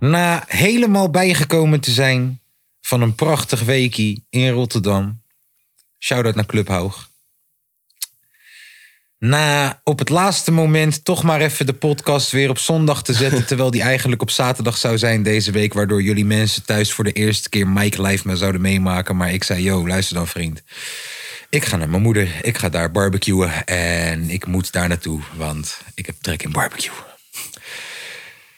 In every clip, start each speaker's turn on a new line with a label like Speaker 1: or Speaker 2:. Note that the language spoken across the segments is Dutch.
Speaker 1: Na helemaal bijgekomen te zijn van een prachtig weekie in Rotterdam. Shout-out naar Club Hoog. Na op het laatste moment toch maar even de podcast weer op zondag te zetten... terwijl die eigenlijk op zaterdag zou zijn deze week... waardoor jullie mensen thuis voor de eerste keer Mike live me zouden meemaken. Maar ik zei, yo, luister dan vriend. Ik ga naar mijn moeder. Ik ga daar barbecuen. En ik moet daar naartoe, want ik heb trek in barbecue.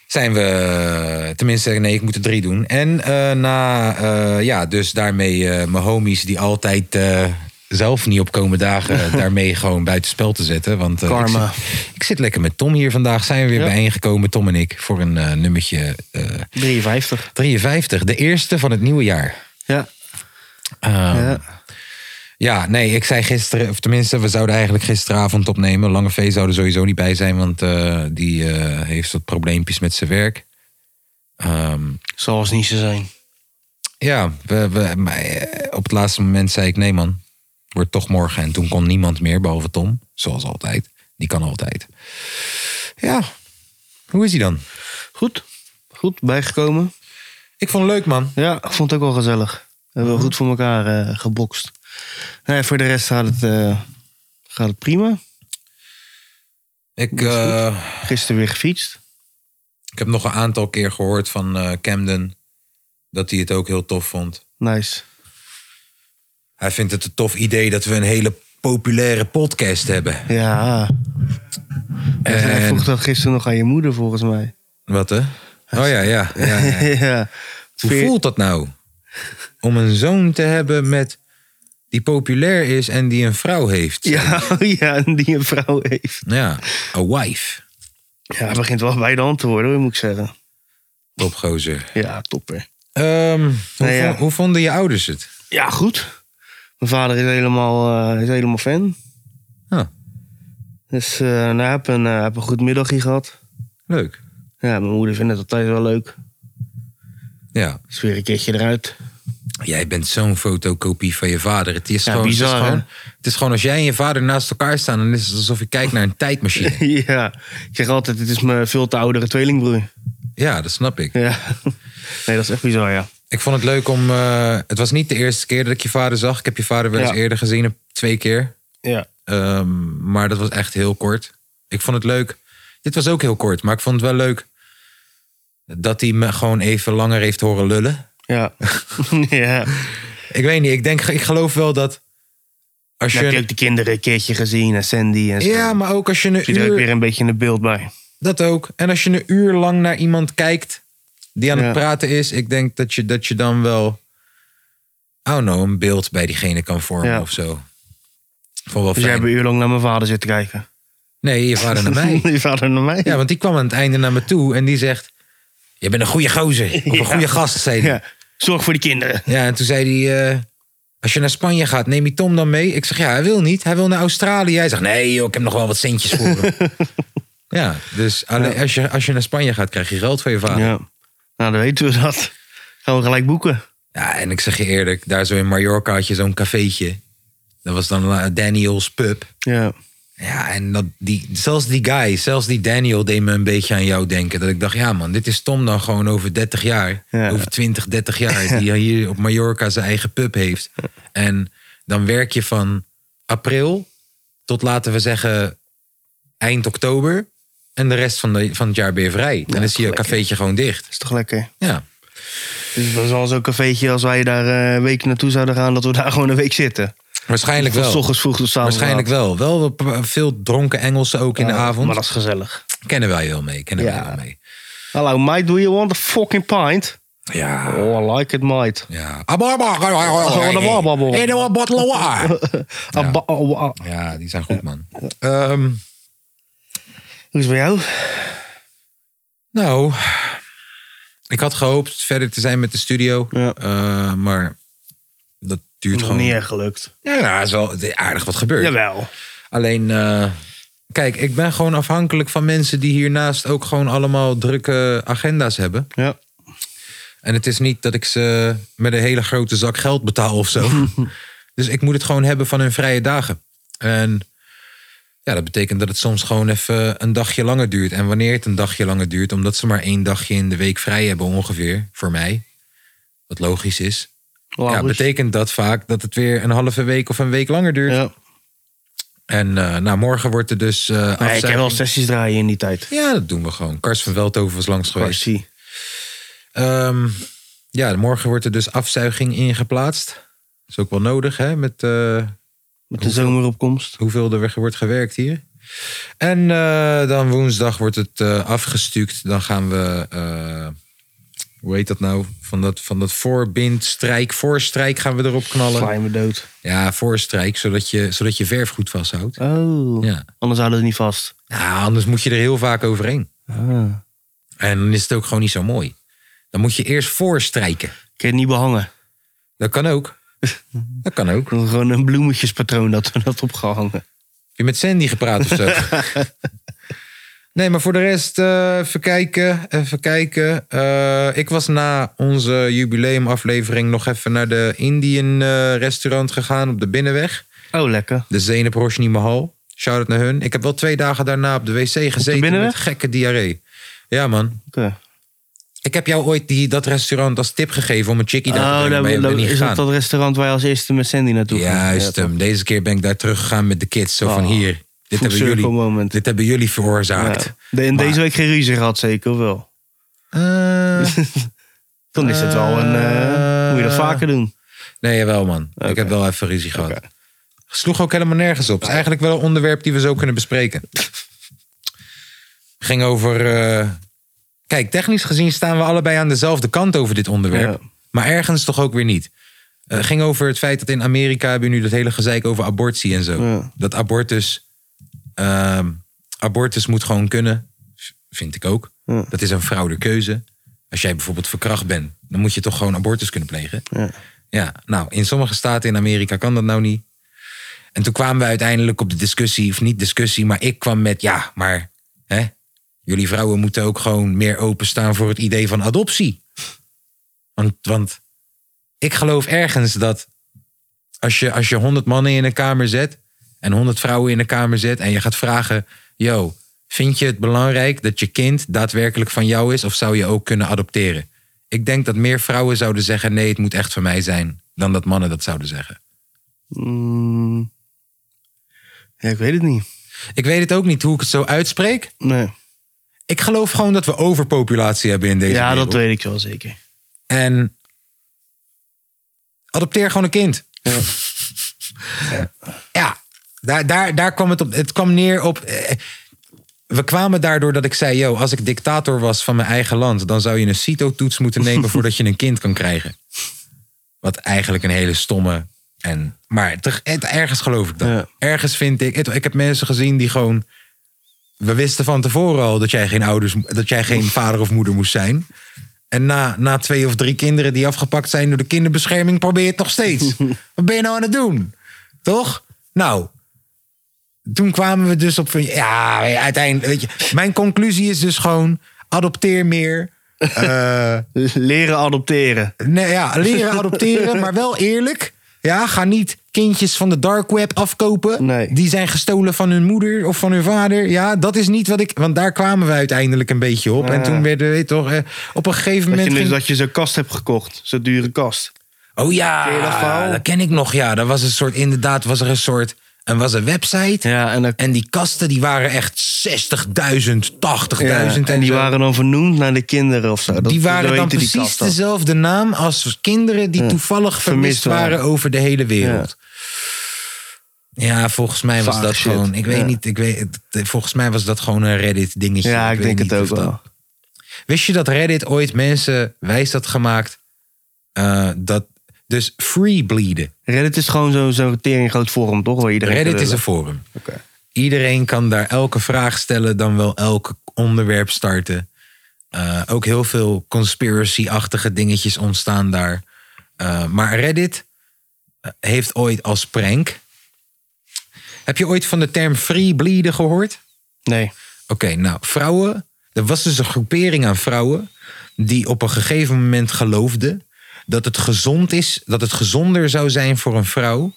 Speaker 1: Zijn we, tenminste, nee, ik moet er drie doen. En eh, na, eh, ja, dus daarmee eh, mijn homies die altijd eh, zelf niet op komen dagen, daarmee gewoon buitenspel te zetten. Want eh, ik,
Speaker 2: Karma.
Speaker 1: zit, ik zit lekker met Tom hier vandaag. Zijn we weer
Speaker 2: Ja.
Speaker 1: bijeengekomen, Tom en ik, voor een eh, nummertje eh,
Speaker 2: 53.
Speaker 1: 53. De eerste van het nieuwe jaar.
Speaker 2: Ja.
Speaker 1: Ehm,
Speaker 2: ja.
Speaker 1: Ja, nee, ik zei gisteren, of tenminste, we zouden eigenlijk gisteravond opnemen. Lange V zou er sowieso niet bij zijn, want eh, die eh, heeft wat probleempjes met zijn werk. Ehm,
Speaker 2: Zal het niet zo zijn.
Speaker 1: ja, we, we, maar, eh, op het laatste moment zei ik, nee man, wordt toch morgen. En toen kon niemand meer, behalve Tom, zoals altijd. Die kan altijd. Ja, hoe is hij dan?
Speaker 2: Goed. Goed, bijgekomen.
Speaker 1: Ik vond het leuk man.
Speaker 2: Ja, ik vond het ook wel gezellig. We hebben wel goed voor elkaar eh, gebokst. Nee, voor de rest gaat het, eh, gaat het prima.
Speaker 1: Ik, eh,
Speaker 2: Gisteren weer gefietst.
Speaker 1: ik heb nog een aantal keer gehoord van eh, Camden dat hij het ook heel tof vond.
Speaker 2: Nice.
Speaker 1: Hij vindt het een tof idee dat we een hele populaire podcast hebben.
Speaker 2: Ja. En... Hij
Speaker 1: En-
Speaker 2: vroeg dat gisteren nog aan je moeder, volgens mij.
Speaker 1: Wat hè? Oh ja, ja. ja, ja.
Speaker 2: ja.
Speaker 1: Hoe voelt dat nou? Om een zoon te hebben met die populair is en die een vrouw heeft.
Speaker 2: Ja, ja, die een vrouw heeft.
Speaker 1: Ja, a wife.
Speaker 2: Ja, het begint wel bij de hand te worden, hoor, moet ik zeggen.
Speaker 1: Topgozer.
Speaker 2: Ja, topper.
Speaker 1: Ehm, hoe,
Speaker 2: Nee, Nou ja.
Speaker 1: vo- hoe vonden je ouders het?
Speaker 2: Ja, goed. Mijn vader is helemaal, eh, is helemaal fan.
Speaker 1: Ah,
Speaker 2: Dus eh nou, ik heb een, eh, heb een goed middagje gehad.
Speaker 1: leuk.
Speaker 2: Ja, mijn moeder vindt het altijd wel leuk.
Speaker 1: Ja,
Speaker 2: Is weer een keertje eruit.
Speaker 1: jij bent zo'n fotocopie van je vader. Het is,
Speaker 2: Ja,
Speaker 1: gewoon,
Speaker 2: bizar,
Speaker 1: het, is gewoon, het is gewoon als jij en je vader naast elkaar staan... dan is het alsof je kijkt naar een tijdmachine.
Speaker 2: ja, ik zeg altijd, dit is mijn veel te oudere tweelingbroer.
Speaker 1: Ja, dat snap ik.
Speaker 2: Ja. Nee, dat is echt bizar, ja.
Speaker 1: Ik vond het leuk om. eh, het was niet de eerste keer dat ik je vader zag. Ik heb je vader wel eens
Speaker 2: Ja.
Speaker 1: eerder gezien, een- twee keer.
Speaker 2: Ja.
Speaker 1: Ehm, maar dat was echt heel kort. Ik vond het leuk. Dit was ook heel kort, maar ik vond het wel leuk dat hij me gewoon even langer heeft horen lullen.
Speaker 2: Ja. ja. Nou,
Speaker 1: Ik weet niet, ik denk, ik geloof wel dat. Als
Speaker 2: Dan heb je
Speaker 1: je,
Speaker 2: ook de kinderen een keertje gezien en Sandy en zo.
Speaker 1: ja, maar ook als je een
Speaker 2: Zit er ook
Speaker 1: uur.
Speaker 2: weer een beetje een beeld bij. Dus
Speaker 1: Dat ook. En als je een uur lang naar iemand kijkt die aan
Speaker 2: Ja.
Speaker 1: het praten is, ik denk dat je, dat je dan wel, I don't know, een beeld bij diegene kan vormen
Speaker 2: Ja.
Speaker 1: of zo. Vond wel
Speaker 2: Dus jij
Speaker 1: fijn.
Speaker 2: hebt een uur lang naar mijn vader zitten kijken.
Speaker 1: Nee, je vader naar mij.
Speaker 2: je vader naar mij?
Speaker 1: Ja, want die kwam aan het einde naar me toe en die zegt, je bent een goede gozer. Of een
Speaker 2: Ja.
Speaker 1: goede gast, zei hij. Ja.
Speaker 2: Ja. Zorg voor de kinderen.
Speaker 1: en toen zei hij, eh, als je naar Spanje gaat, neem je Tom dan mee? Ik zeg, ja, hij wil niet. Hij wil naar Australië. Hij zegt, nee joh, ik heb nog wel wat centjes voor hem. ja, dus alleen, Als, je, als je naar Spanje gaat, krijg je geld van je vader.
Speaker 2: Ja. Nou, dan weten we dat. Gaan we gelijk boeken.
Speaker 1: Ja, en ik zeg je eerlijk, daar zo in Mallorca had je zo'n cafeetje. Dat was dan eh, Daniel's Pub.
Speaker 2: Ja.
Speaker 1: Ja, en dat, die, zelfs die guy, zelfs die Daniel deed me een beetje aan jou denken. Dat ik dacht, ja man, dit is Tom dan gewoon over 30 jaar.
Speaker 2: Ja.
Speaker 1: Over 20, 30 jaar. Die hier op Mallorca zijn eigen pub heeft. En dan werk je van april tot laten we zeggen eind oktober. En de rest van, de, van het jaar ben je vrij. en dan is je
Speaker 2: gelukkig.
Speaker 1: cafeetje gewoon dicht.
Speaker 2: Is toch lekker?
Speaker 1: Ja.
Speaker 2: Dus dat is wel zo'n cafeetje als wij daar eh, een week naartoe zouden gaan, dat we daar gewoon een week zitten.
Speaker 1: Waarschijnlijk
Speaker 2: Van
Speaker 1: wel.
Speaker 2: s ochtends vroeg tot avonds.
Speaker 1: Waarschijnlijk wel. Wel p- veel dronken Engelsen ook in de avond.
Speaker 2: Maar dat is gezellig.
Speaker 1: Kennen wij wel mee. Kennen
Speaker 2: Ja.
Speaker 1: wij wel mee.
Speaker 2: Hallo, mate, do you want a fucking pint?
Speaker 1: Ja.
Speaker 2: Oh, I like it, mate.
Speaker 1: Ja. Ah, Ja,
Speaker 2: Ah, ba- oh, ah.
Speaker 1: die zijn goed, man. Ehm,
Speaker 2: Hoe is het bij jou?
Speaker 1: nou, Ik had gehoopt verder te zijn met de studio.
Speaker 2: Ja.
Speaker 1: eh, maar dat duurt
Speaker 2: Nog
Speaker 1: gewoon...
Speaker 2: niet echt gelukt.
Speaker 1: Ja, nou, is wel aardig wat gebeurd.
Speaker 2: Jawel.
Speaker 1: Alleen, eh, kijk, ik ben gewoon afhankelijk van mensen die hiernaast ook gewoon allemaal drukke agenda's hebben.
Speaker 2: Ja.
Speaker 1: En het is niet dat ik ze met een hele grote zak geld betaal of zo. dus ik moet het gewoon hebben van hun vrije dagen. En ja, dat betekent dat het soms gewoon even een dagje langer duurt. En wanneer het een dagje langer duurt, omdat ze maar één dagje in de week vrij hebben ongeveer, voor mij. Wat logisch is. Ja,
Speaker 2: Laurens.
Speaker 1: betekent dat vaak dat het weer een halve week of een week langer duurt.
Speaker 2: Ja.
Speaker 1: En eh, nou, morgen wordt er dus eh
Speaker 2: Nee, ik heb
Speaker 1: afzuiging.
Speaker 2: wel sessies draaien in die tijd.
Speaker 1: Ja, dat doen we gewoon. Kars van Veldhoven was langs geweest.
Speaker 2: Kwastie.
Speaker 1: Ehm, ja, morgen wordt er dus afzuiging ingeplaatst. Is ook wel nodig, hè? Met eh,
Speaker 2: Met de zomeropkomst.
Speaker 1: hoeveel er weer wordt gewerkt hier. En eh, dan woensdag wordt het eh, afgestuukt. Dan gaan we, eh, hoe heet dat nou? Van dat, van dat voorbind, strijk, voorstrijk gaan we erop knallen.
Speaker 2: Sla je me dood.
Speaker 1: Ja, voorstrijk, zodat je, zodat je verf goed vasthoudt.
Speaker 2: Oh.
Speaker 1: Ja.
Speaker 2: Anders houden we het niet vast.
Speaker 1: ja, anders moet je er heel vaak overheen.
Speaker 2: Ah.
Speaker 1: En dan is het ook gewoon niet zo mooi. Dan moet je eerst voorstrijken.
Speaker 2: Kun je het niet behangen.
Speaker 1: Dat kan ook. Dat kan ook. Heb
Speaker 2: Dat is Gewoon een bloemetjespatroon dat we dat opgehangen.
Speaker 1: je met Sandy gepraat of zo? nee, maar voor de rest, eh, even kijken. Even kijken. Eh, ik was na onze jubileumaflevering nog even naar de Indian eh, restaurant gegaan op de Binnenweg.
Speaker 2: Oh, lekker.
Speaker 1: De Zenep Roshni Mahal. Shout-out naar hun. Ik heb wel twee dagen daarna op de wc gezeten met
Speaker 2: Binnenweg?
Speaker 1: gekke diarree. Ja, man.
Speaker 2: Oké.
Speaker 1: Ik heb jou ooit die, dat restaurant als tip gegeven om een chickie daar te
Speaker 2: Oh,
Speaker 1: brengen,
Speaker 2: daar
Speaker 1: maar je bent niet
Speaker 2: is
Speaker 1: gegaan.
Speaker 2: dat dat restaurant waar je als eerste met Sandy naartoe ging?
Speaker 1: Juist hem. Deze keer ben ik daar teruggegaan met de kids. Zo van
Speaker 2: Oh,
Speaker 1: hier, dit hebben,
Speaker 2: circle
Speaker 1: jullie,
Speaker 2: moment.
Speaker 1: dit hebben jullie
Speaker 2: Ja.
Speaker 1: veroorzaakt.
Speaker 2: De- en
Speaker 1: Maar-
Speaker 2: deze week geen ruzie gehad, zeker of wel?
Speaker 1: Eh,
Speaker 2: Dan is het wel een... eh, moet je dat vaker doen?
Speaker 1: nee, jawel man. Ik heb wel even ruzie gehad. Sloeg ook helemaal nergens op. Het is eigenlijk wel een onderwerp die we zo kunnen bespreken. Ging over... eh, Kijk, technisch gezien staan we allebei aan dezelfde kant over dit onderwerp.
Speaker 2: Ja.
Speaker 1: Maar ergens toch ook weer niet. Eh ging over het feit dat in Amerika hebben we nu dat hele gezeik over abortie en zo.
Speaker 2: Ja.
Speaker 1: Dat abortus... ehm, abortus moet gewoon kunnen. v- Vind ik ook.
Speaker 2: Ja.
Speaker 1: Dat is een fraudekeuze. Als jij bijvoorbeeld verkracht bent, dan moet je toch gewoon abortus kunnen plegen.
Speaker 2: Ja.
Speaker 1: Ja, nou, in sommige staten in Amerika kan dat nou niet. En toen kwamen we uiteindelijk op de discussie, of niet discussie, maar ik kwam met ja, maar hè, jullie vrouwen moeten ook gewoon meer openstaan voor het idee van adoptie. Want, want ik geloof ergens dat als je, als je 100 mannen in een kamer zet en 100 vrouwen in een kamer zet en je gaat vragen, yo, vind je het belangrijk dat je kind daadwerkelijk van jou is of zou je ook kunnen adopteren? Ik denk dat meer vrouwen zouden zeggen, nee, het moet echt van mij zijn, dan dat mannen dat zouden zeggen.
Speaker 2: Mm. Ja, ik weet het niet.
Speaker 1: Ik weet het ook niet hoe ik het zo uitspreek.
Speaker 2: Nee.
Speaker 1: Ik geloof gewoon dat we overpopulatie hebben in deze
Speaker 2: Ja,
Speaker 1: wereld.
Speaker 2: dat eh, weet ik wel zeker.
Speaker 1: En adopteer gewoon een kind. Ja, daar, daar, daar kwam het op. Het kwam neer op. eh, We kwamen daardoor dat ik zei: Yo, als ik dictator was van mijn eigen land, dan zou je een CITO-toets moeten nemen voordat je een kind kan krijgen. Wat eigenlijk een hele stomme. En, maar teg- het, ergens geloof ik dat.
Speaker 2: Ja.
Speaker 1: Ergens vind ik. het- ik heb mensen gezien die gewoon. We wisten van tevoren al dat jij geen ouders, dat jij geen vader of moeder moest zijn. En na, na twee of drie kinderen die afgepakt zijn door de kinderbescherming, probeer je het nog steeds. Wat ben je nou aan het doen? Toch? Nou, toen kwamen we dus op. van, Ja, uiteindelijk. Weet je, mijn conclusie is dus gewoon: adopteer meer. Eh,
Speaker 2: Leren adopteren.
Speaker 1: nee, ja, leren adopteren, maar wel eerlijk. Ja, ga niet kindjes van de dark web afkopen.
Speaker 2: Nee.
Speaker 1: Die zijn gestolen van hun moeder of van hun vader. Ja, dat is niet wat ik. Want daar kwamen we uiteindelijk een beetje op. En
Speaker 2: Ja.
Speaker 1: toen werden we toch. eh, op een gegeven
Speaker 2: Ah. Dat
Speaker 1: moment.
Speaker 2: je, dus
Speaker 1: ging-
Speaker 2: dat je zo'n kast hebt gekocht. Zo'n dure kast.
Speaker 1: Oh ja,
Speaker 2: Ken je dat verhaal?
Speaker 1: dat ken ik nog. Ja, dat was een soort, inderdaad, was er een soort, en was een website.
Speaker 2: Ja, en, dat-
Speaker 1: En die kasten, die waren echt 60.000, 80.000.
Speaker 2: ja,
Speaker 1: en
Speaker 2: en die
Speaker 1: zo.
Speaker 2: waren dan vernoemd naar de kinderen of zo. Dat,
Speaker 1: die
Speaker 2: zo
Speaker 1: waren dan
Speaker 2: heette die
Speaker 1: precies
Speaker 2: kast dan.
Speaker 1: dezelfde naam als kinderen die toevallig vermist,
Speaker 2: Vermist
Speaker 1: waren
Speaker 2: waren.
Speaker 1: over de hele wereld. Ja, volgens mij was
Speaker 2: Vage
Speaker 1: dat
Speaker 2: shit.
Speaker 1: gewoon. Ik weet
Speaker 2: Ja.
Speaker 1: niet. Ik weet, volgens mij was dat gewoon een Reddit dingetje.
Speaker 2: Ja, ik
Speaker 1: weet
Speaker 2: denk het
Speaker 1: niet
Speaker 2: ook
Speaker 1: of dat-
Speaker 2: wel.
Speaker 1: Wist je dat Reddit ooit mensen wijs had gemaakt eh, dat dus free bleeden?
Speaker 2: Reddit is gewoon zo'n zo tering groot forum, toch? Waar iedereen
Speaker 1: Reddit
Speaker 2: kan
Speaker 1: is een
Speaker 2: lullen.
Speaker 1: forum.
Speaker 2: Oké.
Speaker 1: Iedereen kan daar elke vraag stellen, dan wel elk onderwerp starten. Eh, ook heel veel conspiracy-achtige dingetjes ontstaan daar. Eh, maar Reddit eh, heeft ooit als prank. Heb je ooit van de term free bleeden gehoord?
Speaker 2: Nee.
Speaker 1: Oké, nou, vrouwen. Er was dus een groepering aan vrouwen. die op een gegeven moment geloofden. dat het gezond is. dat het gezonder zou zijn voor een vrouw.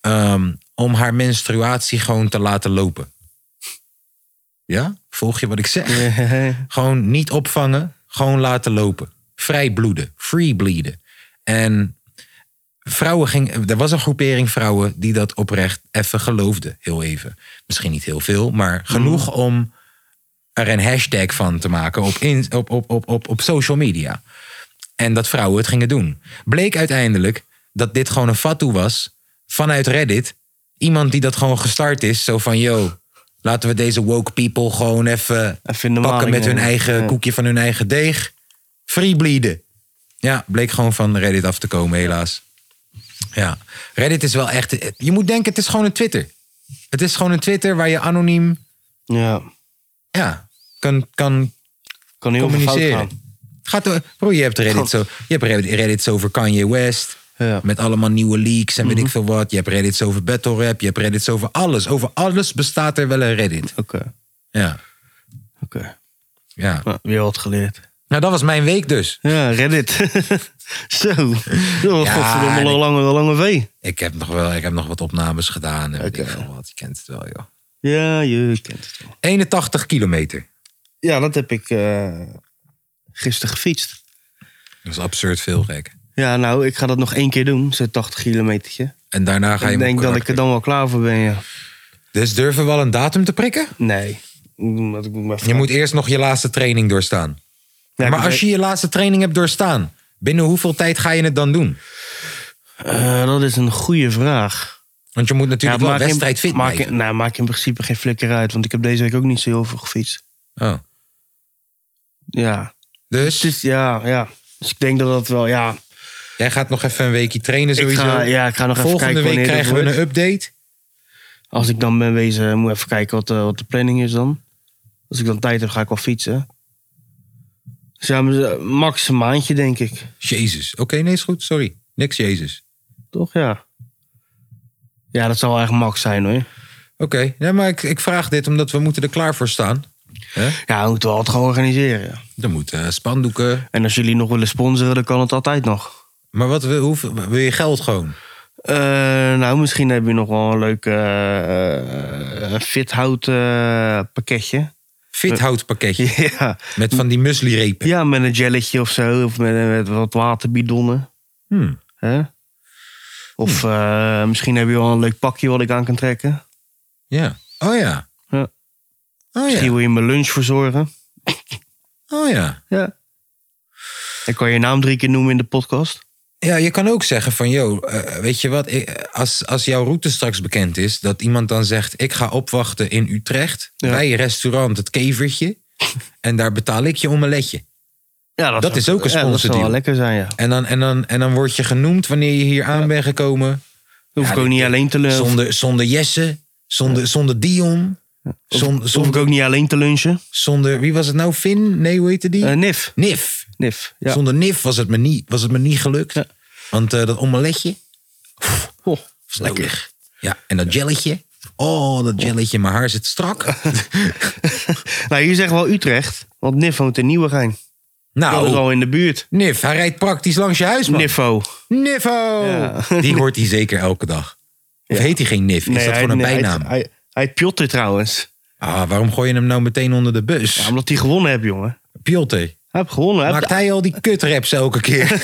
Speaker 1: ehm, om haar menstruatie gewoon te laten lopen. Ja? Volg je wat ik zeg? Gewoon niet opvangen, gewoon laten lopen. Vrij bloeden, free bleeden. En vrouwen ging, er was een groepering vrouwen die dat oprecht even geloofde, heel even. Misschien niet heel veel, maar genoeg om er een hashtag van te maken op, in, op, op, op, op, op social media. En dat vrouwen het gingen doen. Bleek uiteindelijk dat dit gewoon een fatu was vanuit Reddit. Iemand die dat gewoon gestart is. Zo van, yo, laten we deze woke people gewoon even
Speaker 2: Even normaal
Speaker 1: pakken met hun
Speaker 2: nemen.
Speaker 1: eigen
Speaker 2: Ja.
Speaker 1: koekje van hun eigen deeg. Free bleeden. Ja, bleek gewoon van Reddit af te komen, helaas. Ja, Reddit is wel echt... Je moet denken, het is gewoon een Twitter. Het is gewoon een Twitter waar je anoniem
Speaker 2: Ja.
Speaker 1: ja, kan, kan
Speaker 2: Kan heel veel fout
Speaker 1: communiceren.
Speaker 2: gaan.
Speaker 1: Het Gaat door, bro, je hebt Reddit
Speaker 2: Gaat-
Speaker 1: zo. Je hebt Reddit- Reddits over Kanye West.
Speaker 2: Ja. Mhm.
Speaker 1: Met allemaal nieuwe leaks en weet ik veel wat. Je hebt Reddits over battle rap. Je hebt Reddits over alles. Over alles bestaat er wel een Reddit.
Speaker 2: Oké.
Speaker 1: Ja,
Speaker 2: Oké.
Speaker 1: ja.
Speaker 2: Nou, weer wat geleerd.
Speaker 1: Nou, dat was mijn week dus.
Speaker 2: Ja, Reddit. Zo. Oh,
Speaker 1: Ja,
Speaker 2: godverdomme,
Speaker 1: nee.
Speaker 2: een lange, lange V.
Speaker 1: Ik heb nog wel ik heb nog wat opnames gedaan. En weet
Speaker 2: Oké.
Speaker 1: ik veel wat. Je kent het wel, joh.
Speaker 2: Ja, je kent het wel.
Speaker 1: 81 kilometer.
Speaker 2: Ja, dat heb ik eh, gisteren gefietst.
Speaker 1: Dat is absurd veel gek.
Speaker 2: Ja, nou, ik ga dat nog één keer doen, zo'n 80 kilometertje.
Speaker 1: En daarna ga je hem
Speaker 2: Ik denk
Speaker 1: op
Speaker 2: dat ik er
Speaker 1: karakter.
Speaker 2: dan wel klaar voor ben, ja.
Speaker 1: Dus durven we al een datum te prikken?
Speaker 2: Nee. Omdat ik maar
Speaker 1: Je moet eerst nog je laatste training doorstaan.
Speaker 2: Ja, ik
Speaker 1: maar als
Speaker 2: weet-
Speaker 1: je je laatste training hebt doorstaan, binnen hoeveel tijd ga je het dan doen?
Speaker 2: Eh, dat is een goede vraag.
Speaker 1: Want je moet natuurlijk
Speaker 2: Ja,
Speaker 1: wel
Speaker 2: maak in-
Speaker 1: wedstrijd fit
Speaker 2: maak in,
Speaker 1: blijven.
Speaker 2: nou, maak in principe geen flikker uit, want ik heb deze week ook niet zo heel veel gefietst.
Speaker 1: Oh.
Speaker 2: Ja.
Speaker 1: Dus
Speaker 2: Dus ja, ja. Dus ik denk dat dat wel, ja.
Speaker 1: jij gaat nog even een weekje trainen
Speaker 2: Ik
Speaker 1: sowieso.
Speaker 2: ga, ja, ik ga nog even
Speaker 1: Volgende
Speaker 2: kijken
Speaker 1: week
Speaker 2: wanneer dat
Speaker 1: krijgen we
Speaker 2: wordt.
Speaker 1: een update.
Speaker 2: Als ik dan ben wezen, moet ik even kijken wat, eh, wat de planning is dan. Als ik dan tijd heb, ga ik wel fietsen. Dus ja, maar, eh, max een maandje, denk ik.
Speaker 1: Jezus. Oké, nee, is goed. Sorry. Niks Jezus.
Speaker 2: Toch, ja. Ja, dat zal wel echt max zijn, hoor.
Speaker 1: Oké, nee, maar ik, ik vraag dit omdat we moeten er klaar voor staan.
Speaker 2: Ja, we moeten wel het gaan organiseren. ja.
Speaker 1: Er moeten eh, spandoeken.
Speaker 2: En als jullie nog willen sponsoren, dan kan het altijd nog.
Speaker 1: Maar wat wil, hoeveel, wil je geld gewoon?
Speaker 2: Eh, nou, misschien heb je nog wel een leuk eh, eh, fithout eh, pakketje.
Speaker 1: Fithoutpakketje.
Speaker 2: ja.
Speaker 1: Met van die muesli-repen.
Speaker 2: ja, met een jelletje of zo. Of met, met wat waterbidonnen.
Speaker 1: Hmm.
Speaker 2: Hè? Of eh, misschien heb je wel een leuk pakje wat ik aan kan trekken.
Speaker 1: Oh, Ja. Oh ja.
Speaker 2: Ja.
Speaker 1: Oh
Speaker 2: Misschien
Speaker 1: ja.
Speaker 2: wil je mijn lunch verzorgen.
Speaker 1: Oh ja.
Speaker 2: Ja. Ik kan je naam drie keer noemen in de podcast.
Speaker 1: Ja, je kan ook zeggen van, joh, eh, weet je wat, ik- als, als jouw route straks bekend is, dat iemand dan zegt, ik ga opwachten in Utrecht
Speaker 2: Ja.
Speaker 1: bij restaurant Het Kevertje en daar betaal ik je omeletje.
Speaker 2: Ja,
Speaker 1: Dat is ook een
Speaker 2: ja, dat zou
Speaker 1: sponsordeal.
Speaker 2: wel lekker zijn, ja.
Speaker 1: En dan, en, dan, en dan word je genoemd wanneer je hier aan bent gekomen,
Speaker 2: Dan hoef
Speaker 1: Ja,
Speaker 2: ik ook
Speaker 1: dit-
Speaker 2: niet alleen te lunchen.
Speaker 1: zonder, zonder Jesse, zonder, zonder Dion, zonder,
Speaker 2: Hoef ik
Speaker 1: zonder,
Speaker 2: ook niet alleen te lunchen.
Speaker 1: zonder, wie was het nou, Finn? Nee, hoe heette die?
Speaker 2: Eh, Nif.
Speaker 1: Nif.
Speaker 2: Nif. Ja.
Speaker 1: Zonder Nif was het me niet, was het me niet gelukt,
Speaker 2: Ja.
Speaker 1: want eh, dat omeletje...
Speaker 2: Oh,
Speaker 1: is lekker. Ja, en dat jelletje. Oh, dat jelletje. Mijn haar zit strak.
Speaker 2: Nou, je zegt wel Utrecht, want Nif woont in Nieuwegein. Dat is
Speaker 1: nou,
Speaker 2: al in de buurt.
Speaker 1: Nif, hij rijdt praktisch langs je huis, man.
Speaker 2: Niffo.
Speaker 1: Niffo!
Speaker 2: Ja.
Speaker 1: Die hoort hij zeker elke dag. Of heet hij geen Nif? Is dat gewoon een bijnaam?
Speaker 2: Hij, hij, hij heet Piotr trouwens.
Speaker 1: Ah, waarom gooi je hem nou meteen onder de bus?
Speaker 2: Ja, omdat hij gewonnen heeft, jongen.
Speaker 1: Piotr,
Speaker 2: Hij heeft gewonnen. Hij
Speaker 1: maakt
Speaker 2: heeft-
Speaker 1: hij al die kutraps elke keer?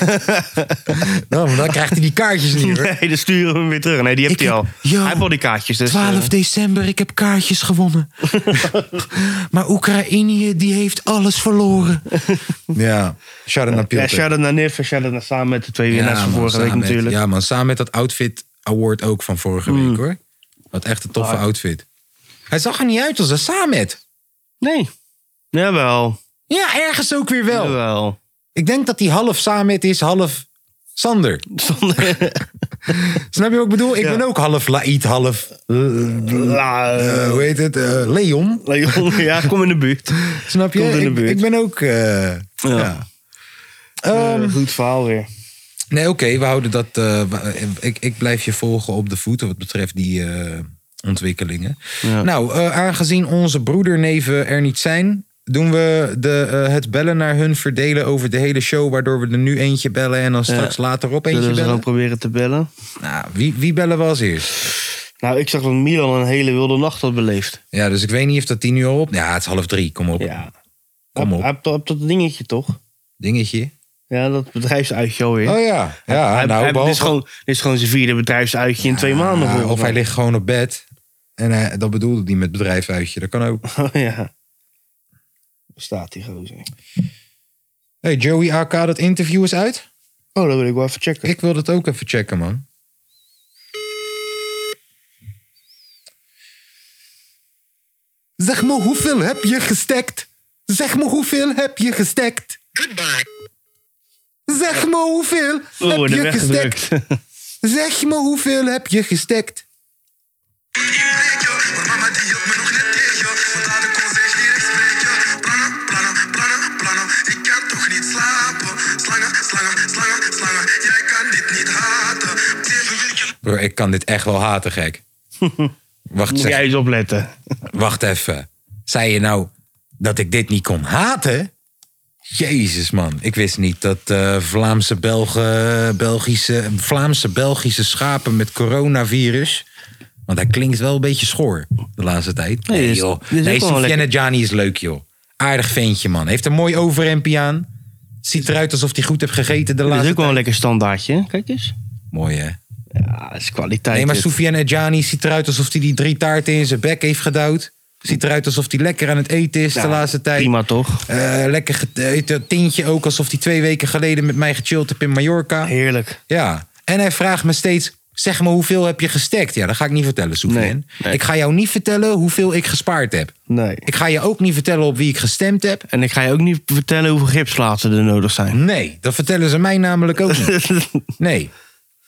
Speaker 1: nou, maar dan krijgt hij die kaartjes niet, hoor.
Speaker 2: Nee, dan sturen we hem weer terug. Nee, die heeft
Speaker 1: Ik
Speaker 2: hij al.
Speaker 1: heb- Yo.
Speaker 2: hij heeft al die kaartjes. Dus,
Speaker 1: 12
Speaker 2: eh,
Speaker 1: december, ik heb kaartjes gewonnen. maar Oekraïne, die heeft alles verloren. ja, shout-out naar
Speaker 2: ja,
Speaker 1: Piotr.
Speaker 2: shout-out naar Nif en shout-out naar samen met de twee winnaars van
Speaker 1: man,
Speaker 2: vorige week
Speaker 1: samen met-
Speaker 2: natuurlijk. Mm.
Speaker 1: Ja, man, samen met dat outfit award ook van vorige week hoor. Wat echt een
Speaker 2: Ah.
Speaker 1: toffe outfit. Hij zag er niet uit als een Samet.
Speaker 2: Nee. Jawel.
Speaker 1: Ja, ergens ook weer wel.
Speaker 2: Jawel.
Speaker 1: Ik denk dat hij half Samet is, half Sander.
Speaker 2: Zonder-
Speaker 1: Snap je wat ik bedoel? Ik
Speaker 2: Ja.
Speaker 1: ben ook half Laït, half... eh,
Speaker 2: La,
Speaker 1: eh,
Speaker 2: eh,
Speaker 1: hoe heet het? Eh, Leon.
Speaker 2: Leon, ja, kom in de buurt.
Speaker 1: Snap je?
Speaker 2: Komt in de
Speaker 1: ik,
Speaker 2: buurt.
Speaker 1: ik ben ook... eh, ja. Ehm,
Speaker 2: Eh, goed verhaal weer.
Speaker 1: nee, oké, we houden dat... eh, wa- ik, ik blijf je volgen op de voeten wat betreft die eh, ontwikkelingen.
Speaker 2: Ja.
Speaker 1: Nou, eh, aangezien onze broederneven er niet zijn... doen we de, eh, het bellen naar hun verdelen over de hele show... waardoor we er nu eentje bellen en dan straks later op
Speaker 2: Zullen
Speaker 1: eentje
Speaker 2: we ze
Speaker 1: bellen.
Speaker 2: gewoon proberen te bellen?
Speaker 1: Nou, wie, wie bellen we als eerst?
Speaker 2: Nou, ik zag dat Milan een hele wilde nacht had beleefd.
Speaker 1: Ja, dus ik weet niet of dat tien uur al op... Ja, het is half drie, kom op.
Speaker 2: Ja. Ah,
Speaker 1: Kom
Speaker 2: Hij-
Speaker 1: op.
Speaker 2: Hij heeft dat- dat dingetje toch?
Speaker 1: Dingetje.
Speaker 2: Ja, dat bedrijfsuitje alweer.
Speaker 1: Oh ja, ja
Speaker 2: Hij-
Speaker 1: nou,
Speaker 2: hij- dit, is
Speaker 1: behalve-
Speaker 2: gewoon, dit is gewoon zijn vierde bedrijfsuitje in twee maanden.
Speaker 1: Ja,
Speaker 2: volgens
Speaker 1: of hij
Speaker 2: mij.
Speaker 1: ligt gewoon op bed. En hij, dat bedoelde hij met bedrijfuitje. Dat kan ook.
Speaker 2: Oh, ja. Staat die gozer.
Speaker 1: Hey, Joey AK, dat interview is uit.
Speaker 2: Oh, dat wil ik wel even checken.
Speaker 1: Ik wil dat ook even checken, man. Zeg me hoeveel heb je gestekt? Zeg me hoeveel heb je gestekt? Goodbye. Zeg me hoeveel
Speaker 2: We
Speaker 1: heb
Speaker 2: worden
Speaker 1: je gestekt?
Speaker 2: weggedrukt.
Speaker 1: Zeg me hoeveel heb je gestekt? Bro, ik kan dit echt wel haten, gek. Wacht,
Speaker 2: Moet
Speaker 1: zeg,
Speaker 2: jij eens opletten.
Speaker 1: wacht even. Zei je nou dat ik dit niet kon haten? Jezus, man. Ik wist niet dat eh, Vlaamse, Belgen, Belgische, Vlaamse Belgische schapen met coronavirus... Want hij klinkt wel een beetje schoor de laatste tijd.
Speaker 2: Nee,
Speaker 1: Nee,
Speaker 2: dit is-
Speaker 1: joh.
Speaker 2: dit is
Speaker 1: nee,
Speaker 2: ook wel
Speaker 1: Sofiane
Speaker 2: lekker.
Speaker 1: Gianni is leuk, joh. Aardig ventje, man. Heeft een mooi overhemdje aan. Ziet eruit alsof hij goed heeft gegeten de
Speaker 2: Dat is
Speaker 1: laatste
Speaker 2: ook wel een lekker standaardje. hè? Kijk eens.
Speaker 1: Mooi, hè?
Speaker 2: Ja, dat is kwaliteit. eh,
Speaker 1: Nee, maar
Speaker 2: dit.
Speaker 1: Soufiane Adjani ziet eruit alsof hij die drie taarten in zijn bek heeft gedouwd. Ziet eruit alsof hij lekker aan het eten is
Speaker 2: Ja,
Speaker 1: de laatste tijd.
Speaker 2: Prima toch?
Speaker 1: Eh, lekker get- eh, het tintje ook alsof hij twee weken geleden met mij gechilled heb in Mallorca.
Speaker 2: Heerlijk.
Speaker 1: Ja. En hij vraagt me steeds, zeg me hoeveel heb je gestekt? Ja, dat ga ik niet vertellen, Soufiane.
Speaker 2: Nee, nee.
Speaker 1: Ik ga jou niet vertellen hoeveel ik gespaard heb.
Speaker 2: Nee.
Speaker 1: Ik ga je ook niet vertellen op wie ik gestemd heb.
Speaker 2: En ik ga je ook niet vertellen hoeveel gipslaten er nodig zijn.
Speaker 1: Nee, dat vertellen ze mij namelijk ook niet. Nee.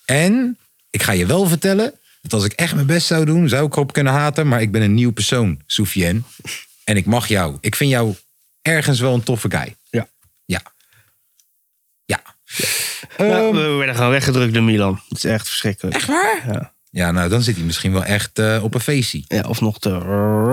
Speaker 1: En ik ga je wel vertellen dat als ik echt mijn best zou doen, zou ik erop kunnen haten. Maar ik ben een nieuw persoon, Soufiane. En ik mag jou. Ik vind jou ergens wel een toffe guy.
Speaker 2: Ja.
Speaker 1: Ja. Ja.
Speaker 2: Nou, we werden gewoon weggedrukt door Milan. Dat is echt verschrikkelijk.
Speaker 1: Ehm. Echt waar?
Speaker 2: Ja.
Speaker 1: Ja, nou dan zit hij misschien wel echt eh, op een feestje.
Speaker 2: Ja, of nog te...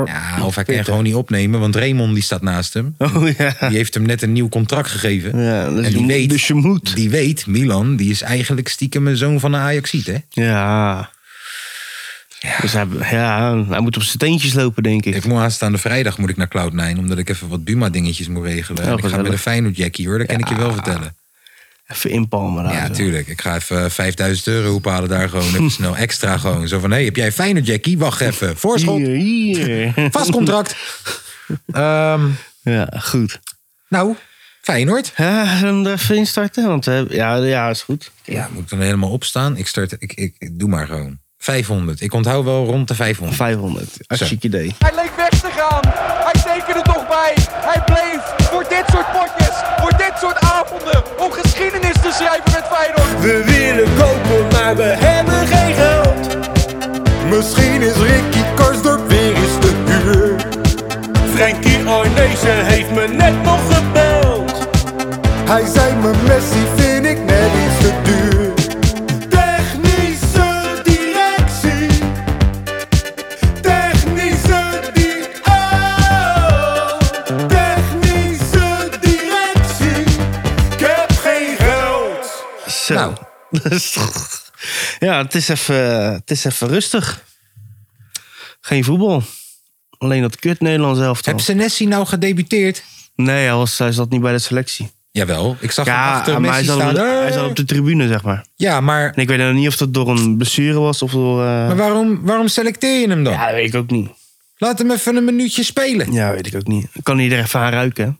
Speaker 1: Ja, of hij kan gewoon niet opnemen, want Raymond die staat naast hem.
Speaker 2: Oh ja.
Speaker 1: Die heeft hem net een nieuw contract gegeven.
Speaker 2: ja dus,
Speaker 1: En
Speaker 2: je
Speaker 1: die
Speaker 2: moet-
Speaker 1: weet-
Speaker 2: dus je moet.
Speaker 1: Die weet, Milan, die is eigenlijk stiekem een zoon van een Ajaxiet, hè?
Speaker 2: Ja. Dus hij, ja, hij moet op zijn teentjes lopen, denk ik.
Speaker 1: Ik moet aanstaande vrijdag moet ik naar Cloud9, omdat ik even wat Buma-dingetjes moet regelen. En ik ga
Speaker 2: Oh, gezellig.
Speaker 1: met een Feyenoord Jackie hoor, dat kan ik je wel vertellen.
Speaker 2: Even inpalmen daar.
Speaker 1: Ja,
Speaker 2: zo.
Speaker 1: tuurlijk. Ik ga even eh, 5000 euro ophalen daar gewoon. Even snel extra gewoon. Zo van, hé, hey, heb jij Feyenoord Jackie? Wacht even. Voorschot,
Speaker 2: Hier, hier.
Speaker 1: vast contract. Ehm,
Speaker 2: ja, goed.
Speaker 1: nou, Feyenoord.
Speaker 2: Ja, zullen we hem er even instarten? Want we hebben- ja, ja, is goed.
Speaker 1: Ja, moet ik dan helemaal opstaan? Ik start, ik, ik, ik doe maar gewoon. 500. Ik onthoud wel rond de 500.
Speaker 2: 500. Hartstikke idee.
Speaker 3: Hij leek weg te gaan. Hij tekende toch bij. Hij bleef voor dit soort potjes, voor dit soort avonden, om geschiedenis te schrijven met Feyenoord.
Speaker 4: We willen kopen, maar we hebben geen geld. Misschien is Ricky Karsdorp weer eens te huur.
Speaker 5: Frankie Arnezen heeft me net nog gebeld.
Speaker 4: Hij zei me Messi vind ik net iets te duur. Technische directie. Technische di- oh. Technische directie. Ik heb geen geld.
Speaker 2: Zo.
Speaker 1: Nou.
Speaker 2: ja, het is, even, het is even rustig. Geen voetbal. Alleen dat kut Nederlands elftal.
Speaker 1: Heb Senesi nou gedebuteerd?
Speaker 2: Nee, hij, was, hij zat niet bij de selectie.
Speaker 1: Jawel, ik zag hem
Speaker 2: Ja,
Speaker 1: achter
Speaker 2: maar hij
Speaker 1: Messi
Speaker 2: zat, op,
Speaker 1: staan.
Speaker 2: hij zat op de tribune, zeg maar.
Speaker 1: Ja, maar,
Speaker 2: En ik weet nog niet of dat door een blessure was of door... eh,
Speaker 1: maar waarom, waarom selecteer je hem dan?
Speaker 2: Ja, dat weet ik ook niet.
Speaker 1: Laat hem even een minuutje spelen.
Speaker 2: Ja, weet ik ook niet. Kan hij er even aan ruiken,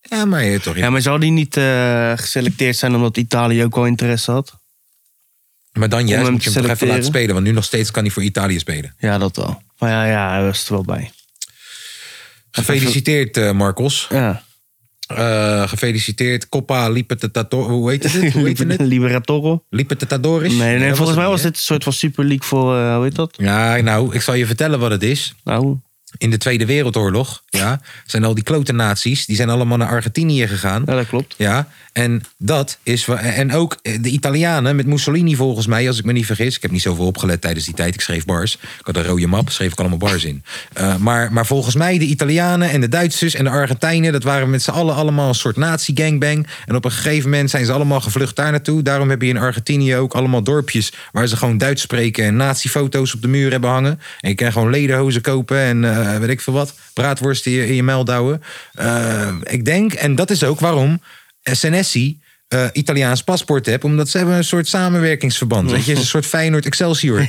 Speaker 2: hè?
Speaker 1: Ja, maar je toch.
Speaker 2: Ja, maar zou die niet eh, geselecteerd zijn omdat Italië ook wel interesse had?
Speaker 1: Maar dan juist
Speaker 2: hem
Speaker 1: moet je
Speaker 2: te
Speaker 1: hem toch even
Speaker 2: selecteren.
Speaker 1: laten spelen. Want nu nog steeds kan hij voor Italië spelen.
Speaker 2: Ja, dat wel. Maar ja, ja hij was er wel bij.
Speaker 1: Gefeliciteerd, eh, Marcos.
Speaker 2: Ja.
Speaker 1: Eh, gefeliciteerd. Coppa Libertador. Hoe heet het? Hoe heet het?
Speaker 2: Liberatoro.
Speaker 1: Libertadores?
Speaker 2: Nee, nee
Speaker 1: dat
Speaker 2: volgens mij
Speaker 1: het
Speaker 2: was
Speaker 1: niet,
Speaker 2: dit een soort van Super League voor, eh, hoe heet dat?
Speaker 1: hè? Ja, nou, ik zal je vertellen wat het is.
Speaker 2: Nou,
Speaker 1: In de Tweede Wereldoorlog ja, zijn al die klote naties, die zijn allemaal naar Argentinië gegaan.
Speaker 2: ja, dat klopt.
Speaker 1: Ja, en dat is. wa- En ook eh, de Italianen met Mussolini, volgens mij, als ik me niet vergis. Ik heb niet zoveel opgelet tijdens die tijd. Ik schreef bars. Ik had een rode map, schreef ik allemaal bars in. Eh, maar, maar volgens mij, de Italianen en de Duitsers en de Argentijnen. dat waren met z'n allen allemaal een soort nazi-gangbang. En op een gegeven moment zijn ze allemaal gevlucht daar naartoe. Daarom heb je in Argentinië ook allemaal dorpjes. waar ze gewoon Duits spreken en nazi-foto's op de muur hebben hangen. En je kan gewoon lederhozen kopen en eh, weet ik veel wat. Braadworsten in je, in je mel douwen. Eh, ik denk, en dat is ook waarom. Senesi eh, Italiaans paspoort heb. Omdat ze hebben een soort samenwerkingsverband. Weet je, Het is een soort Feyenoord Excelsior.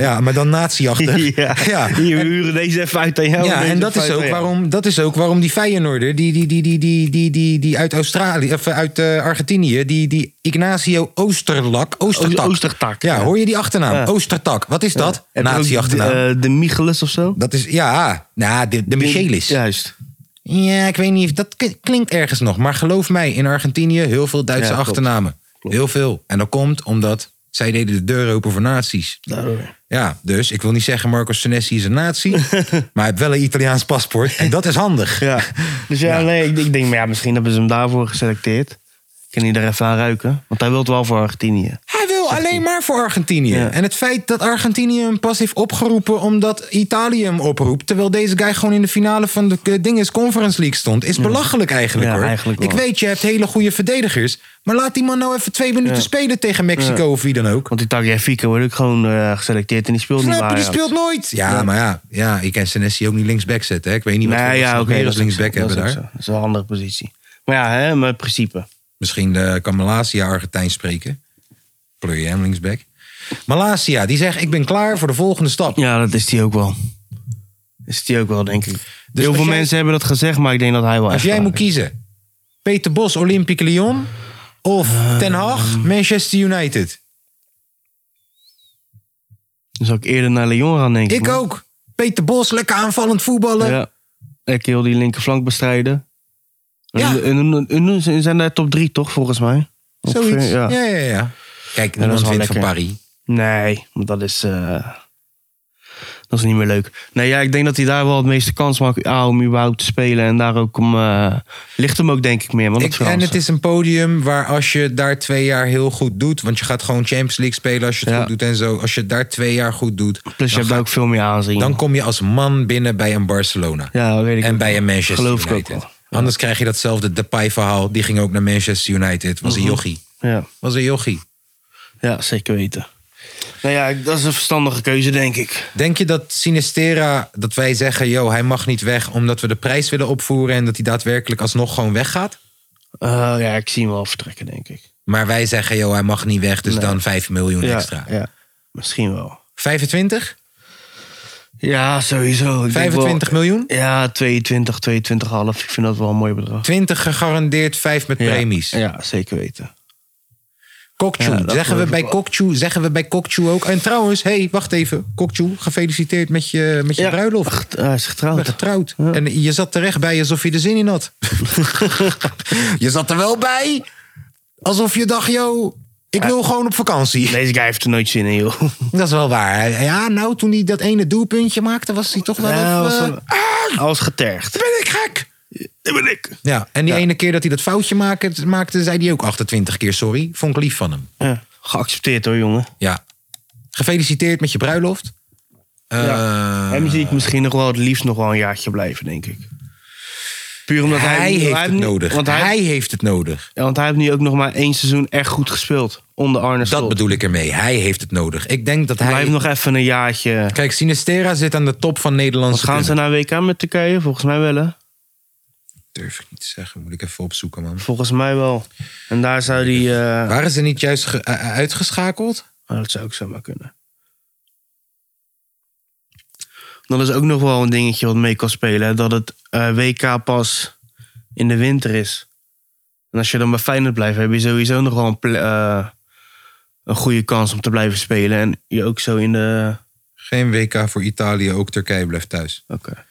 Speaker 1: Ja, maar dan nazi-achtig.
Speaker 2: Ja,
Speaker 1: Ja.
Speaker 2: hier, we huren deze even uit aan jou.
Speaker 1: Ja,
Speaker 2: deze
Speaker 1: en dat
Speaker 2: even
Speaker 1: is,
Speaker 2: uit
Speaker 1: ook
Speaker 2: aan jou.
Speaker 1: waarom, dat is ook waarom die Feyenoorder, die, die, die, die, die, die, die, die uit Australië, of uit eh, Argentinië, die, die Ignacio Oosterlak, Oostertak.
Speaker 2: O- Oh, Oostertak,
Speaker 1: Ja,
Speaker 2: ja.
Speaker 1: hoor je die achternaam?
Speaker 2: Ja.
Speaker 1: Oostertak. Wat is dat?
Speaker 2: Heb je ook
Speaker 1: Nazi-achternaam.
Speaker 2: De, eh, de Michelis of zo?
Speaker 1: dat is, ja, nou, de, de Michelis.
Speaker 2: Juist.
Speaker 1: Ja, ik weet niet. of- Dat k- klinkt ergens nog. Maar geloof mij, in Argentinië heel veel Duitse
Speaker 2: Ja, klopt.
Speaker 1: achternamen. Heel veel. En dat komt omdat zij deden de deur open voor nazi's. Ja, dus ik wil niet zeggen Marco Senesi is een nazi. maar hij heeft wel een Italiaans paspoort. En dat is handig.
Speaker 2: Ja. Dus ja, nee, ik, ik denk, maar ja, misschien hebben ze hem daarvoor geselecteerd. Kan hij er even aan ruiken? Want hij wil wel voor Argentinië.
Speaker 1: Hij wil alleen maar voor Argentinië.
Speaker 2: Ja.
Speaker 1: En het feit dat Argentinië hem pas heeft opgeroepen omdat Italië hem oproept. Terwijl deze guy gewoon in de finale van de eh, dinges Conference League stond. Is belachelijk eigenlijk
Speaker 2: Ja,
Speaker 1: hoor.
Speaker 2: eigenlijk wel.
Speaker 1: Ik weet, je hebt hele goede verdedigers. Maar laat die man nou even twee minuten spelen tegen Mexico of wie dan ook.
Speaker 2: Want die Tagliafico wordt ook gewoon eh, geselecteerd en die speelt niet
Speaker 1: Snap je,
Speaker 2: waar.
Speaker 1: die speelt nooit. Ja, maar ja, ja, ik ken Senesi ook niet linksback zetten. Hè. Ik weet niet wat
Speaker 2: Nee,
Speaker 1: voor
Speaker 2: ja,
Speaker 1: ja,
Speaker 2: oké.
Speaker 1: meer
Speaker 2: dat
Speaker 1: als
Speaker 2: is ook
Speaker 1: linksback
Speaker 2: zo, dat
Speaker 1: hebben
Speaker 2: is ook
Speaker 1: daar.
Speaker 2: zo. Dat is wel een handige positie. Maar ja, hè, maar het principe.
Speaker 1: Misschien de kan Malasia Argentijn spreken. Pleur je hem linksback. Malasia, die zegt ik ben klaar voor de volgende stap.
Speaker 2: Ja, dat is die ook wel. Is die ook wel, denk ik.
Speaker 1: Dus
Speaker 2: Heel
Speaker 1: als
Speaker 2: veel
Speaker 1: jij-
Speaker 2: mensen hebben dat gezegd, maar ik denk dat hij wel
Speaker 1: Als
Speaker 2: echt
Speaker 1: jij
Speaker 2: klaar
Speaker 1: moet
Speaker 2: is.
Speaker 1: kiezen. Peter Bos, Olympique Lyon. Of
Speaker 2: Eh,
Speaker 1: Ten Hag, Manchester United.
Speaker 2: Dan zou ik eerder naar Lyon gaan, denk ik.
Speaker 1: Ik
Speaker 2: man.
Speaker 1: ook. Peter Bos, lekker aanvallend voetballen.
Speaker 2: Ja. Lekker heel die linkerflank bestrijden.
Speaker 1: Ja.
Speaker 2: En, en, en- en- ze zijn daar top drie, toch, volgens mij? Ongeveer,
Speaker 1: Zoiets. Ja,
Speaker 2: ja.
Speaker 1: ja, ja. Kijk,
Speaker 2: dat
Speaker 1: niemand
Speaker 2: is wel
Speaker 1: wint van
Speaker 2: lekker.
Speaker 1: Paris.
Speaker 2: Nee, want dat is... eh, dat is niet meer leuk. Nee, ja, ik denk dat hij daar wel het meeste kans maakt ah, om überhaupt te spelen. En daar ook om... eh, ligt hem ook denk ik meer, want
Speaker 1: Ik- en het is een podium waar als je daar twee jaar heel goed doet... want je gaat gewoon Champions League spelen als je het
Speaker 2: Ja.
Speaker 1: goed doet en zo. Als je het daar twee jaar goed doet...
Speaker 2: Plus Dus je
Speaker 1: dan,
Speaker 2: hebt daar ook veel meer aanzien.
Speaker 1: dan kom je als man binnen bij een Barcelona.
Speaker 2: ja, dat weet ik
Speaker 1: en
Speaker 2: ook.
Speaker 1: bij een Manchester
Speaker 2: Geloof ik ook
Speaker 1: United.
Speaker 2: wel.
Speaker 1: Anders krijg je datzelfde Depay-verhaal. Die ging ook naar Manchester United. Was een
Speaker 2: Mhm.
Speaker 1: jochie.
Speaker 2: Ja.
Speaker 1: Was een jochie.
Speaker 2: ja, zeker weten. Nou ja, dat is een verstandige keuze, denk ik.
Speaker 1: Denk je dat Sinistera, dat wij zeggen, joh, hij mag niet weg omdat we de prijs willen opvoeren en dat hij daadwerkelijk alsnog gewoon weggaat?
Speaker 2: Eh, ja, ik zie hem wel vertrekken, denk ik.
Speaker 1: Maar wij zeggen, joh, hij mag niet weg, dus dan 5 miljoen
Speaker 2: Ja,
Speaker 1: extra.
Speaker 2: ja, misschien wel.
Speaker 1: 25?
Speaker 2: Ja, sowieso. Ik denk
Speaker 1: 25
Speaker 2: wel-
Speaker 1: miljoen?
Speaker 2: Ja, 22, 22,5. Ik vind dat wel een mooi bedrag.
Speaker 1: 20 gegarandeerd, 5 met premies.
Speaker 2: Ja, ja, zeker weten.
Speaker 1: Kokchu,
Speaker 2: Ja, dat
Speaker 1: zeggen, we
Speaker 2: geloof
Speaker 1: bij
Speaker 2: ik wel.
Speaker 1: Kokchu, zeggen we bij Kokchu ook. En trouwens, hé, hey, wacht even. Kokchu, gefeliciteerd met je, met je
Speaker 2: Ja.
Speaker 1: bruiloft.
Speaker 2: Ach, hij is
Speaker 1: Ik
Speaker 2: getrouwd.
Speaker 1: ben getrouwd. En je zat terecht bij alsof je er zin in had. je zat er wel bij. Alsof je dacht, joh, ik wil gewoon op vakantie.
Speaker 2: Deze guy heeft er nooit zin in, joh.
Speaker 1: Dat is wel waar. Ja, nou, toen hij dat ene doelpuntje maakte, was hij toch wel
Speaker 2: Ja,
Speaker 1: even...
Speaker 2: was
Speaker 1: eh,
Speaker 2: wel- Hij was getergd.
Speaker 1: Ben ik gek?
Speaker 2: Dat ben ik.
Speaker 1: Ja, en die ene keer dat hij dat foutje maakte, maakte, zei hij ook 28 keer sorry. Vond ik lief van hem.
Speaker 2: Ja, geaccepteerd hoor, jongen.
Speaker 1: Ja. Gefeliciteerd met je bruiloft. Eh,
Speaker 2: Ja. Hem zie ik misschien nog wel het liefst nog wel een jaartje blijven, denk ik. Puur omdat hij...
Speaker 1: hij, heeft
Speaker 2: hij
Speaker 1: het
Speaker 2: nu-
Speaker 1: nodig.
Speaker 2: Want hij,
Speaker 1: hij heeft het nodig.
Speaker 2: ja, want hij heeft nu ook nog maar één seizoen echt goed gespeeld. Onder Arne Slot.
Speaker 1: Dat bedoel ik ermee. Hij heeft het nodig. Ik denk dat hij.
Speaker 2: Blijf nog even een jaartje.
Speaker 1: Kijk, Sinistera zit aan de top van Nederlandse.
Speaker 2: Gaan ze
Speaker 1: kunnen.
Speaker 2: naar WK met Turkije? Volgens mij wel, hè?
Speaker 1: Durf ik niet te zeggen. Moet ik even opzoeken, man.
Speaker 2: Volgens mij wel. En daar zou die... eh,
Speaker 1: Waren ze niet juist ge- eh, eh, uitgeschakeld?
Speaker 2: Nou, dat zou ook zomaar kunnen. Dat is ook nog wel een dingetje wat mee kan spelen. hè, Dat het eh, WK pas in de winter is. En als je dan bij Feyenoord blijft, heb je sowieso nog wel een, ple- eh, een goede kans om te blijven spelen. En je ook zo in de...
Speaker 1: Geen WK voor Italië, ook Turkije blijft thuis.
Speaker 2: Oké. Nou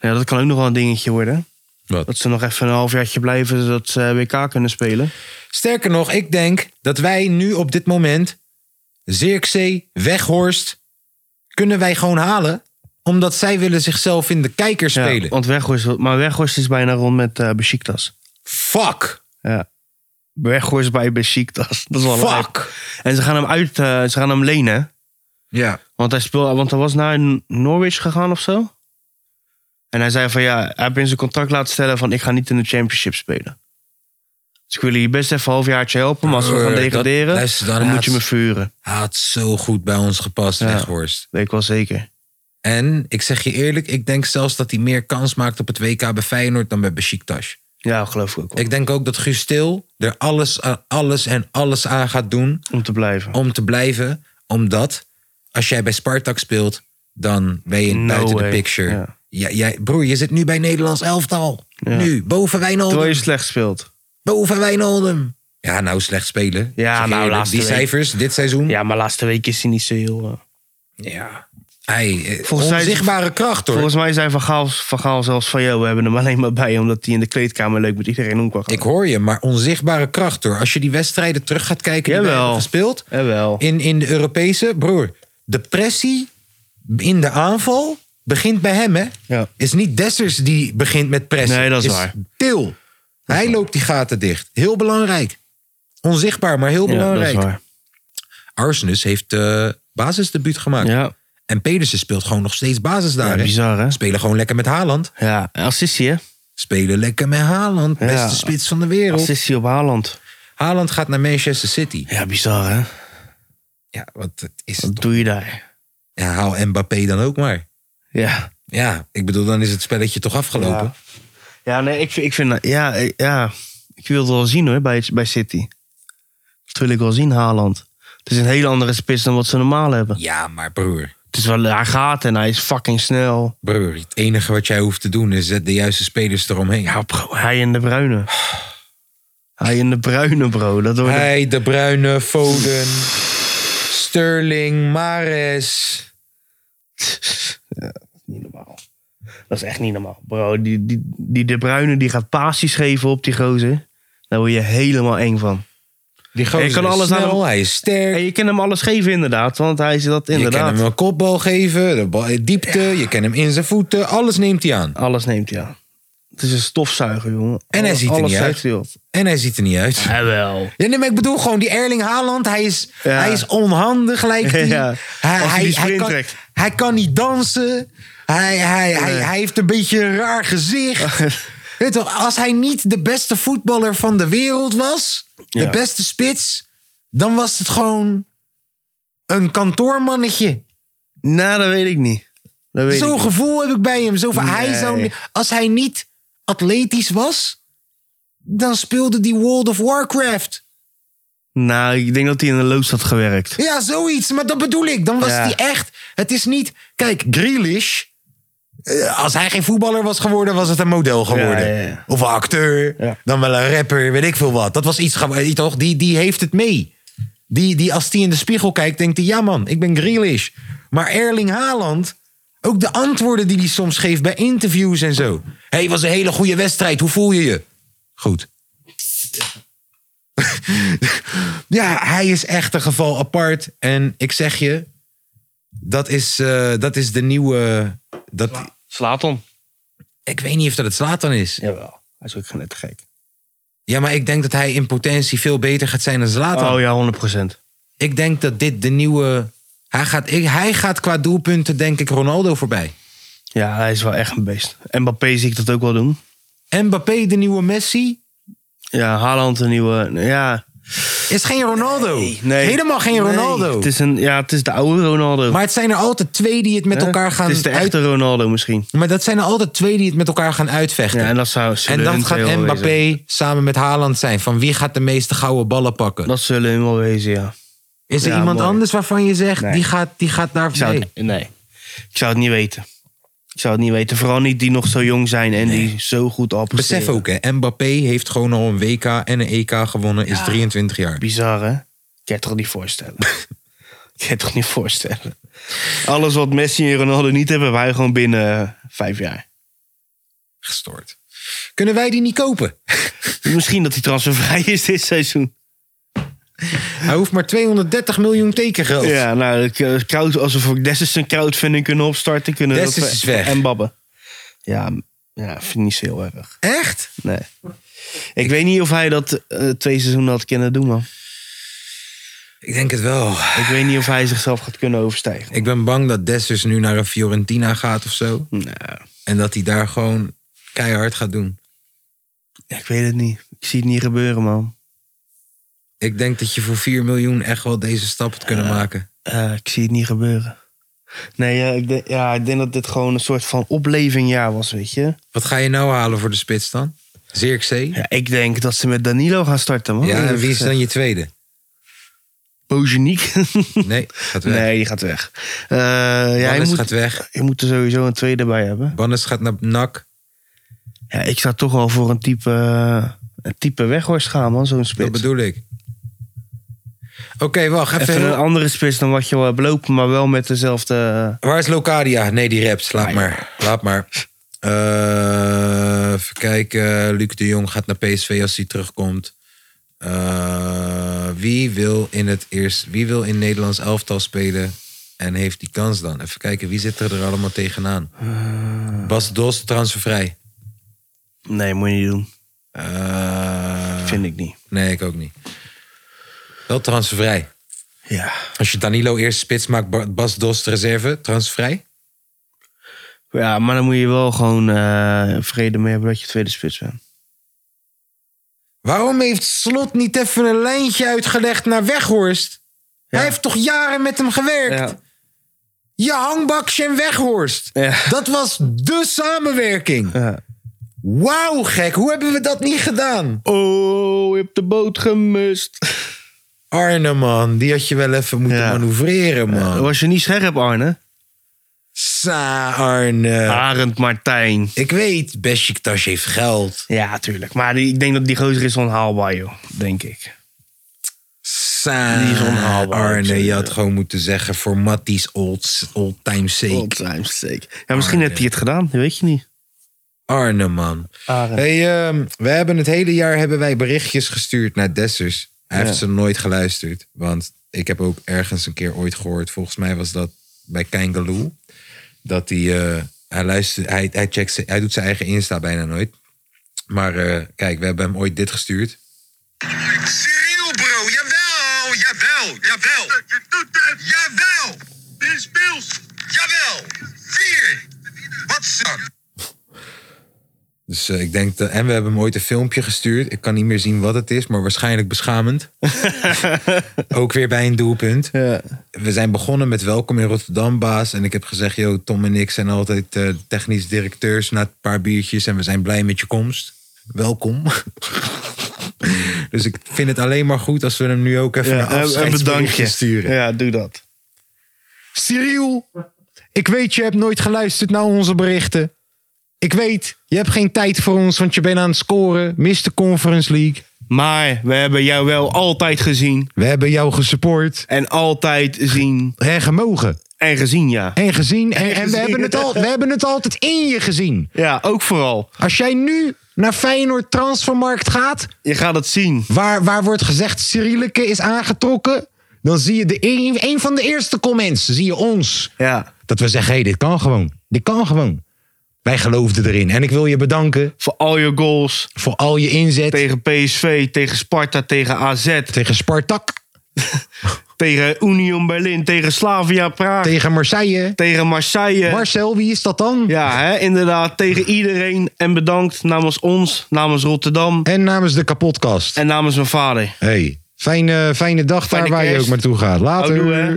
Speaker 2: Ja, dat kan ook nog wel een dingetje worden.
Speaker 1: Wat?
Speaker 2: Dat ze nog even een halfjaartje blijven, zodat ze eh, WK kunnen spelen.
Speaker 1: Sterker nog, ik denk dat wij nu op dit moment Zirkzee, Weghorst, kunnen wij gewoon halen. Omdat zij willen zichzelf in de kijker
Speaker 2: Ja,
Speaker 1: spelen.
Speaker 2: want Weghorst, maar Weghorst is bijna rond met eh Besiktas.
Speaker 1: Fuck!
Speaker 2: Ja. Weghorst bij Besiktas. Dat is wel leuk.
Speaker 1: Fuck!
Speaker 2: En ze gaan hem uit, eh, ze gaan hem lenen.
Speaker 1: Ja.
Speaker 2: Want hij, speel, want hij was naar N- Norwich gegaan of zo. En hij zei van ja, hij heeft in zijn contract laten stellen van ik ga niet in de championship spelen. Dus ik wil je best even een halfjaartje helpen. Maar als we
Speaker 1: Brr,
Speaker 2: gaan
Speaker 1: dat-
Speaker 2: degraderen,
Speaker 1: luister, dan
Speaker 2: dan,
Speaker 1: haat-
Speaker 2: moet je me vuren.
Speaker 1: Hij had zo goed bij ons gepast,
Speaker 2: Ja.
Speaker 1: Weghorst.
Speaker 2: Weet ik wel zeker.
Speaker 1: En ik zeg je eerlijk, ik denk zelfs dat hij meer kans maakt op het WK bij Feyenoord dan bij Besiktas.
Speaker 2: Ja, geloof ik ook wel.
Speaker 1: Ik denk ook dat Guus Til er alles, aan- alles en alles aan gaat doen
Speaker 2: Om te blijven.
Speaker 1: om te blijven. Omdat als jij bij Spartak speelt, dan ben je
Speaker 2: No
Speaker 1: buiten
Speaker 2: way.
Speaker 1: de picture.
Speaker 2: Ja.
Speaker 1: Ja, jij, broer, je zit nu bij Nederlands elftal.
Speaker 2: Ja.
Speaker 1: Nu, boven Wijnaldum.
Speaker 2: Terwijl je slecht speelt.
Speaker 1: Boven Wijnaldum. Ja, nou slecht spelen.
Speaker 2: Ja,
Speaker 1: Zeg je
Speaker 2: nou,
Speaker 1: eerlijk,
Speaker 2: laatste
Speaker 1: Die
Speaker 2: week.
Speaker 1: cijfers, dit seizoen. Ja.
Speaker 2: Ja, maar laatste week is hij niet zo heel... eh,
Speaker 1: Hey, eh,
Speaker 2: Volgens mij is-
Speaker 1: onzichtbare kracht hoor.
Speaker 2: Volgens mij zijn Van Gaal, van Gaal zelfs van... Yo, we hebben hem alleen maar bij omdat hij in de kleedkamer leuk met iedereen om kan gaan.
Speaker 1: Ik hoor je, maar onzichtbare kracht hoor. Als je die wedstrijden terug gaat kijken die we
Speaker 2: Jawel.
Speaker 1: hebben gespeeld.
Speaker 2: Jawel.
Speaker 1: In, in de Europese, broer. Depressie in de aanval begint bij hem, hè?
Speaker 2: Ja.
Speaker 1: Is niet Dessers die begint met pressie.
Speaker 2: Nee, dat is waar.
Speaker 1: Til. Hij loopt die gaten dicht. Heel belangrijk. Onzichtbaar, maar heel
Speaker 2: Ja, dat is
Speaker 1: belangrijk.
Speaker 2: waar.
Speaker 1: Arsenis heeft eh basisdebuut gemaakt.
Speaker 2: Ja,
Speaker 1: En Pedersen speelt gewoon nog steeds basis daar.
Speaker 2: Ja,
Speaker 1: hè?
Speaker 2: bizar, hè?
Speaker 1: Spelen gewoon lekker met Haaland.
Speaker 2: ja. assistie hè?
Speaker 1: Spelen lekker met Haaland.
Speaker 2: Ja.
Speaker 1: Beste spits van de wereld.
Speaker 2: Assistie op Haaland.
Speaker 1: Haaland gaat naar Manchester City.
Speaker 2: Ja, bizar hè?
Speaker 1: Ja, want het is
Speaker 2: Wat doe je daar?
Speaker 1: Ja, haal Mbappé dan ook maar.
Speaker 2: Ja.
Speaker 1: Ja, ik bedoel, dan is het spelletje toch afgelopen.
Speaker 2: Ja. Ja, nee, ik, vind- ik vind... dat- Ja, eh, ja. Ik wil het wel zien hoor, bij, bij City. Dat wil ik wel zien, Haaland. Het is een hele andere spits dan wat ze normaal hebben.
Speaker 1: Ja, maar broer.
Speaker 2: Het is wel... Hij gaat en hij is fucking snel.
Speaker 1: Broer, het enige wat jij hoeft te doen is zet de juiste spelers eromheen.
Speaker 2: Ja, bro, hij en de bruine. Hij en de bruine, bro. Dat wordt
Speaker 1: Hij, De Bruyne, Foden, Sterling, Mares.
Speaker 2: niet normaal. Dat is echt niet normaal, bro. Die, die, die De Bruyne die gaat passies geven op die gozer. Daar word je helemaal eng van.
Speaker 1: Die gozer
Speaker 2: Hij kan
Speaker 1: is
Speaker 2: alles aan
Speaker 1: snel,
Speaker 2: hem-
Speaker 1: hij is sterk.
Speaker 2: En je kan hem alles geven inderdaad, want hij is dat
Speaker 1: Je kan
Speaker 2: inderdaad.
Speaker 1: hem een kopbal geven, de bal, diepte, je kan hem in zijn voeten. Alles neemt hij aan.
Speaker 2: Alles neemt hij aan. Het is een stofzuiger, jongen.
Speaker 1: En hij
Speaker 2: Alles-
Speaker 1: ziet er
Speaker 2: alles
Speaker 1: niet
Speaker 2: zuigt
Speaker 1: uit.
Speaker 2: hij op.
Speaker 1: En hij ziet er niet uit.
Speaker 2: Jawel.
Speaker 1: Ja, nee, maar ik bedoel gewoon, die Erling Haaland, hij is,
Speaker 2: Ja.
Speaker 1: hij is onhandig, lijkt hij.
Speaker 2: Ja.
Speaker 1: Hij,
Speaker 2: Als hij die sprint
Speaker 1: kan,
Speaker 2: trekt.
Speaker 1: hij kan niet dansen. Hij, hij, hij, hij heeft een beetje een raar gezicht. Weet je wel, als hij niet de beste voetballer van de wereld was, de
Speaker 2: Ja.
Speaker 1: beste spits, dan was het gewoon een kantoormannetje.
Speaker 2: Nou, dat weet ik niet. Dat weet ik
Speaker 1: Zo'n
Speaker 2: niet.
Speaker 1: gevoel heb ik bij hem. Zo van, hij
Speaker 2: Nee.
Speaker 1: zou, ni- als hij niet atletisch was, dan speelde die World of Warcraft.
Speaker 2: Nou, ik denk dat hij in de loods had gewerkt.
Speaker 1: Ja, zoiets. Maar dat bedoel ik. Dan was
Speaker 2: Ja.
Speaker 1: die echt. Het is niet. Kijk, Grealish. eh, Als hij geen voetballer was geworden, was het een model geworden.
Speaker 2: Ja, ja, ja.
Speaker 1: Of een acteur.
Speaker 2: Ja.
Speaker 1: Dan wel een rapper, weet ik veel wat. Dat was iets. ge- Toch? Die, die heeft het mee. Die, die, als die in de spiegel kijkt, denkt hij: ja, man, ik ben Grealish. Maar Erling Haaland. Ook de antwoorden die hij soms geeft bij interviews en zo. Hé, hey, was een hele goede wedstrijd. Hoe voel je je? Goed. Ja, hij is echt een geval apart. En ik zeg je, dat is, eh, dat is de nieuwe. Dat,
Speaker 2: Slaat om.
Speaker 1: ik weet niet of dat het slaat dan is.
Speaker 2: Jawel. Hij is ook net gek.
Speaker 1: Ja, maar ik denk dat hij in potentie veel beter gaat zijn dan Zlatan.
Speaker 2: Oh ja, 100%.
Speaker 1: Ik denk dat dit de nieuwe. Hij gaat, ik- hij gaat qua doelpunten, denk ik, Ronaldo voorbij.
Speaker 2: Ja, hij is wel echt een beest. Mbappé zie ik dat ook wel doen.
Speaker 1: Mbappé, de nieuwe Messi,
Speaker 2: Ja, Haaland een nieuwe... Ja,
Speaker 1: is geen Ronaldo.
Speaker 2: nee.
Speaker 1: Helemaal geen
Speaker 2: Nee,
Speaker 1: Ronaldo.
Speaker 2: het, is een, ja, het is de oude Ronaldo.
Speaker 1: Maar het zijn er altijd twee die het met
Speaker 2: Hè?
Speaker 1: elkaar gaan
Speaker 2: Het is de
Speaker 1: uit-
Speaker 2: echte Ronaldo misschien.
Speaker 1: Maar dat zijn er altijd twee die het met elkaar gaan uitvechten.
Speaker 2: Ja, en dat zou
Speaker 1: En
Speaker 2: zullen
Speaker 1: dat
Speaker 2: hun twee
Speaker 1: gaat
Speaker 2: wel
Speaker 1: Mbappé
Speaker 2: wezen.
Speaker 1: samen met Haaland zijn. Van wie gaat de meeste gouden ballen pakken?
Speaker 2: Dat zullen hem wel wezen, ja.
Speaker 1: Is er
Speaker 2: Ja,
Speaker 1: iemand
Speaker 2: mooi.
Speaker 1: anders waarvan je zegt,
Speaker 2: Nee.
Speaker 1: die, gaat, die gaat daar
Speaker 2: Ik zou
Speaker 1: nee.
Speaker 2: het, nee. Ik zou het niet weten. Ik zou het niet weten. Vooral niet die nog zo jong zijn en die zo goed al presteren.
Speaker 1: Besef ook, hè, Mbappé heeft gewoon al een WK en een EK gewonnen. Is 23 jaar.
Speaker 2: Bizar, hè? Ik kan het toch niet voorstellen. Ik kan het toch niet voorstellen. Alles wat Messi en Ronaldo niet hebben, wij gewoon binnen eh, vijf jaar.
Speaker 1: Gestoord. Kunnen wij die niet kopen?
Speaker 2: Misschien dat hij transfervrij is dit seizoen.
Speaker 1: Hij hoeft maar 230 miljoen tekengeld.
Speaker 2: Ja, nou, ik, eh, crowd, als we voor Dessus een crowdfunding kunnen opstarten, kunnen we
Speaker 1: Dessus
Speaker 2: dat-
Speaker 1: is weg.
Speaker 2: En babben. Ja, m- ja, vind ik niet zo heel erg.
Speaker 1: Echt?
Speaker 2: Nee. Ik, weet niet of hij dat eh, twee seizoenen had kunnen doen, man.
Speaker 1: Ik denk het wel.
Speaker 2: Ik weet niet of hij zichzelf gaat kunnen overstijgen.
Speaker 1: Ik ben bang dat Dessus nu naar een Fiorentina gaat of zo.
Speaker 2: Nou,
Speaker 1: En dat hij daar gewoon keihard gaat doen.
Speaker 2: ja, ik weet het niet. Ik zie het niet gebeuren, man.
Speaker 1: Ik denk dat je voor 4 miljoen echt wel deze stap had kunnen maken.
Speaker 2: Eh, ik zie het niet gebeuren. Nee, ja ik, denk, ja, ik denk dat dit gewoon een soort van oplevingjaar was, weet je.
Speaker 1: Wat ga je nou halen voor de spits dan? Zirkzee?
Speaker 2: Ja, ik denk dat ze met Danilo gaan starten, man.
Speaker 1: Ja, en wie is dan je tweede?
Speaker 2: Bozeniek?
Speaker 1: Nee, gaat weg.
Speaker 2: nee, die gaat weg. Eh ja, je
Speaker 1: Bannes
Speaker 2: moet,
Speaker 1: gaat weg.
Speaker 2: je moet er sowieso een tweede bij hebben.
Speaker 1: Bannes gaat naar NAC.
Speaker 2: Ja, ik zou toch wel voor een type, eh, een type weghorst gaan, man. Zo'n spits.
Speaker 1: Dat bedoel ik. Oké, wacht. Even,
Speaker 2: Even een andere spits dan wat je wel hebt lopen, maar wel met dezelfde... eh,
Speaker 1: Waar is Locadia? Nee, die rapt. Laat maar. Laat maar. Eh, even kijken. Luc de Jong gaat naar PSV als hij terugkomt. Eh, wie, wil in het eerst, wie wil in Nederlands elftal spelen en heeft die kans dan? Even kijken, wie zit er er allemaal tegenaan? Bas Dos, transfervrij.
Speaker 2: Nee, moet je niet doen.
Speaker 1: Eh,
Speaker 2: Vind ik niet.
Speaker 1: nee, ik ook niet. Wel transfervrij.
Speaker 2: Ja.
Speaker 1: Als je Danilo eerst spits maakt, Ba- Bas Dos reserve, transfervrij.
Speaker 2: Ja, maar dan moet je wel gewoon eh, vrede mee hebben dat je tweede spits bent.
Speaker 1: Waarom heeft Slot niet even een lijntje uitgelegd naar Weghorst? Hij heeft toch jaren met hem gewerkt? Je hangbakje en Weghorst.
Speaker 2: Ja.
Speaker 1: Dat was de samenwerking.
Speaker 2: Ja.
Speaker 1: Wauw, gek. Hoe hebben we dat niet gedaan?
Speaker 2: Oh, je hebt de boot gemist.
Speaker 1: Arne, man. Die had je wel even moeten
Speaker 2: Ja.
Speaker 1: manoeuvreren, man.
Speaker 2: Was je niet scherp, Arne?
Speaker 1: Sa, Arne.
Speaker 2: Arend Martijn.
Speaker 1: Ik weet, Besiktas heeft geld.
Speaker 2: Ja, tuurlijk. Maar die- ik denk dat die gozer is onhaalbaar, joh. Denk ik.
Speaker 1: Sa,
Speaker 2: Die is onhaalbaar,
Speaker 1: Arne,
Speaker 2: absoluut,
Speaker 1: je had
Speaker 2: ja.
Speaker 1: gewoon moeten zeggen... voor Matties old, old time sake.
Speaker 2: zeker. Ja, misschien
Speaker 1: Arne.
Speaker 2: heeft hij het gedaan. Dat weet je niet.
Speaker 1: Arne, man.
Speaker 2: Arend.
Speaker 1: Hey, ehm, we hebben het hele jaar hebben wij berichtjes gestuurd naar Dessers. Hij heeft ze nooit geluisterd. Want ik heb ook ergens een keer ooit gehoord. Volgens mij was dat bij Kangaloo. Dat hij, eh, hij luistert, hij, hij, checkt, zijn- hij doet zijn eigen Insta bijna nooit. Maar eh, kijk, we hebben hem ooit dit gestuurd.
Speaker 6: Cyril, bro. Jawel, jawel, jawel. Je doet het. Jawel. Dit is Pils. Jawel. Vier. Wat zak.
Speaker 1: Dus eh, ik denk dat, en we hebben hem ooit een filmpje gestuurd. Ik kan niet meer zien wat het is, maar waarschijnlijk beschamend. ook weer bij een doelpunt. We zijn begonnen met welkom in Rotterdam, baas. En ik heb gezegd, yo, Tom en ik zijn altijd eh, technisch directeurs na een paar biertjes. En we zijn blij met je komst. Welkom. dus ik vind het alleen maar goed als we hem nu ook even
Speaker 2: Ja,
Speaker 1: een
Speaker 2: en- en bedank
Speaker 1: afscheidsberichtje
Speaker 2: je.
Speaker 1: sturen.
Speaker 2: Ja, doe dat.
Speaker 1: Cyril, ik weet je hebt nooit geluisterd naar onze berichten. Ik weet, je hebt geen tijd voor ons, want je bent aan het scoren. Mist de Conference League.
Speaker 2: Maar we hebben jou wel altijd gezien.
Speaker 1: We hebben jou gesupport
Speaker 2: En altijd zien.
Speaker 1: en gemogen
Speaker 2: En gezien, ja.
Speaker 1: en gezien. En, en we,
Speaker 2: gezien.
Speaker 1: hebben het al, we hebben het altijd in je gezien.
Speaker 2: Ja, ook vooral.
Speaker 1: Als jij nu naar Feyenoord Transfermarkt gaat,
Speaker 2: Je gaat het zien.
Speaker 1: waar, waar wordt gezegd Cyrilike is aangetrokken... dan zie je de, een, een van de eerste comments, zie je ons...
Speaker 2: Ja.
Speaker 1: Dat we zeggen, hé, hey, dit kan gewoon. Dit kan gewoon. Wij geloofden erin. En ik wil je bedanken
Speaker 2: Voor al je goals.
Speaker 1: voor al je inzet tegen,
Speaker 2: Tegen PSV, tegen Sparta, tegen AZ.
Speaker 1: Spartak,
Speaker 2: Tegen Union Berlin, tegen Slavia Praag.
Speaker 1: tegen Marseille.
Speaker 2: tegen Marseille.
Speaker 1: Marcel, wie is dat dan?
Speaker 2: ja, hè, inderdaad. Tegen iedereen. En bedankt namens ons, namens Rotterdam.
Speaker 1: En namens de kapotkast.
Speaker 2: En namens mijn vader.
Speaker 1: Hey, fijne, fijne dag
Speaker 2: Fijne
Speaker 1: daar waar je
Speaker 2: kerst.
Speaker 1: ook naartoe gaat. Later.
Speaker 2: Houdoe, hè.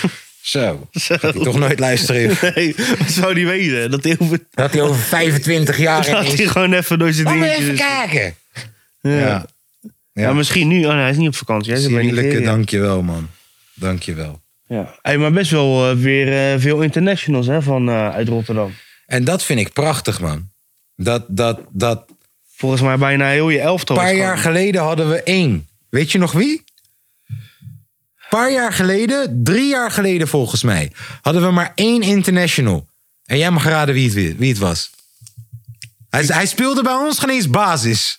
Speaker 1: Zo. Gaat hij toch nooit luisteren. joh.
Speaker 2: Nee, wat zou die weten? Dat hij, over,
Speaker 1: Dat hij over 25 jaar
Speaker 2: dat hij dus- gewoon even door zijn
Speaker 1: Laten we
Speaker 2: dingetje
Speaker 1: even
Speaker 2: is. Ja.
Speaker 1: kijken. Ja.
Speaker 2: Ja, misschien nu. Oh, nee, hij is niet op vakantie. Hij is bij
Speaker 1: Cyrilleke,
Speaker 2: Nigeria.
Speaker 1: dankjewel man. Dankjewel.
Speaker 2: Ja. Hey, maar best wel eh, weer eh, veel internationals hè, van, eh, uit Rotterdam.
Speaker 1: En dat vind ik prachtig man. Dat, dat, dat,
Speaker 2: Volgens mij bijna heel je elftal.
Speaker 1: Een
Speaker 2: is
Speaker 1: paar
Speaker 2: gewoon-
Speaker 1: jaar geleden hadden we één. Weet je nog wie? Een paar jaar geleden, drie jaar geleden volgens mij, hadden we maar één international. En jij mag raden wie het, wie het was. Hij, hij speelde bij ons geen eens basis.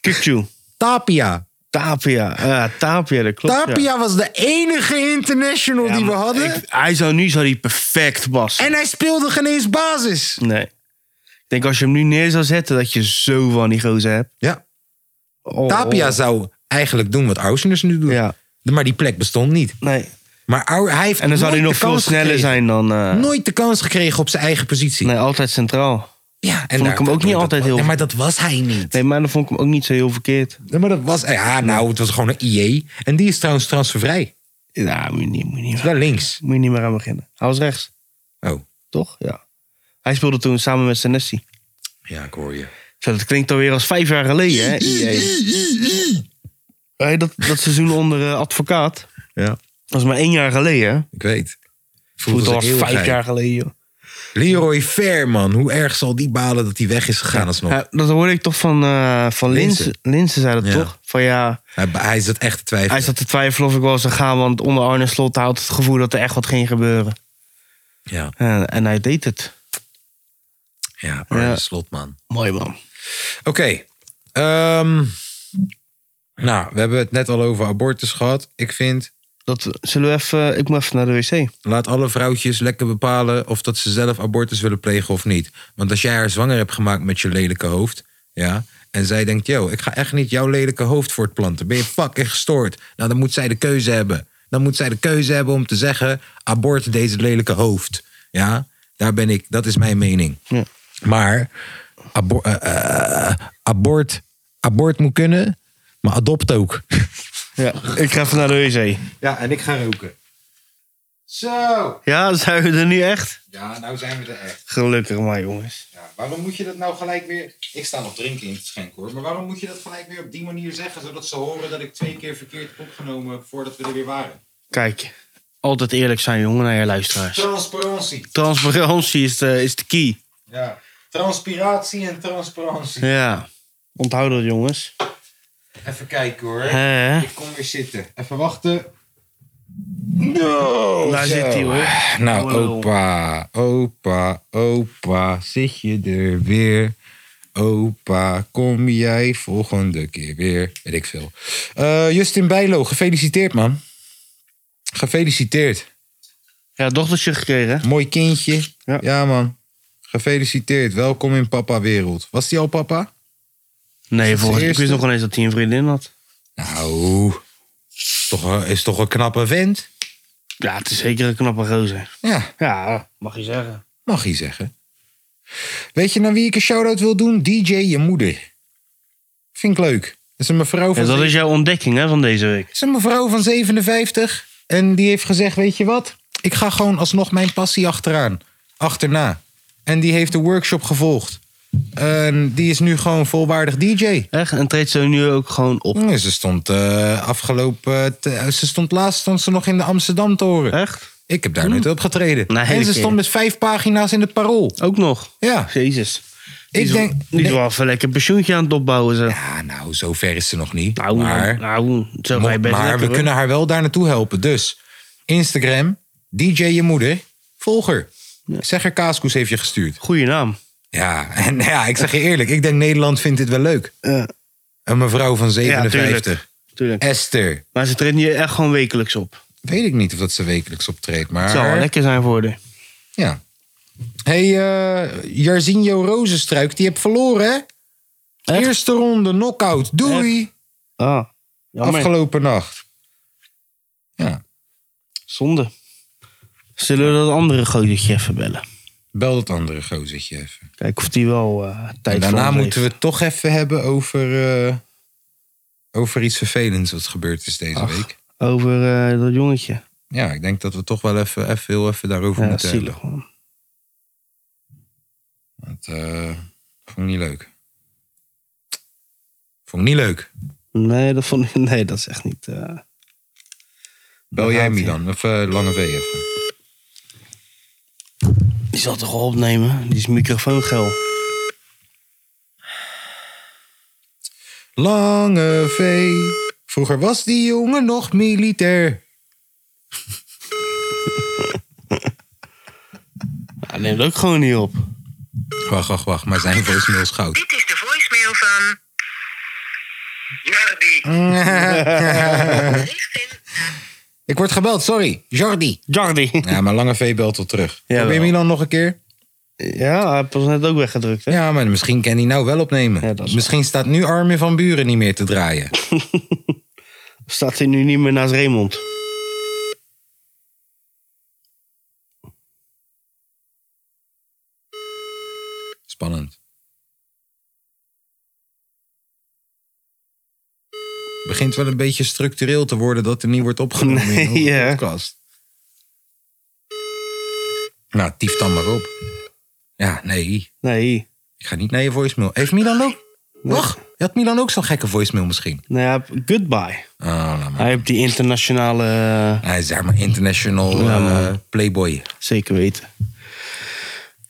Speaker 2: Kukju.
Speaker 1: Tapia.
Speaker 2: Tapia. Ja, Tapia, dat klopt. ja.
Speaker 1: Tapia was de enige international
Speaker 2: Ja,
Speaker 1: die we
Speaker 2: maar
Speaker 1: hadden.
Speaker 2: ik- hij zou nu zou die perfect passen.
Speaker 1: En hij speelde geen eens basis.
Speaker 2: Nee. Ik denk als je hem nu neer zou zetten, dat je zo van die gozer hebt.
Speaker 1: Ja.
Speaker 2: Oh,
Speaker 1: Tapia
Speaker 2: oh.
Speaker 1: zou eigenlijk doen wat Ausenders nu doet.
Speaker 2: Ja.
Speaker 1: Maar die plek bestond niet.
Speaker 2: Nee.
Speaker 1: Maar Au- hij heeft
Speaker 2: En dan zou hij
Speaker 1: nooit
Speaker 2: nog
Speaker 1: de
Speaker 2: veel
Speaker 1: kans
Speaker 2: sneller
Speaker 1: gekregen.
Speaker 2: zijn dan... eh,
Speaker 1: Nooit de kans gekregen op zijn eigen positie.
Speaker 2: nee, altijd centraal.
Speaker 1: Ja, en
Speaker 2: ik hem ook niet
Speaker 1: dat-
Speaker 2: altijd heel-
Speaker 1: Nee, maar dat was hij niet.
Speaker 2: Nee, maar dan vond ik hem ook niet zo heel verkeerd.
Speaker 1: Nee, maar dat was... Ja, nou, het was gewoon een IE. En die is trouwens transfervrij.
Speaker 2: Ja, moet je niet, moet je niet,
Speaker 1: Is wel links.
Speaker 2: moet je niet meer aan beginnen. Hij was rechts,
Speaker 1: Oh,
Speaker 2: toch? Ja. Hij speelde toen samen met Senesi.
Speaker 1: ja, ik hoor je.
Speaker 2: Zo, dat klinkt alweer als vijf jaar geleden, hè?
Speaker 1: E.
Speaker 2: EA. Hey, dat, dat seizoen onder eh, advocaat.
Speaker 1: Ja,
Speaker 2: Dat is maar één jaar geleden, hè?
Speaker 1: ik weet.
Speaker 2: Voelt
Speaker 1: als
Speaker 2: al als
Speaker 1: een
Speaker 2: vijf
Speaker 1: eeuwigheid.
Speaker 2: jaar geleden, joh.
Speaker 1: Leroy Fairman. Hoe erg zal die balen dat hij weg is gegaan alsnog?
Speaker 2: Ja, dat hoorde ik toch van, eh van
Speaker 1: Linzen.
Speaker 2: Linsen. Linsen zei
Speaker 1: Ja.
Speaker 2: dat toch? Van ja,
Speaker 1: Hij, hij zat echt te twijfelen.
Speaker 2: hij zat te twijfelen of ik wel zou gaan, want onder Arne Slot houdt het gevoel dat er echt wat ging gebeuren.
Speaker 1: Ja,
Speaker 2: En, en hij deed het.
Speaker 1: ja Arne
Speaker 2: Ja.
Speaker 1: Slotman.
Speaker 2: Mooi man.
Speaker 1: Oké. ehm, nou, we hebben het net al over abortus gehad. Ik vind,
Speaker 2: Dat, zullen we even, ik moet even naar de wc.
Speaker 1: laat alle vrouwtjes lekker bepalen of dat ze zelf abortus willen plegen of niet. Want als jij haar zwanger hebt gemaakt met je lelijke hoofd, ja, en zij denkt, yo, ik ga echt niet jouw lelijke hoofd voortplanten. Ben je fucking gestoord? Nou, dan moet zij de keuze hebben. Dan moet zij de keuze hebben om te zeggen, abort deze lelijke hoofd. Ja, daar ben ik, dat is mijn mening.
Speaker 2: Ja.
Speaker 1: Maar abo- eh, eh, abort, abort moet kunnen, maar adopt ook.
Speaker 2: Ja, ik ga even naar de wc.
Speaker 1: Ja, en ik ga roken. Zo!
Speaker 2: Ja, zijn we er nu echt?
Speaker 1: Ja, nou zijn we er echt.
Speaker 2: Gelukkig maar, jongens.
Speaker 1: Ja, waarom moet je dat nou gelijk weer... Ik sta nog drinken in te schenken hoor. Maar waarom moet je dat gelijk weer op die manier zeggen... zodat ze horen dat ik twee keer verkeerd heb opgenomen voordat we er weer waren?
Speaker 2: Kijk, altijd eerlijk zijn, jongen, naar je luisteraars.
Speaker 1: Transparantie.
Speaker 2: Transparantie is de, is de key.
Speaker 1: Ja. Transpiratie en transparantie.
Speaker 2: Ja, onthoud dat, jongens.
Speaker 1: Even kijken hoor.
Speaker 2: Hè?
Speaker 1: Ik kom weer zitten. Even wachten. No,
Speaker 2: Daar
Speaker 1: zo.
Speaker 2: zit hij, hoor.
Speaker 1: Nou,
Speaker 2: Hallo.
Speaker 1: opa, opa, opa, zit je er weer? Opa, kom jij volgende keer weer? Weet ik veel. Eh, Justin Bijlo, gefeliciteerd man. Gefeliciteerd.
Speaker 2: Ja, dochtertje gekregen. hè?
Speaker 1: Mooi kindje. Ja,
Speaker 2: Ja.
Speaker 1: man. Gefeliciteerd. Welkom in papa wereld. Was die al papa?
Speaker 2: Nee, volgens ik
Speaker 1: eerste?
Speaker 2: wist nog ineens dat hij een vriendin had.
Speaker 1: Nou, is toch een, is toch een knappe vent?
Speaker 2: Ja, het is zeker een knappe gozer.
Speaker 1: Ja,
Speaker 2: Ja, mag je zeggen.
Speaker 1: mag je zeggen. Weet je naar wie ik een shout-out wil doen? DJ je moeder. Vind ik leuk. Dat is een mevrouw van
Speaker 2: En dat is jouw ontdekking hè, van deze week.
Speaker 1: Het is een mevrouw van 57 en die heeft gezegd, weet je wat? Ik ga gewoon alsnog mijn passie achteraan, achterna. En die heeft de workshop gevolgd. En die is nu gewoon volwaardig DJ.
Speaker 2: Echt? En treedt ze nu ook gewoon op.
Speaker 1: Mm, Ze stond eh, afgelopen, te- ze stond laatst stond ze nog in de Amsterdam toren.
Speaker 2: Echt?
Speaker 1: Ik heb daar nooit op getreden.
Speaker 2: Hm. Nee,
Speaker 1: en ze
Speaker 2: oké.
Speaker 1: stond met vijf pagina's in het parool.
Speaker 2: Ook nog?
Speaker 1: Ja,
Speaker 2: Jezus.
Speaker 1: ik denk.
Speaker 2: Nu is
Speaker 1: nee.
Speaker 2: wel even lekker pensioentje aan het opbouwen. Zo.
Speaker 1: Ja, nou, zo ver is ze nog niet.
Speaker 2: Nou,
Speaker 1: maar
Speaker 2: nou, zo ga je best
Speaker 1: maar
Speaker 2: lekker,
Speaker 1: we
Speaker 2: hoor.
Speaker 1: kunnen haar wel daar naartoe helpen. Dus Instagram, DJ je moeder, volger. Zeg er Kaaskoes heeft je gestuurd.
Speaker 2: Goeie naam.
Speaker 1: Ja, en ja, ik zeg je eerlijk, ik denk Nederland vindt dit wel leuk.
Speaker 2: Ja.
Speaker 1: Een mevrouw van
Speaker 2: Ja, tuurlijk.
Speaker 1: 57.
Speaker 2: Tuurlijk.
Speaker 1: Esther.
Speaker 2: Maar ze treedt nu echt gewoon wekelijks op.
Speaker 1: Weet ik niet of dat ze wekelijks optreedt, maar...
Speaker 2: Het zou wel lekker zijn voor haar.
Speaker 1: Ja. hey, eh, Jarzinho Rozenstruik, die hebt verloren, hè?
Speaker 2: Echt?
Speaker 1: Eerste ronde, knockout. Doei!
Speaker 2: Ah, jammer.
Speaker 1: Afgelopen nacht. Ja,
Speaker 2: Zonde. Zullen we dat andere gootje even bellen?
Speaker 1: bel dat andere gozertje even.
Speaker 2: Kijken of die wel eh, tijd
Speaker 1: En
Speaker 2: voor
Speaker 1: daarna
Speaker 2: ons
Speaker 1: moeten we
Speaker 2: heeft.
Speaker 1: het toch even hebben over, eh, over iets vervelends wat gebeurd is deze
Speaker 2: Ach.
Speaker 1: week.
Speaker 2: Over eh, dat jongetje.
Speaker 1: Ja, ik denk dat we toch wel even, even, heel even daarover
Speaker 2: Ja,
Speaker 1: moeten
Speaker 2: zielig
Speaker 1: hebben.
Speaker 2: man.
Speaker 1: Want eh, vond ik niet leuk. Vond ik niet leuk.
Speaker 2: Nee, dat vond ik. Nee, dat is echt niet. eh,
Speaker 1: Bel
Speaker 2: Daar
Speaker 1: jij
Speaker 2: gaat-ie.
Speaker 1: Milan, of eh, Lange V even.
Speaker 2: Die zal toch wel opnemen? Die is microfoongel.
Speaker 1: Lange V. Vroeger was die jongen nog militair.
Speaker 2: Ja, neemt ook gewoon niet op.
Speaker 1: Wacht, wacht, wacht. Maar zijn voicemail is goud.
Speaker 6: Dit is de voicemail van. Jordi. Richting
Speaker 1: Ik word gebeld, sorry. Jordi.
Speaker 2: Jordi.
Speaker 1: Ja, maar Lange V belt wel terug.
Speaker 2: Jawel.
Speaker 1: Probeer Milan nog een keer.
Speaker 2: Ja, hij heeft ons net ook weggedrukt, hè?
Speaker 1: Ja, maar misschien kan hij nou wel opnemen.
Speaker 2: Ja, dat is
Speaker 1: misschien staat nu Armin van Buren niet meer te draaien.
Speaker 2: Staat hij nu niet meer naast Raymond?
Speaker 1: Spannend. Het begint wel een beetje structureel te worden dat er niet wordt opgenomen
Speaker 2: Nee,
Speaker 1: in de
Speaker 2: ja.
Speaker 1: podcast. Nou, tief dan maar op. Ja, nee.
Speaker 2: Nee.
Speaker 1: Ik ga niet naar je voicemail. Heeft Milan ook... Wacht, je had Milan ook zo'n gekke voicemail misschien.
Speaker 2: Nou ja, goodbye.
Speaker 1: Oh, laat maar.
Speaker 2: Hij heeft die internationale... eh,
Speaker 1: Hij is zeg maar international
Speaker 2: Ja,
Speaker 1: eh,
Speaker 2: man.
Speaker 1: playboy.
Speaker 2: zeker weten.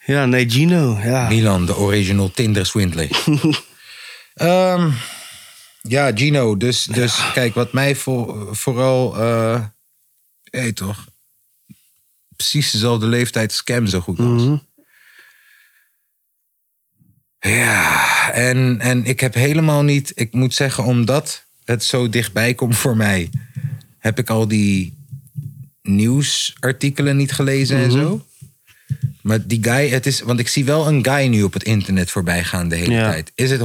Speaker 2: Ja, nee, Gino. Ja.
Speaker 1: Milan, de original Tinder swindler. Ehm, ja, Gino. Dus, dus kijk, wat mij vo- vooral... eh hey, toch? Precies dezelfde leeftijd als Cam zo goed was. Ja, en, en ik heb helemaal niet... Ik moet zeggen, omdat het zo dichtbij komt voor mij... heb ik al die nieuwsartikelen niet gelezen
Speaker 2: Mhm.
Speaker 1: en zo. Maar die guy, het is, want ik zie wel een guy nu op het internet voorbij gaan de hele
Speaker 2: Ja.
Speaker 1: tijd. Is het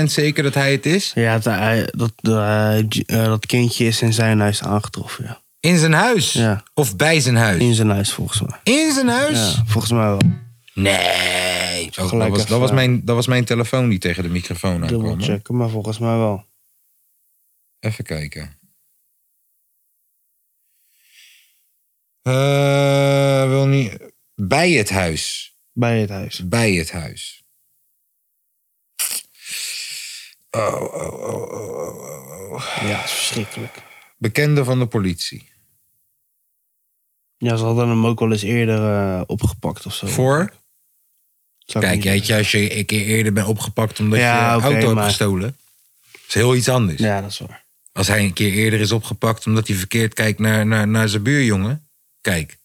Speaker 1: 100% zeker dat hij het is?
Speaker 2: Ja, dat, hij- dat, eh, G- eh, dat kindje is in zijn huis aangetroffen, ja.
Speaker 1: In zijn huis?
Speaker 2: Ja.
Speaker 1: Of bij zijn huis?
Speaker 2: In zijn huis, volgens mij.
Speaker 1: In zijn huis?
Speaker 2: Ja, volgens mij wel.
Speaker 1: Nee. Oh, dat, was,
Speaker 2: even,
Speaker 1: dat, was
Speaker 2: eh,
Speaker 1: mijn, dat was mijn telefoon die tegen de microfoon
Speaker 2: Dubbel
Speaker 1: aankwam. hoor.
Speaker 2: checken, maar volgens mij wel.
Speaker 1: Even kijken. Eh, wil niet. Bij het huis.
Speaker 2: Bij het huis.
Speaker 1: Bij het huis. Oh, oh, oh, oh, oh, oh.
Speaker 2: Ja, dat is verschrikkelijk.
Speaker 1: Bekende van de politie.
Speaker 2: Ja, ze hadden hem ook wel eens eerder eh, opgepakt of zo.
Speaker 1: Voor?
Speaker 2: Zou ik
Speaker 1: Kijk,
Speaker 2: niet
Speaker 1: jeetje, als je een keer eerder bent opgepakt omdat
Speaker 2: Ja,
Speaker 1: je
Speaker 2: oké,
Speaker 1: auto hebt
Speaker 2: maar-
Speaker 1: gestolen. is heel iets anders.
Speaker 2: weten. Ja, dat is waar.
Speaker 1: Als hij een keer eerder is opgepakt omdat hij verkeerd kijkt naar, naar, naar zijn buurjongen. Kijk,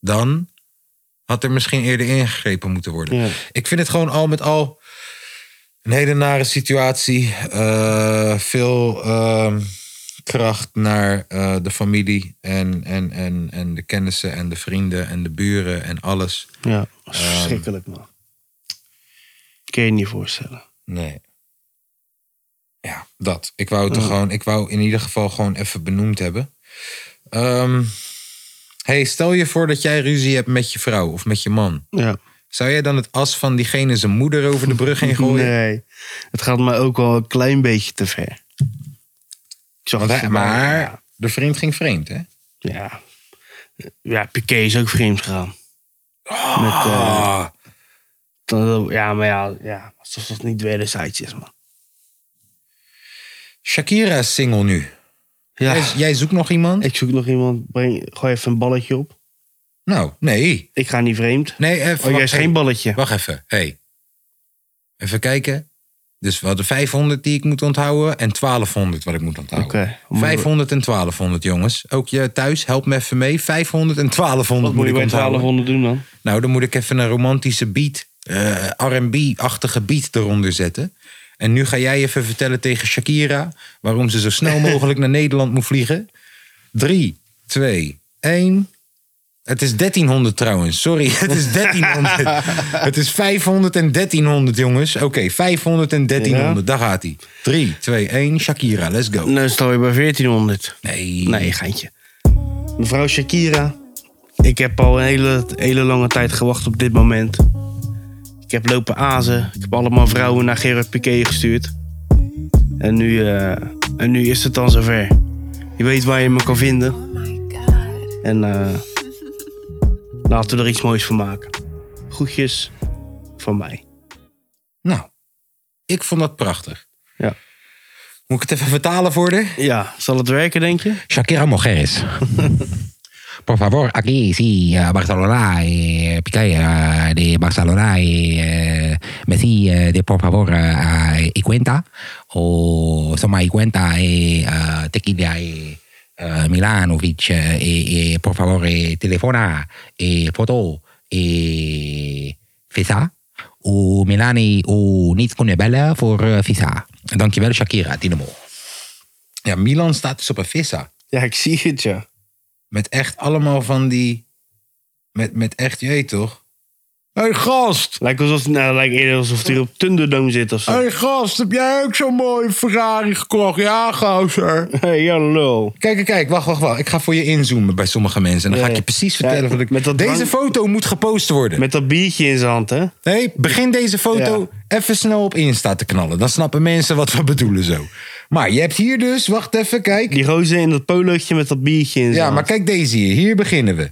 Speaker 1: dan had er misschien eerder ingegrepen moeten worden.
Speaker 2: Ja.
Speaker 1: Ik vind het gewoon al met al een hele nare situatie. Eh, veel ehm, kracht naar eh, de familie en, en, en, en de kennissen en de vrienden en de buren en alles.
Speaker 2: Ja, dat is
Speaker 1: Ehm.
Speaker 2: verschrikkelijk, man. Kun je je niet voorstellen.
Speaker 1: Nee. Ja, dat. Ik wou het er gewoon, ik wou in ieder geval gewoon even benoemd hebben. Ehm, hey, stel je voor dat jij ruzie hebt met je vrouw of met je man.
Speaker 2: Ja.
Speaker 1: Zou jij dan het as van diegene zijn moeder over de brug heen gooien?
Speaker 2: Nee, het gaat mij ook wel een klein beetje te ver. Ik zag
Speaker 1: Want
Speaker 2: het
Speaker 1: hij-
Speaker 2: voorbij,
Speaker 1: maar
Speaker 2: Ja.
Speaker 1: de vriend ging vreemd, hè?
Speaker 2: ja. Ja, Piqué is ook vreemd gegaan. Met, eh,
Speaker 1: Ah,
Speaker 2: dan- ja, maar ja, ja, alsof dat niet wederzijds is, man.
Speaker 1: Shakira is single nu.
Speaker 2: Ja,
Speaker 1: Jij, jij zoekt nog iemand?
Speaker 2: ik zoek nog iemand. Breng, gooi even een balletje op.
Speaker 1: Nou, nee.
Speaker 2: Ik ga niet vreemd.
Speaker 1: Nee, even.
Speaker 2: Oh, jij
Speaker 1: wacht,
Speaker 2: is
Speaker 1: hey,
Speaker 2: geen balletje.
Speaker 1: Wacht even. Hey. Even kijken. Dus we hadden 500 die ik moet onthouden en 1200 wat ik moet onthouden.
Speaker 2: Oké.
Speaker 1: 500 en 1200 jongens. Ook je thuis, help me even mee. 500 en 1200
Speaker 2: Wat
Speaker 1: moet,
Speaker 2: moet je
Speaker 1: ik
Speaker 2: bij
Speaker 1: onthouden.
Speaker 2: 1200 doen dan?
Speaker 1: Nou, dan moet ik even een romantische beat, eh, R&B-achtige beat eronder zetten. En nu ga jij even vertellen tegen Shakira waarom ze zo snel mogelijk naar Nederland moet vliegen. 3, 2, 1. Het is 1300 trouwens, sorry. Het is 1300. het is 500 en 1300, jongens. Oké, 500 en 1300, daar gaat hij. 3, 2, 1, Shakira, let's go.
Speaker 2: Nou, stel je bij 1400.
Speaker 1: Nee.
Speaker 2: Nee, geintje. Mevrouw Shakira, ik heb al een hele, hele lange tijd gewacht op dit moment. Ik heb lopen azen. Ik heb allemaal vrouwen naar Gerard Piqué gestuurd. En nu, eh, en nu is het dan zover. Je weet waar je me kan vinden. En eh, laten we er iets moois van maken. Groetjes van mij.
Speaker 1: Nou, ik vond dat prachtig.
Speaker 2: Ja.
Speaker 1: Moet ik het even vertalen voor de?
Speaker 2: Ja, zal het werken, denk je?
Speaker 1: Shakira Mujeres. Por favor, aquí, sí, eh, Barcelona, eh, Piqué, eh, de Barcelona, eh, Messi, eh, de por favor, eh, y cuenta, o Soma y cuenta, eh, eh, Tequila, eh, eh, Milanovic, eh, eh, por favor, eh, telefona, eh, foto,
Speaker 7: eh, visa. O Milani o niet kunnen bellen voor eh, visa. Dankjewel Shakira, Dynamo.
Speaker 1: Ja, Milan staat dus op een vissa.
Speaker 2: Ja, ik zie het, ja.
Speaker 1: Met echt allemaal van die... Met, met echt, je weet toch? Hé hey, gast!
Speaker 2: Lijkt alsof, nou, lijkt eerder alsof hij op Thunderdome zit of zo.
Speaker 1: Hé hey, gast, heb jij ook zo'n mooie Ferrari gekocht? Ja, gozer.
Speaker 2: Hey, ja, lul.
Speaker 1: Kijk, kijk, kijk, wacht, wacht, wacht. Ik ga voor je inzoomen bij sommige mensen. En dan
Speaker 2: Ja,
Speaker 1: ga ik je
Speaker 2: ja.
Speaker 1: precies
Speaker 2: Ja,
Speaker 1: vertellen wat ik...
Speaker 2: met dat
Speaker 1: deze
Speaker 2: drank-
Speaker 1: foto moet gepost worden.
Speaker 2: Met dat biertje in zijn hand, hè?
Speaker 1: Nee, begin deze foto even snel op Insta te knallen. Dan snappen mensen wat we bedoelen zo. Maar je hebt hier dus, wacht even, kijk.
Speaker 2: Die roze in dat polootje met dat biertje in zijn
Speaker 1: Ja,
Speaker 2: hand.
Speaker 1: maar kijk deze hier. Hier beginnen we.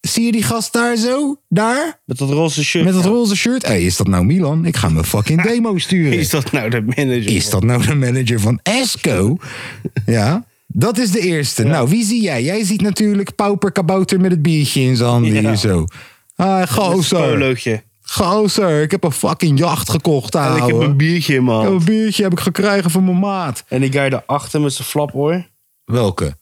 Speaker 1: Zie je die gast daar zo? Daar?
Speaker 2: Met dat roze shirt.
Speaker 1: Met dat roze shirt? Hé, is dat nou Milan? Ik ga mijn fucking demo sturen.
Speaker 2: Is dat nou de manager?
Speaker 1: Is dat nou de manager van Esco? Ja, dat is de eerste. Nou, wie zie jij? Jij ziet natuurlijk Pauper Kabouter met het biertje in zijn handen
Speaker 2: Ja.
Speaker 1: hier zo. Ah,
Speaker 2: Met dat
Speaker 1: gozer.
Speaker 2: polootje.
Speaker 1: Gozer, ik heb een fucking jacht gekocht,
Speaker 2: En ik heb
Speaker 1: ouwe.
Speaker 2: een biertje in mijn
Speaker 1: Ik heb
Speaker 2: hand.
Speaker 1: een biertje heb ik gekregen van mijn maat.
Speaker 2: En die guy daarachter met zijn flap, hoor.
Speaker 1: Welke?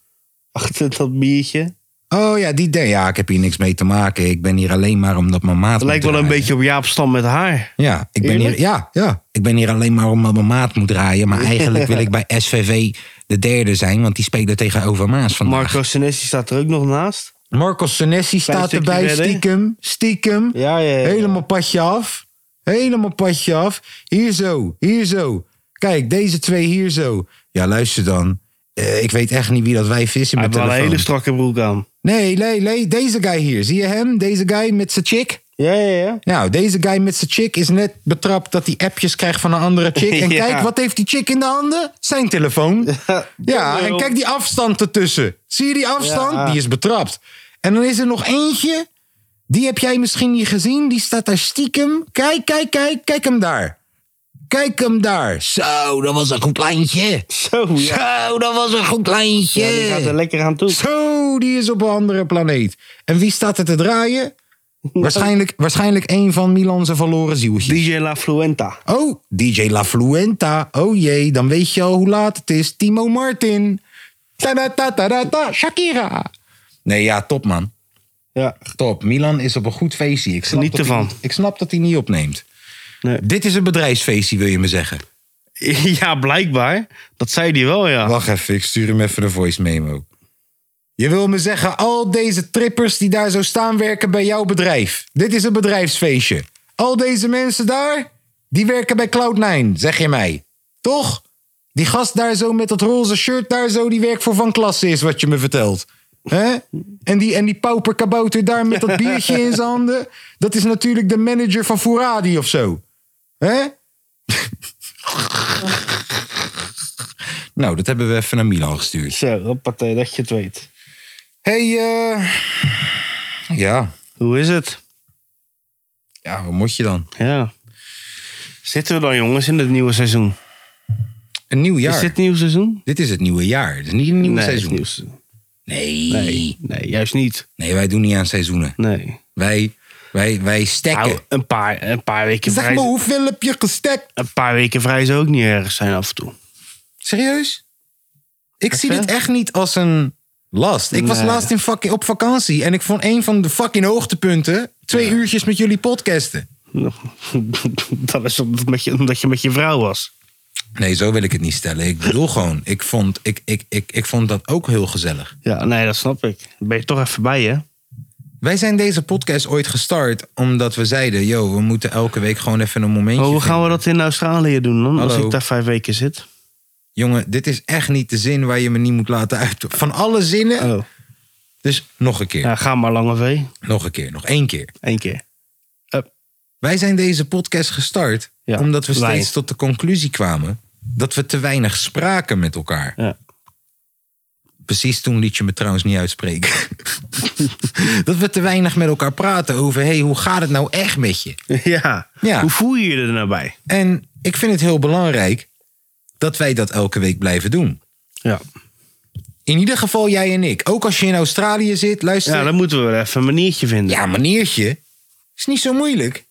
Speaker 2: Achter dat biertje.
Speaker 1: Oh ja, die de- Ja, ik heb hier niks mee te maken. Ik ben hier alleen maar omdat mijn maat...
Speaker 2: Het lijkt
Speaker 1: moet
Speaker 2: wel een
Speaker 1: draaien.
Speaker 2: beetje op Jaap Stam met haar.
Speaker 1: Ja ik, ben hier,
Speaker 2: Eerlijk?
Speaker 1: ja, ja, ik ben hier alleen maar omdat mijn maat moet draaien. Maar eigenlijk wil ik bij SVV de derde zijn, want die spelen tegen Overmaas vandaag.
Speaker 2: Marco Senesi staat er ook nog naast.
Speaker 1: Marco Senesi staat
Speaker 2: stukje
Speaker 1: erbij,
Speaker 2: verder.
Speaker 1: stiekem, stiekem.
Speaker 2: Ja, ja, ja.
Speaker 1: Helemaal padje af. Helemaal padje af. Hier zo, hier zo. Kijk, deze twee hier zo. Ja, luister dan. Eh, ik weet echt niet wie dat wijf is in
Speaker 2: Hij
Speaker 1: mijn
Speaker 2: heeft wel een
Speaker 1: telefoon.
Speaker 2: hele strakke broek aan.
Speaker 1: Nee, nee, nee. Deze guy hier. Zie je hem? Deze guy met zijn chick?
Speaker 2: Ja, ja, ja.
Speaker 1: Nou, deze guy met zijn chick is net betrapt dat hij appjes krijgt van een andere chick. En
Speaker 2: Ja.
Speaker 1: kijk, wat heeft die chick in de handen? Zijn telefoon. Ja, en
Speaker 2: lul.
Speaker 1: kijk die afstand ertussen. Zie je die afstand?
Speaker 2: Ja.
Speaker 1: Die is betrapt. En dan is er nog eentje. Die heb jij misschien niet gezien. Die staat daar stiekem. Kijk, kijk, kijk. Kijk hem daar. Kijk hem daar. Zo, dat was een goed lijntje.
Speaker 2: Zo, ja.
Speaker 1: Zo, dat was een goed lijntje.
Speaker 2: Ja, die gaat er lekker aan toe.
Speaker 1: Zo, die is op een andere planeet. En wie staat er te draaien? Waarschijnlijk, waarschijnlijk een van Milan's verloren zieltjes.
Speaker 2: DJ La Fluenta.
Speaker 1: Oh, DJ La Fluenta. Oh jee, dan weet je al hoe laat het is. Timo Martin. Ta-da-ta-ta-da-ta, Shakira. Nee, ja, top man.
Speaker 2: Ja,
Speaker 1: Top. Milan is op een goed feestje. Ik snap
Speaker 2: Geniet
Speaker 1: dat
Speaker 2: ervan.
Speaker 1: Hij, ik snap dat hij niet opneemt.
Speaker 2: Nee.
Speaker 1: Dit is een bedrijfsfeestje, wil je me zeggen.
Speaker 2: Ja, blijkbaar. Dat zei hij wel, ja.
Speaker 1: Wacht even, ik stuur hem even de voice memo. Je wil me zeggen, al deze trippers die daar zo staan werken bij jouw bedrijf. Dit is een bedrijfsfeestje. Al deze mensen daar, die werken bij Cloud9, zeg je mij. Toch? Die gast daar zo met dat roze shirt daar zo, die werkt voor Van Klasse is wat je me vertelt. hè? En, die, en die pauper kabouter daar met dat biertje in zijn handen. Dat is natuurlijk de manager van Fouradi of zo. hè? Nou, dat hebben we even naar Milan gestuurd.
Speaker 2: Zo, hoppatee, dat je het weet.
Speaker 1: Hey, eh, ja.
Speaker 2: Hoe is het?
Speaker 1: ja, wat moet je dan?
Speaker 2: Ja. Zitten we dan, jongens, in het nieuwe seizoen?
Speaker 1: Een nieuw jaar.
Speaker 2: Is dit nieuw seizoen?
Speaker 1: Dit is het nieuwe jaar. Het is niet een nieuw
Speaker 2: nee, het is
Speaker 1: seizoen.
Speaker 2: nieuw seizoen.
Speaker 1: Nee. nee.
Speaker 2: Nee, nee, juist niet.
Speaker 1: wij doen niet aan seizoenen.
Speaker 2: Nee.
Speaker 1: Wij, wij, wij stekken.
Speaker 2: Nou, een paar, een paar weken
Speaker 1: zeg
Speaker 2: vrij.
Speaker 1: maar, hoeveel heb je gestekt?
Speaker 2: Een paar weken vrij zou ook niet erg zijn af en toe.
Speaker 1: Serieus? Ik zie
Speaker 2: Even?
Speaker 1: dit echt niet als een last. Ik was
Speaker 2: Nee.
Speaker 1: laatst in fucking, op vakantie en ik vond een van de fucking hoogtepunten... twee uurtjes met jullie podcasten.
Speaker 2: Dat is omdat, met je, omdat je met je vrouw was.
Speaker 1: Nee, zo wil ik het niet stellen. Ik bedoel gewoon, ik vond, ik, ik, ik, ik vond dat ook heel gezellig.
Speaker 2: Ja, nee, dat snap ik. Dan ben je toch even bij, hè?
Speaker 1: Wij zijn deze podcast ooit gestart omdat we zeiden... yo, we moeten elke week gewoon even een momentje...
Speaker 2: Oh, hoe gaan we
Speaker 1: vinden.
Speaker 2: dat in Australië doen dan? Als
Speaker 1: Hallo.
Speaker 2: ik daar vijf weken zit.
Speaker 1: Jongen, dit is echt niet de zin waar je me niet moet laten uit. Van alle zinnen.
Speaker 2: Oh.
Speaker 1: Dus nog een keer,
Speaker 2: Ja, ga maar, Lange V.
Speaker 1: nog een keer, nog één keer.
Speaker 2: Eén keer.
Speaker 1: Wij zijn deze podcast gestart
Speaker 2: Ja,
Speaker 1: omdat we
Speaker 2: wij.
Speaker 1: steeds tot de conclusie kwamen... dat we te weinig spraken met elkaar.
Speaker 2: Ja.
Speaker 1: Precies toen liet je me trouwens niet uitspreken. dat we te weinig met elkaar praten over... hey, hoe gaat het nou echt met je?
Speaker 2: Ja.
Speaker 1: Ja.
Speaker 2: Hoe voel je je er nou bij?
Speaker 1: En ik vind het heel belangrijk dat wij dat elke week blijven doen.
Speaker 2: Ja.
Speaker 1: In ieder geval jij en ik. Ook als je in Australië zit, luister.
Speaker 2: ja, dan moeten we wel even een maniertje vinden.
Speaker 1: Ja, maniertje. Is niet zo moeilijk.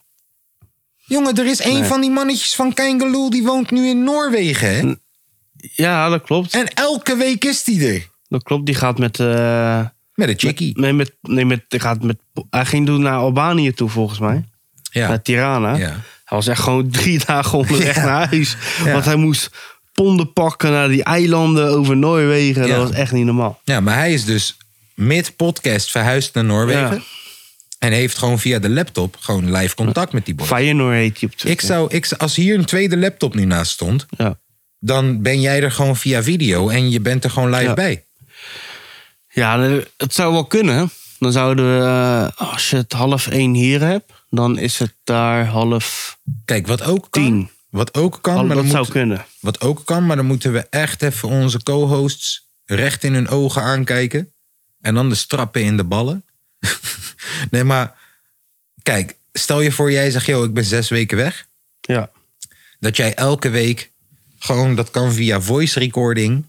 Speaker 1: Jongen, er is één van die mannetjes van Kangaloo... die woont nu in Noorwegen, hè?
Speaker 2: Ja, dat klopt.
Speaker 1: En elke week is die er.
Speaker 2: Dat klopt, die gaat met eh,
Speaker 1: Met een chickie.
Speaker 2: Nee, met, nee met, hij, gaat met, hij ging toen naar Albanië toe, volgens mij.
Speaker 1: Ja.
Speaker 2: Naar Tirana.
Speaker 1: Ja.
Speaker 2: Hij was echt gewoon drie dagen onderweg
Speaker 1: Ja.
Speaker 2: naar huis.
Speaker 1: Ja.
Speaker 2: Want hij moest ponden pakken naar die eilanden over Noorwegen.
Speaker 1: Ja.
Speaker 2: Dat was echt niet normaal.
Speaker 1: ja, maar hij is dus mid-podcast verhuisd naar Noorwegen.
Speaker 2: Ja.
Speaker 1: En heeft gewoon via de laptop gewoon live contact met die boy.
Speaker 2: Feyenoord heet hij op Twitter.
Speaker 1: Ik zou, ik, zou- als hier een tweede laptop nu naast stond,
Speaker 2: Ja.
Speaker 1: dan ben jij er gewoon via video en je bent er gewoon live
Speaker 2: Ja.
Speaker 1: bij.
Speaker 2: Ja, het zou wel kunnen. Dan zouden we, eh, als je het half één hier hebt, dan is het daar half
Speaker 1: Kijk, wat ook kan.
Speaker 2: Tien.
Speaker 1: Wat ook kan,
Speaker 2: half
Speaker 1: maar
Speaker 2: Dat
Speaker 1: dan
Speaker 2: zou
Speaker 1: moet-
Speaker 2: kunnen.
Speaker 1: wat ook kan, maar dan moeten we echt even onze co-hosts recht in hun ogen aankijken. En dan de strappen in de ballen. nee, maar kijk, stel je voor, jij zegt, joh, ik ben zes weken weg.
Speaker 2: Ja.
Speaker 1: Dat jij elke week gewoon, dat kan via voice recording.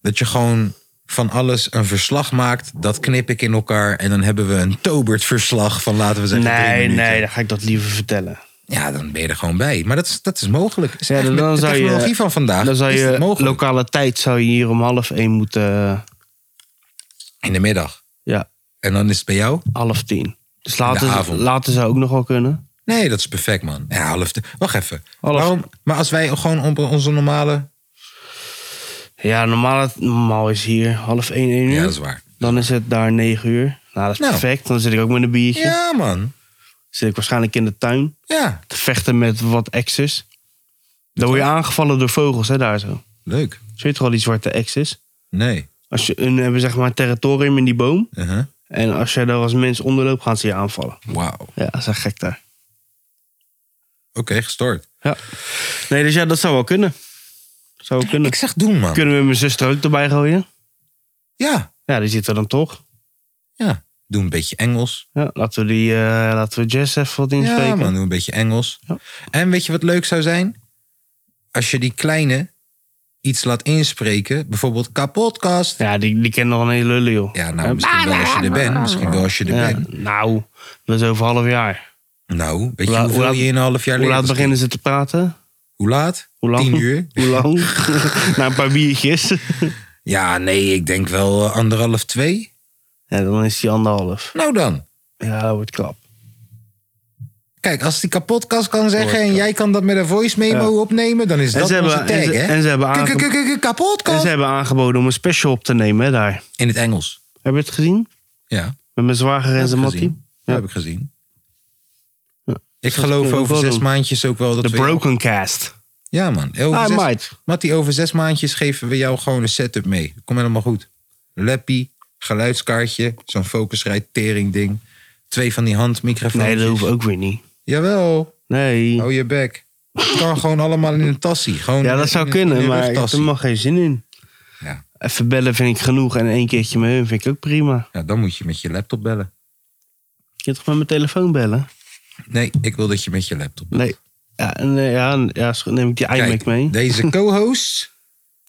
Speaker 1: Dat je gewoon van alles een verslag maakt. Dat knip ik in elkaar. En dan hebben we een tobert verslag van, laten we zeggen, drie
Speaker 2: Nee,
Speaker 1: minuten.
Speaker 2: nee, dan ga ik dat liever vertellen.
Speaker 1: Ja, dan ben je er gewoon bij. Maar dat is, dat is mogelijk. Is
Speaker 2: Ja,
Speaker 1: echt
Speaker 2: dan,
Speaker 1: met
Speaker 2: dan
Speaker 1: de
Speaker 2: zou je,
Speaker 1: technologie van vandaag
Speaker 2: Dan zou
Speaker 1: is
Speaker 2: je
Speaker 1: dat mogelijk.
Speaker 2: lokale tijd zou je hier om half één moeten. eh,
Speaker 1: In de middag.
Speaker 2: Ja,
Speaker 1: En dan is het bij jou?
Speaker 2: half tien. Dus later,
Speaker 1: avond.
Speaker 2: later zou ook nog wel kunnen.
Speaker 1: Nee, dat is perfect, man. Ja, half te- Wacht even.
Speaker 2: Half-
Speaker 1: Waarom? Maar als wij gewoon op onze normale...
Speaker 2: Ja, normaal, normaal is hier half één, één uur.
Speaker 1: Ja, dat is waar.
Speaker 2: Dan is het daar negen uur. Nou, dat is
Speaker 1: Nou.
Speaker 2: perfect. Dan zit ik ook met een biertje.
Speaker 1: Ja, man.
Speaker 2: Zit ik waarschijnlijk in de tuin.
Speaker 1: Ja,
Speaker 2: te vechten met wat exes. Dan word je aangevallen door vogels, hè, daar zo.
Speaker 1: leuk.
Speaker 2: Zie je toch al die zwarte exes?
Speaker 1: Nee.
Speaker 2: Als je een, hebben zeg maar een territorium in die boom.
Speaker 1: Uh-huh.
Speaker 2: En als jij daar als mens onderloopt, gaan ze je aanvallen.
Speaker 1: Wauw. Oké,
Speaker 2: Ja, dat is echt gek daar.
Speaker 1: gestoord.
Speaker 2: Ja. Nee, dus ja, dat zou wel kunnen. Zou wel kunnen.
Speaker 1: Ik zeg doen, man.
Speaker 2: Kunnen we mijn zuster ook erbij gooien?
Speaker 1: Ja,
Speaker 2: Ja, die zit er dan toch.
Speaker 1: ja. Doe een beetje Engels.
Speaker 2: Ja, laten we, die, eh, laten we Jess even wat inspreken.
Speaker 1: Ja, man. Doe een beetje Engels.
Speaker 2: Ja.
Speaker 1: En weet je wat leuk zou zijn? Als je die kleine iets laat inspreken. Bijvoorbeeld kapotkast.
Speaker 2: Ja, die, die kent nog een hele lullen, joh.
Speaker 1: Ja, nou, misschien wel als je er bent. Misschien wel als je er
Speaker 2: Ja,
Speaker 1: bent.
Speaker 2: nou, dat is over een half jaar.
Speaker 1: Nou, weet je
Speaker 2: Hoe laat-
Speaker 1: hoeveel
Speaker 2: hoe laat-
Speaker 1: je in een half jaar
Speaker 2: Hoe laat
Speaker 1: leert?
Speaker 2: beginnen ze te praten?
Speaker 1: Hoe laat?
Speaker 2: Hoe lang?
Speaker 1: Tien uur.
Speaker 2: Hoe lang? Na een paar biertjes.
Speaker 1: Ja, nee, ik denk wel eh, anderhalf, twee.
Speaker 2: Ja, dan is die anderhalf.
Speaker 1: Nou dan.
Speaker 2: Ja, dat wordt klap.
Speaker 1: Kijk, als die kapotkast kan zeggen en
Speaker 2: Hoort,
Speaker 1: jij kan dat met een voice memo opnemen, dan is
Speaker 2: En
Speaker 1: dat
Speaker 2: ze
Speaker 1: onze
Speaker 2: hebben- en
Speaker 1: tag,
Speaker 2: ze-
Speaker 1: hè?
Speaker 2: en ze hebben
Speaker 1: Kijk,
Speaker 2: aange-
Speaker 1: kijk, kijk, kijk,
Speaker 2: En
Speaker 1: kapotkast.
Speaker 2: ze hebben aangeboden om een special op te nemen hè, daar.
Speaker 1: In het Engels.
Speaker 2: Heb je het gezien?
Speaker 1: Ja,
Speaker 2: Met mijn zwager en
Speaker 1: heb
Speaker 2: zijn
Speaker 1: ik
Speaker 2: mattie.
Speaker 1: gezien. Dat
Speaker 2: Ja.
Speaker 1: heb ik gezien.
Speaker 2: Ja.
Speaker 1: Ik geloof
Speaker 2: kunnen we
Speaker 1: over
Speaker 2: wel
Speaker 1: zes
Speaker 2: doen.
Speaker 1: maandjes ook wel dat
Speaker 2: De
Speaker 1: we...
Speaker 2: Broken Cast.
Speaker 1: Ja, man. Over
Speaker 2: Ah,
Speaker 1: zes-
Speaker 2: mate.
Speaker 1: Mattie, over zes maandjes geven we jou gewoon een setup mee. Kom helemaal goed. Lappie, geluidskaartje, zo'n focusrij tering ding. Twee van die handmicrofoons.
Speaker 2: Nee, dat hoeft ook weer niet.
Speaker 1: Jawel.
Speaker 2: Nee.
Speaker 1: Hou je bek. Het kan gewoon allemaal in een tassie. Gewoon
Speaker 2: Ja, dat
Speaker 1: in-
Speaker 2: zou
Speaker 1: in- in
Speaker 2: kunnen,
Speaker 1: een
Speaker 2: maar ik heb er
Speaker 1: rugtassie.
Speaker 2: nog geen zin in.
Speaker 1: Ja.
Speaker 2: Even bellen vind ik genoeg en één keertje met hun vind ik ook prima.
Speaker 1: Ja, dan moet je met je laptop bellen.
Speaker 2: Je kunt toch met mijn telefoon bellen?
Speaker 1: Nee, ik wil dat je met je laptop belt.
Speaker 2: Nee. Ja, en, eh, ja, en- ja, zo neem ik die iMac
Speaker 1: Kijk,
Speaker 2: mee.
Speaker 1: deze co-hosts,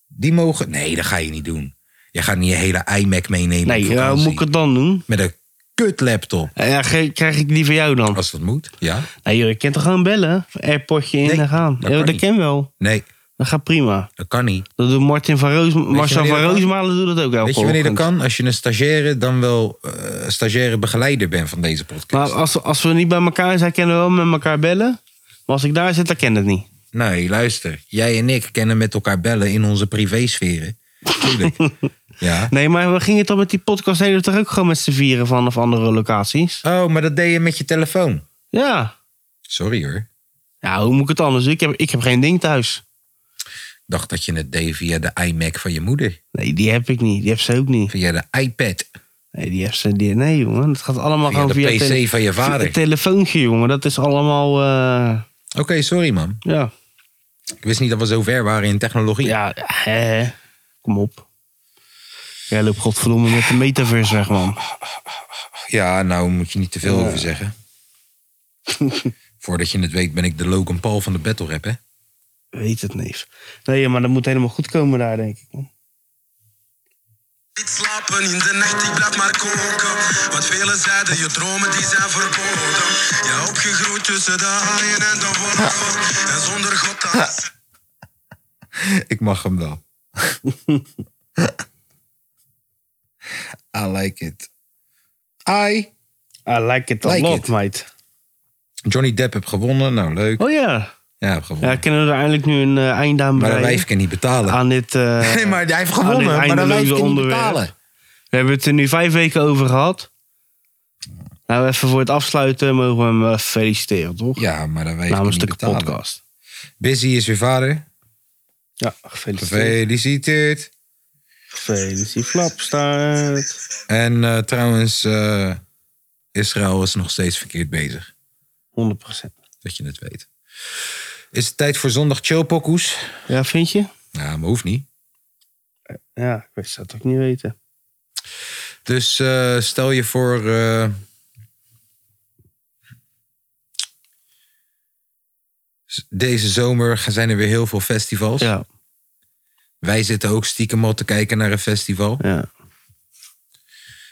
Speaker 1: die mogen... Nee, dat ga je niet doen. Je gaat niet je hele iMac meenemen.
Speaker 2: Nee,
Speaker 1: op
Speaker 2: ja, hoe
Speaker 1: vakantie.
Speaker 2: moet ik het dan doen? Eh,
Speaker 1: Met een kut laptop.
Speaker 2: Ja, ge- krijg ik die van jou dan?
Speaker 1: Als dat moet, ja.
Speaker 2: Nee joh, je kunt toch gewoon bellen? Airportje in
Speaker 1: Nee,
Speaker 2: en gaan.
Speaker 1: dat
Speaker 2: Ja,
Speaker 1: kan
Speaker 2: dat
Speaker 1: niet.
Speaker 2: ken wel.
Speaker 1: Nee,
Speaker 2: Dat gaat prima.
Speaker 1: dat kan niet.
Speaker 2: Dat doet Martin van Roos, Marcel
Speaker 1: wanneer
Speaker 2: van
Speaker 1: dat kan?
Speaker 2: Roosmalen doet dat ook elke
Speaker 1: Weet je wanneer dat
Speaker 2: ochtend.
Speaker 1: kan? Als je een stagiaire dan wel eh stagiaire begeleider bent van deze podcast.
Speaker 2: Maar als, als we niet bij elkaar zijn, kunnen we wel met elkaar bellen. Maar als ik daar zit, dan ken ik het niet.
Speaker 1: Nee, luister. Jij en ik kennen met elkaar bellen in onze privésferen. Tuurlijk. ja.
Speaker 2: Nee, maar we gingen toch met die podcast deden we toch ook gewoon met z'n vieren vanaf andere locaties?
Speaker 1: Oh, maar dat deed je met je telefoon.
Speaker 2: Ja.
Speaker 1: Sorry hoor.
Speaker 2: Ja, hoe moet ik het anders doen? Ik heb, ik heb geen ding thuis.
Speaker 1: Ik dacht dat je het deed via de iMac van je moeder.
Speaker 2: Nee, die heb ik niet. Die heeft ze ook niet.
Speaker 1: Via de iPad.
Speaker 2: Nee, die heeft ze... Die, nee, jongen. Het gaat allemaal
Speaker 1: Via
Speaker 2: gewoon
Speaker 1: de
Speaker 2: via...
Speaker 1: PC
Speaker 2: tele-
Speaker 1: van je vader.
Speaker 2: Het telefoontje, jongen. Dat is allemaal... eh,
Speaker 1: Oké, sorry man.
Speaker 2: ja.
Speaker 1: Ik wist niet dat we zo ver waren in technologie.
Speaker 2: Ja, hè, hè. Kom op. Jij loopt godverdomme met de metaverse weg, man.
Speaker 1: Ja, nou moet je niet te veel over zeggen. Voordat je het weet ben ik de Logan Paul van de battle rap, hè?
Speaker 2: Weet het, neef. Nee, maar dat moet helemaal goed komen daar, denk ik. man.
Speaker 6: Niet slapen in de nacht, ik blijf maar koken. Wat velen zeiden, je dromen die zijn verboden. Ja, opgegroeid tussen de haaien en de wolven. En zonder God dat is-
Speaker 1: Ik mag hem wel. I like it. I.
Speaker 2: I like it a
Speaker 1: Like
Speaker 2: lot,
Speaker 1: it.
Speaker 2: mate.
Speaker 1: Johnny Depp heb gewonnen. Nou, leuk.
Speaker 2: Oh ja.
Speaker 1: Ja, heb
Speaker 2: ja
Speaker 1: gewonnen.
Speaker 2: kunnen we er eindelijk nu een eh, einde aan
Speaker 1: maar dat
Speaker 2: breien?
Speaker 1: wijf kan niet betalen.
Speaker 2: Aan dit... eh,
Speaker 1: nee, maar hij heeft
Speaker 2: aan dit
Speaker 1: gewonnen. Maar dat
Speaker 2: eindeloze
Speaker 1: wijf kan niet
Speaker 2: onderwerp.
Speaker 1: betalen.
Speaker 2: We hebben het er nu vijf weken over gehad. Nou, even voor het afsluiten mogen we hem eh, feliciteren, toch?
Speaker 1: Ja, maar dat wijf kan
Speaker 2: Namens
Speaker 1: niet
Speaker 2: de
Speaker 1: betalen.
Speaker 2: podcast.
Speaker 1: Busy is weer vader.
Speaker 2: Ja, gefeliciteerd.
Speaker 1: Gefeliciteerd.
Speaker 2: Gefeliciteerd, Flapstaart.
Speaker 1: En eh, trouwens, eh, Israël is nog steeds verkeerd bezig.
Speaker 2: 100%.
Speaker 1: Dat je het weet. Is het tijd voor zondag chillpokkoes?
Speaker 2: Ja, vind je?
Speaker 1: Nou, maar hoeft niet.
Speaker 2: Ja, ik weet zou het ook niet weten.
Speaker 1: Dus eh, stel je voor... eh, s- deze zomer gaan- zijn er weer heel veel festivals.
Speaker 2: Ja,
Speaker 1: Wij zitten ook stiekem al te kijken naar een festival.
Speaker 2: ja.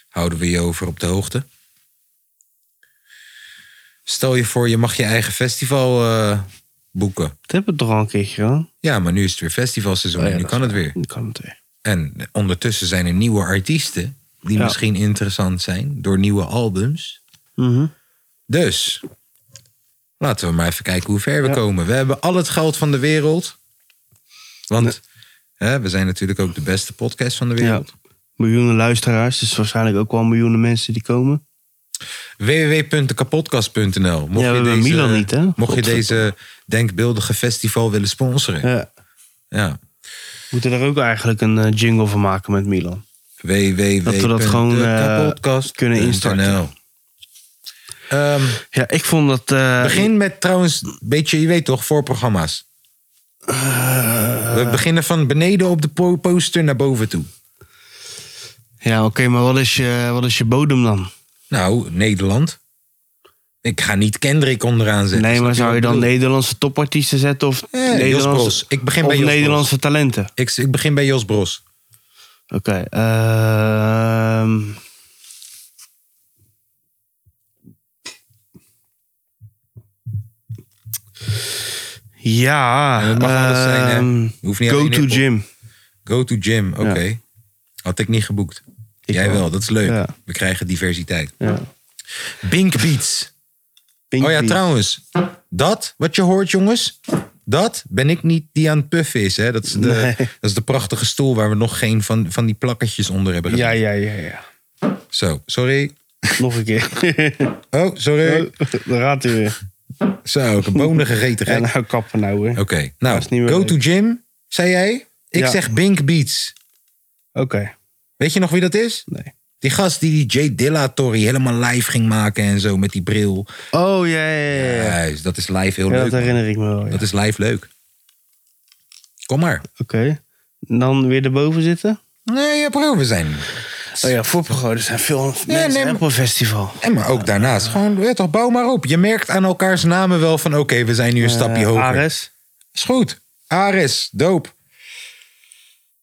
Speaker 1: Houden we je over op de hoogte. Stel je voor, je mag je eigen festival eh, boeken.
Speaker 2: Dat hebben we toch al een keertje gedaan?
Speaker 1: Ja, maar nu is het weer festivalseizoen
Speaker 2: Oh ja,
Speaker 1: en nu
Speaker 2: dat
Speaker 1: kan
Speaker 2: is
Speaker 1: het weer.
Speaker 2: Nu kan het weer.
Speaker 1: En ondertussen zijn er nieuwe artiesten die
Speaker 2: Ja.
Speaker 1: misschien interessant zijn door nieuwe albums.
Speaker 2: Mhm.
Speaker 1: Dus laten we maar even kijken hoe ver we komen. We hebben al het geld van de wereld. Want hè, we zijn natuurlijk ook de beste podcast van de
Speaker 2: Ja.
Speaker 1: wereld.
Speaker 2: Miljoenen luisteraars, dus waarschijnlijk ook wel miljoenen mensen die komen.
Speaker 1: www.kapodcast.nl. Mocht
Speaker 2: Ja, we
Speaker 1: je
Speaker 2: hebben
Speaker 1: deze,
Speaker 2: Milan niet, hè?
Speaker 1: Mocht je
Speaker 2: Godverdomme.
Speaker 1: deze denkbeeldige festival willen sponsoren. Ja.
Speaker 2: Ja. We moeten er ook eigenlijk een eh, jingle van maken met Milan. gewoon,
Speaker 1: www.kapodcast.nl.
Speaker 2: eh, kunnen instarten.
Speaker 1: Ehm,
Speaker 2: Ja, ik vond dat... eh,
Speaker 1: begin met trouwens, een beetje, je weet toch, voorprogramma's. We beginnen van beneden op de po- poster naar boven toe.
Speaker 2: Ja, oké, maar wat is, je, wat is je bodem dan?
Speaker 1: Nou, Nederland. Ik ga niet Kendrick onderaan zetten.
Speaker 2: nee,
Speaker 1: snap
Speaker 2: maar zou
Speaker 1: wat
Speaker 2: je
Speaker 1: ik
Speaker 2: dan
Speaker 1: bedoel?
Speaker 2: Nederlandse topartiesten zetten of
Speaker 1: Ja, Jos Bros.
Speaker 2: Nederlandse,
Speaker 1: Ik begin
Speaker 2: of
Speaker 1: bij Jos Bros.
Speaker 2: Nederlandse talenten?
Speaker 1: Ik, ik begin bij Jos Bros.
Speaker 2: Oké. ehm. ja.
Speaker 1: En dat mag alles zijn, hè?
Speaker 2: ehm,
Speaker 1: Hoeft niet
Speaker 2: Go
Speaker 1: alleen
Speaker 2: to
Speaker 1: hip-hop.
Speaker 2: gym.
Speaker 1: Go to gym, oké. Had ik niet geboekt.
Speaker 2: Ik
Speaker 1: Jij
Speaker 2: wel.
Speaker 1: wel, dat is leuk.
Speaker 2: Ja.
Speaker 1: We krijgen diversiteit.
Speaker 2: Ja.
Speaker 1: Bink Beats.
Speaker 2: Pink
Speaker 1: oh ja,
Speaker 2: Beat.
Speaker 1: trouwens. Dat, wat je hoort jongens. Dat ben ik niet die aan het puffen is. Hè? Dat, is de, dat is de prachtige stoel waar we nog geen van, van die plakketjes onder hebben
Speaker 2: Ja,
Speaker 1: gedaan.
Speaker 2: ja, ja, ja.
Speaker 1: Zo, sorry.
Speaker 2: Nog een keer.
Speaker 1: Oh, sorry.
Speaker 2: Daar gaat hij weer.
Speaker 1: Zo, ik heb bonen gegeten.
Speaker 2: En
Speaker 1: gek.
Speaker 2: nou kappen nou, hè.
Speaker 1: Oké,
Speaker 2: Oké.
Speaker 1: nou,
Speaker 2: Dat is niet meer
Speaker 1: Go
Speaker 2: leuk.
Speaker 1: to Gym, zei jij. Ik
Speaker 2: Ja.
Speaker 1: zeg Bink Beats. Weet je nog wie dat is?
Speaker 2: Nee.
Speaker 1: Die gast die die J. Dillatory helemaal live ging maken en zo met die bril.
Speaker 2: Oh, ja, ja, ja. ja.
Speaker 1: Juist, dat is live heel
Speaker 2: Ja,
Speaker 1: leuk.
Speaker 2: dat
Speaker 1: man.
Speaker 2: herinner ik me wel. ja.
Speaker 1: Dat is live leuk. Kom maar.
Speaker 2: Oké. En Dan weer erboven zitten?
Speaker 1: Nee, ja, proeven zijn.
Speaker 2: Oh ja, voorprogramma's zijn veel
Speaker 1: nee, maar-
Speaker 2: op een festival.
Speaker 1: En maar ook daarnaast. Gewoon, weet toch, bouw maar op. Je merkt aan elkaars namen wel van... oké, we zijn nu een stapje
Speaker 2: Eh,
Speaker 1: hoger.
Speaker 2: Ares.
Speaker 1: Is goed. Ares, doop.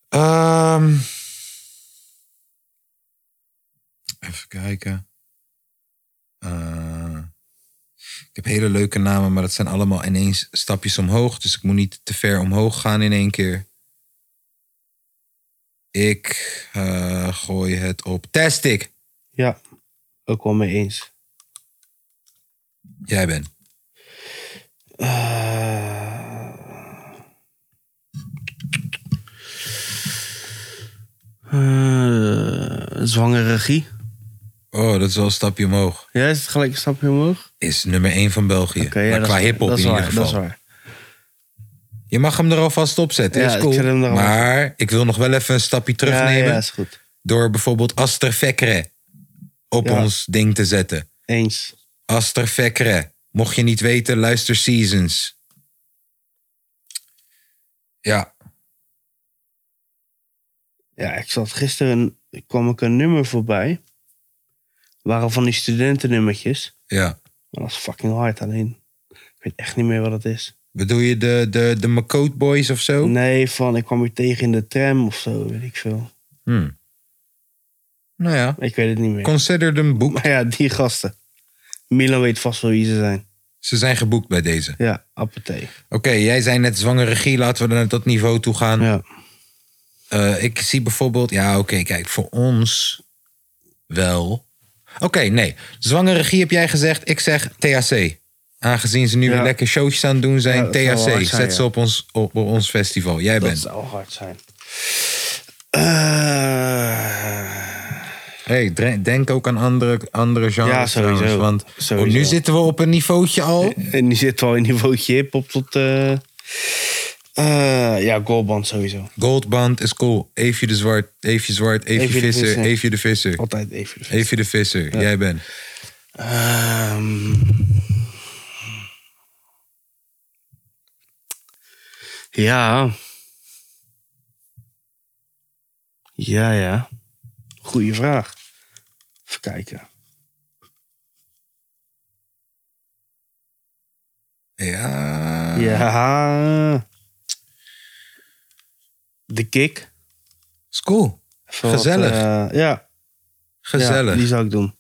Speaker 1: Ehm. even kijken. Eh, ik heb hele leuke namen, maar dat zijn allemaal ineens stapjes omhoog. Dus ik moet niet te ver omhoog gaan in één keer. Ik eh, gooi het op. Tastic.
Speaker 2: Ja, ook wel mee eens.
Speaker 1: Jij bent.
Speaker 2: Eh. Eh, zwangere regie.
Speaker 1: Oh, dat is wel een stapje omhoog.
Speaker 2: Ja, is het gelijk een stapje omhoog?
Speaker 1: Is nummer 1 van België.
Speaker 2: Oké, ja,
Speaker 1: maar
Speaker 2: dat
Speaker 1: qua
Speaker 2: is-
Speaker 1: hip-hop
Speaker 2: dat
Speaker 1: in
Speaker 2: is
Speaker 1: ieder
Speaker 2: waar,
Speaker 1: geval.
Speaker 2: Dat is waar.
Speaker 1: Je mag hem er alvast op zetten.
Speaker 2: Ja,
Speaker 1: is
Speaker 2: ik
Speaker 1: cool.
Speaker 2: zet hem er al
Speaker 1: maar ik wil nog wel even een stapje
Speaker 2: Ja,
Speaker 1: terugnemen.
Speaker 2: ja, is goed.
Speaker 1: Door bijvoorbeeld Aster Fekre op
Speaker 2: Ja.
Speaker 1: ons ding te zetten.
Speaker 2: Eens.
Speaker 1: Aster Fekre. Mocht je niet weten, luister Seasons. Ja,
Speaker 2: Ja, ik zat gisteren, kwam ik een nummer voorbij. Waren van die studentennummertjes.
Speaker 1: ja.
Speaker 2: Maar dat is fucking hard alleen. Ik weet echt niet meer wat het is.
Speaker 1: Bedoel je de, de, de McCoat Boys of zo?
Speaker 2: Nee, van ik kwam je tegen in de tram of zo, weet ik veel.
Speaker 1: Hmm. Nou ja,
Speaker 2: Ik weet het niet meer.
Speaker 1: consider them boek.
Speaker 2: Maar ja, die gasten. Milan weet vast wel wie ze zijn.
Speaker 1: Ze zijn geboekt bij deze.
Speaker 2: Ja, apotheek.
Speaker 1: Oké, jij zei net zwangere regie. Laten we naar dat niveau toe gaan.
Speaker 2: Ja.
Speaker 1: Eh, ik zie bijvoorbeeld, ja, oké, kijk, voor ons wel. Oké, nee. Zwangere regie heb jij gezegd. Ik zeg THC. Aangezien ze nu
Speaker 2: Ja.
Speaker 1: weer lekker showtjes aan het doen
Speaker 2: Ja,
Speaker 1: zijn.
Speaker 2: dat zou wel
Speaker 1: THC.
Speaker 2: hard zijn,
Speaker 1: Zet ze
Speaker 2: ja.
Speaker 1: op ons, op, op ons festival. Jij bent.
Speaker 2: zou hard zijn. Eh,
Speaker 1: Hey, dre- denk ook aan andere, andere genres
Speaker 2: Ja, sowieso.
Speaker 1: trouwens, Want oh,
Speaker 2: Sowieso. Eh?
Speaker 1: nu zitten we op een niveautje al.
Speaker 2: en die zit wel in niveautje hip-hop tot. eh, eh, ja, Goalband sowieso.
Speaker 1: Goldband is cool. Eefje de Zwart, Eefje Zwart, Eefje,
Speaker 2: Eefje de
Speaker 1: Visser,
Speaker 2: Visser.
Speaker 1: Eefje de Visser.
Speaker 2: Altijd even.
Speaker 1: Eefje de Visser, jij bent.
Speaker 2: Ehm. ja. Ja, ja. Goeie vraag. Even kijken.
Speaker 1: Ja.
Speaker 2: Ja. De kick.
Speaker 1: Is cool.
Speaker 2: Even wat,
Speaker 1: Gezellig.
Speaker 2: eh, ja,
Speaker 1: Gezellig.
Speaker 2: ja, die zou ik doen.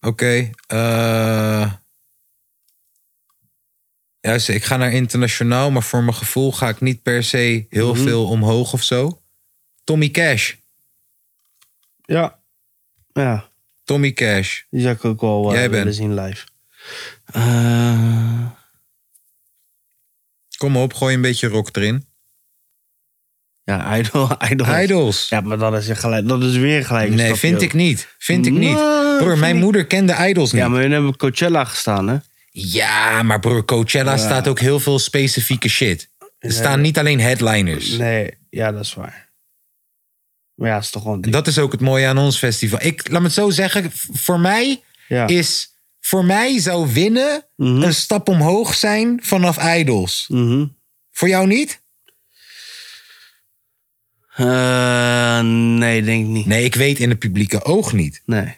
Speaker 1: Oké. eh juist, ik ga naar internationaal, maar voor mijn gevoel ga ik niet per se heel
Speaker 2: Mhm.
Speaker 1: veel omhoog of zo. Tommy Cash.
Speaker 2: Ja. Ja,
Speaker 1: Tommy Cash.
Speaker 2: die zou ik ook wel eh,
Speaker 1: Jij bent.
Speaker 2: willen zien live. Eh,
Speaker 1: Kom op, gooi een beetje rock erin.
Speaker 2: ja, Idol. Idol.
Speaker 1: Idols.
Speaker 2: Ja, maar dat is, een gelijk, dat is weer gelijk. een
Speaker 1: nee,
Speaker 2: stapje
Speaker 1: vind ik
Speaker 2: hoger.
Speaker 1: niet. Vind ik
Speaker 2: Nee,
Speaker 1: niet. Broer,
Speaker 2: vind
Speaker 1: mijn
Speaker 2: ik-
Speaker 1: moeder kende Idols niet.
Speaker 2: Ja, maar hun hebben Coachella gestaan, hè?
Speaker 1: Ja, maar broer, Coachella staat ook heel veel specifieke shit. Er staan niet alleen headliners.
Speaker 2: Nee, ja, dat is waar. Maar ja, het is toch gewoon...
Speaker 1: En dat is ook het mooie aan ons festival. Ik, laat me het zo zeggen, v- voor mij
Speaker 2: Ja.
Speaker 1: is... Voor mij zou winnen
Speaker 2: Mhm.
Speaker 1: een stap omhoog zijn vanaf Idols.
Speaker 2: Mhm.
Speaker 1: Voor jou niet?
Speaker 2: Eh, nee, denk ik niet.
Speaker 1: Nee, ik weet in het publieke oog niet.
Speaker 2: Nee.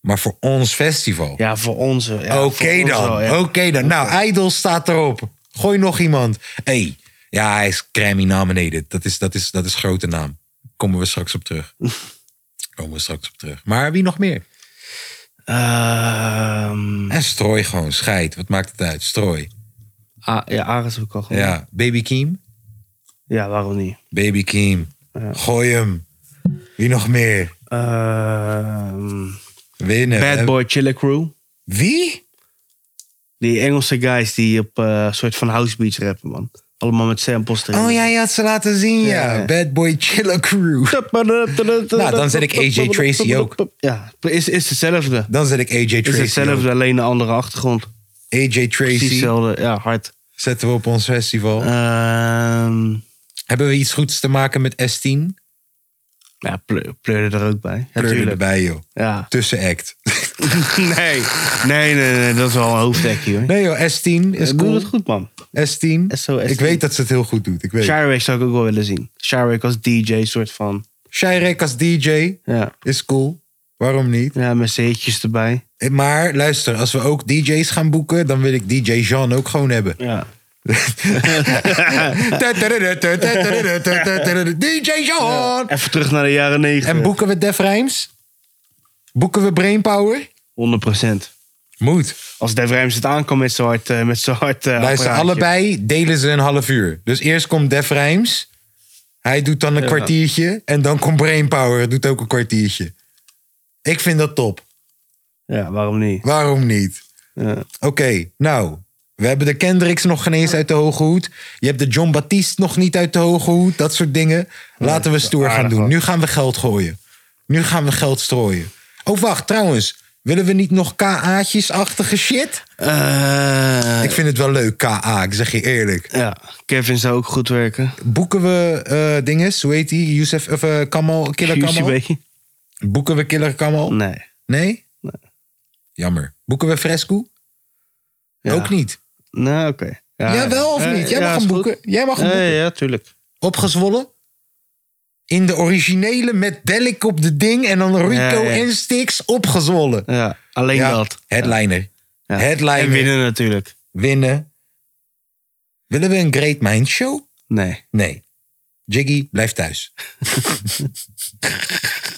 Speaker 1: Maar voor ons festival.
Speaker 2: Ja, voor onze. Ja,
Speaker 1: Oké
Speaker 2: voor ons
Speaker 1: dan,
Speaker 2: wel, ja.
Speaker 1: oké dan. Nou, Idols staat erop. Gooi nog iemand. hey, ja, hij is Grammy nominated. Dat is, dat, is, dat is grote naam. Komen we straks op terug. Komen we straks op terug. Maar wie nog meer?
Speaker 2: Ehm,
Speaker 1: En strooi gewoon, scheid. Wat maakt het uit? Strooi.
Speaker 2: A- ja, Ares heb ik al gewoon. Ja.
Speaker 1: Ja, Baby Keem.
Speaker 2: waarom niet?
Speaker 1: Baby Keem. Gooi hem. Wie nog meer?
Speaker 2: Ehm,
Speaker 1: Winnen. Eh,
Speaker 2: Bad Boy Chiller Crew.
Speaker 1: Wie?
Speaker 2: Die Engelse guys die op eh, een soort van house beats rappen, man. Allemaal met samples erin.
Speaker 1: Oh ja, je had ze laten zien, ja.
Speaker 2: Ja.
Speaker 1: Bad Boy Chilla Crew. Nou, dan zet ik AJ Tracy ook.
Speaker 2: Ja, is, is hetzelfde.
Speaker 1: Dan zet ik AJ
Speaker 2: Is
Speaker 1: Tracy.
Speaker 2: hetzelfde, alleen een andere achtergrond.
Speaker 1: op. AJ
Speaker 2: Precies
Speaker 1: Tracy
Speaker 2: hetzelfde, ja, hard.
Speaker 1: zetten we op ons festival.
Speaker 2: Ehm
Speaker 1: Hebben we iets goeds te maken met S10?
Speaker 2: ja, pleur, pleurde er ook bij. Ja,
Speaker 1: Pleur
Speaker 2: tuurlijk.
Speaker 1: erbij, joh.
Speaker 2: Ja.
Speaker 1: Tussenact.
Speaker 2: nee. nee, nee, nee, dat is wel een hoofdhekje hoor.
Speaker 1: Nee, joh, S10 is
Speaker 2: Ik doe
Speaker 1: cool.
Speaker 2: het goed, man.
Speaker 1: S10.
Speaker 2: SO,
Speaker 1: Ik weet dat ze het heel goed doet. Ik weet.
Speaker 2: Shirek zou ik ook wel willen zien. Shirek als DJ, soort van.
Speaker 1: Shirek als DJ
Speaker 2: Ja,
Speaker 1: is cool. Waarom niet?
Speaker 2: ja met zeetjes erbij.
Speaker 1: Maar luister, als we ook DJ's gaan boeken, dan wil ik DJ Jean ook gewoon hebben.
Speaker 2: Ja.
Speaker 1: DJ Jean!
Speaker 2: Even terug naar de jaren 90.
Speaker 1: En boeken we Def Rijms? Boeken we Brainpower?
Speaker 2: 100%.
Speaker 1: Moet.
Speaker 2: Als Dave Rijms het aankomt met zo'n hard. eh, met zo'n hard eh,
Speaker 1: Luister,
Speaker 2: apparaatje.
Speaker 1: allebei delen ze een half uur. Dus eerst komt Def Rijms. Hij doet dan een kwartiertje. En dan komt Brainpower. Doet ook een kwartiertje. Ik vind dat top.
Speaker 2: Ja, waarom niet?
Speaker 1: Waarom niet?
Speaker 2: Ja.
Speaker 1: Oké, nou. We hebben de Kendricks nog geen eens uit de hoge hoed. Je hebt de John Baptiste nog niet uit de hoge hoed. Dat soort dingen. Laten we stoer gaan
Speaker 2: aardig
Speaker 1: doen.
Speaker 2: wat.
Speaker 1: Nu gaan we geld gooien. Nu gaan we geld strooien. Oh, wacht. Trouwens. Willen we niet nog KA'tjes-achtige shit?
Speaker 2: Eh,
Speaker 1: Ik vind het wel leuk, KA. Ik zeg je eerlijk.
Speaker 2: ja, Kevin zou ook goed werken.
Speaker 1: Boeken we eh dinges, hoe heet die? Youssef, of eh, Kamal, Killer Kamal?
Speaker 2: QCB?
Speaker 1: Boeken we Killer Kamal? Nee?
Speaker 2: Mm. Nee.
Speaker 1: Jammer. Boeken we Fresco?
Speaker 2: Ja.
Speaker 1: Ook niet.
Speaker 2: Nou, oké.
Speaker 1: Ja, wel of
Speaker 2: Eh,
Speaker 1: niet? Jij
Speaker 2: ja,
Speaker 1: mag
Speaker 2: is
Speaker 1: hem
Speaker 2: goed.
Speaker 1: boeken. Jij mag hem
Speaker 2: Ja,
Speaker 1: boeken.
Speaker 2: ja, tuurlijk.
Speaker 1: Opgezwollen? In de originele met Delik op de ding en dan Rico
Speaker 2: Ja, ja.
Speaker 1: en Stix opgezwollen.
Speaker 2: Ja, alleen dat.
Speaker 1: headliner.
Speaker 2: Ja.
Speaker 1: Headliner.
Speaker 2: En winnen natuurlijk.
Speaker 1: Winnen. Willen we een Great Mind Show?
Speaker 2: Nee.
Speaker 1: Nee. Jiggy, blijf thuis.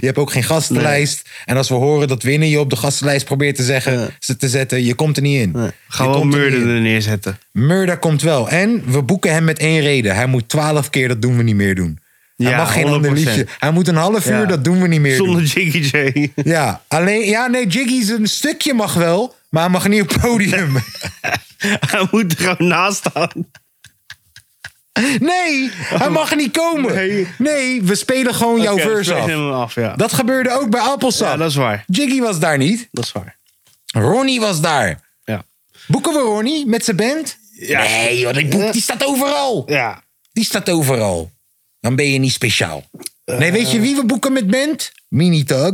Speaker 1: je hebt ook geen gastenlijst. En als we horen dat winnen je op de gastenlijst probeert te zeggen,
Speaker 2: Ja.
Speaker 1: ze te zetten, je komt er niet in.
Speaker 2: nee. Ga
Speaker 1: Je
Speaker 2: wel
Speaker 1: komt er
Speaker 2: Murder
Speaker 1: niet in.
Speaker 2: er neerzetten.
Speaker 1: Murda komt wel. En we boeken hem met één reden. Hij moet twaalf keer dat doen we niet meer doen. Hij
Speaker 2: Ja,
Speaker 1: mag geen ander
Speaker 2: 100%.
Speaker 1: liedje. Hij moet een half uur,
Speaker 2: Ja.
Speaker 1: dat doen we niet meer.
Speaker 2: Zonder
Speaker 1: doen.
Speaker 2: Jiggy J.
Speaker 1: Ja, alleen, ja, nee, Jiggy's een stukje mag wel, maar hij mag niet op het podium.
Speaker 2: Hij moet er gewoon naast staan.
Speaker 1: Nee, hij mag niet komen.
Speaker 2: Nee.
Speaker 1: Nee, we spelen gewoon jouw
Speaker 2: Oké,
Speaker 1: verse
Speaker 2: spreek
Speaker 1: af.
Speaker 2: hem af, ja.
Speaker 1: Dat gebeurde ook bij Appelsap.
Speaker 2: Ja, dat is waar.
Speaker 1: Jiggy was daar niet.
Speaker 2: Dat is waar.
Speaker 1: Ronnie was daar.
Speaker 2: Ja.
Speaker 1: Boeken we Ronnie met zijn band? Nee joh, die, boek, die staat overal.
Speaker 2: Ja.
Speaker 1: Die staat overal. Dan ben je niet speciaal. Nee, weet je wie we boeken met band? Minitug.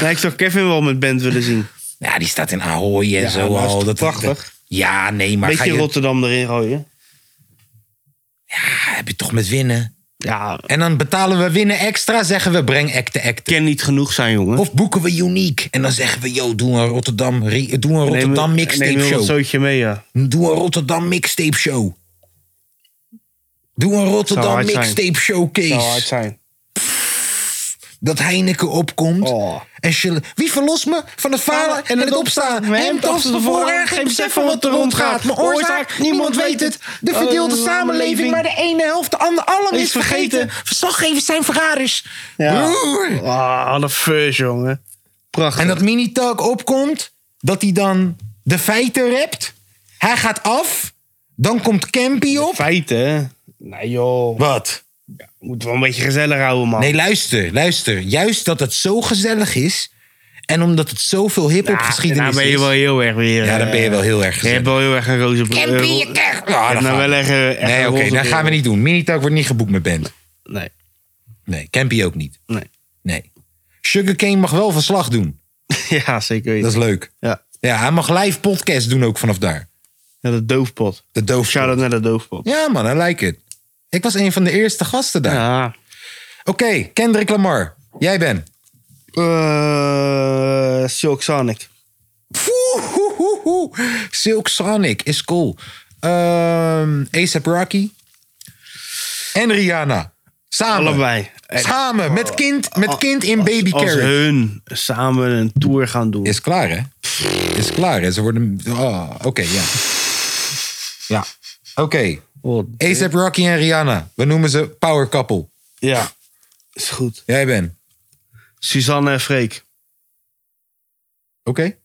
Speaker 2: Nee, ik zou Kevin wel met band willen zien.
Speaker 1: Ja, die staat in Ahoy en zo
Speaker 2: maar is
Speaker 1: al.
Speaker 2: toch
Speaker 1: Dat,
Speaker 2: prachtig?
Speaker 1: ja, nee, maar ga
Speaker 2: Beetje
Speaker 1: je,
Speaker 2: Rotterdam erin gooien.
Speaker 1: Ah, heb je toch met winnen?
Speaker 2: Ja,
Speaker 1: En dan betalen we winnen extra, zeggen we breng act te act.
Speaker 2: kan niet genoeg zijn, jongen.
Speaker 1: Of boeken we uniek en dan zeggen we, yo, doe een Rotterdam, re- doe een Rotterdam mixtape
Speaker 2: Neem een
Speaker 1: show.
Speaker 2: zootje mee, ja.
Speaker 1: Doe een Rotterdam mixtape show. Doe een
Speaker 2: Zou
Speaker 1: Rotterdam
Speaker 2: hard zijn.
Speaker 1: mixtape
Speaker 2: Zou hard
Speaker 1: showcase.
Speaker 2: Nou, zijn.
Speaker 1: Dat Heineken opkomt.
Speaker 2: Oh.
Speaker 1: En Shell- wie verlost me van het falen en het opstaan? Hem als tevoren, geen besef van wat er rondgaat. Mijn oorzaak, niemand weet het. De verdeelde samenleving, maar de ene helft, de andere, allen is vergeten. Verslaggevers zijn verraders. Broer.
Speaker 2: Ah, wat een fus, jongen. Prachtig.
Speaker 1: En dat Minitalk opkomt, dat hij dan de feiten rept. Hij gaat af, dan komt Campy op.
Speaker 2: Feiten, hè? Nee, joh.
Speaker 1: Wat?
Speaker 2: Moeten we een beetje gezellig houden, man.
Speaker 1: Nee, luister, luister. Juist dat het zo gezellig is. En omdat het zoveel hip-hop
Speaker 2: nou
Speaker 1: geschiedenis
Speaker 2: ben je
Speaker 1: is.
Speaker 2: wel heel erg weer... eh,
Speaker 1: Ja, dan ben je wel heel erg
Speaker 2: Je
Speaker 1: gezellig.
Speaker 2: hebt wel heel erg een roze... eh, ro-
Speaker 1: Campy, je krijgt... Oh,
Speaker 2: Je
Speaker 1: dan
Speaker 2: hebt nou
Speaker 1: gaan
Speaker 2: wel
Speaker 1: we.
Speaker 2: echt, eh, echt
Speaker 1: Nee,
Speaker 2: een
Speaker 1: oké,
Speaker 2: roze
Speaker 1: dat gaan we niet doen. Minitalk wordt niet geboekt met band.
Speaker 2: wereld. Nee,
Speaker 1: Nee, Campy ook niet.
Speaker 2: nee.
Speaker 1: Nee. Sugarcane mag wel verslag doen.
Speaker 2: Ja, zeker
Speaker 1: Dat
Speaker 2: weten.
Speaker 1: is leuk.
Speaker 2: Ja.
Speaker 1: Ja, hij mag live podcast doen ook vanaf daar.
Speaker 2: ja, de doofpot.
Speaker 1: De doof.
Speaker 2: Shout-out naar de doofpot.
Speaker 1: Ja man, I like it. Ik was een van de eerste gasten daar.
Speaker 2: Ja.
Speaker 1: Oké, Kendrick Lamar. Jij bent.
Speaker 2: Eh, Silk Sonic.
Speaker 1: Poehoehoehoe. Silk Sonic is cool. Ehm ASAP Rocky. En Rihanna. Samen.
Speaker 2: Allebei. Echt.
Speaker 1: Samen. Met kind, met kind in baby
Speaker 2: Als
Speaker 1: carriage.
Speaker 2: hun samen een tour gaan doen.
Speaker 1: Is klaar, hè? Is klaar, hè? Ze worden... oh, Oké, ja. Ja. Oké.
Speaker 2: Oh,
Speaker 1: ASAP Rocky en Rihanna. We noemen ze power couple.
Speaker 2: Ja, is goed.
Speaker 1: Jij bent.
Speaker 2: Suzanne en Freek.
Speaker 1: Oké.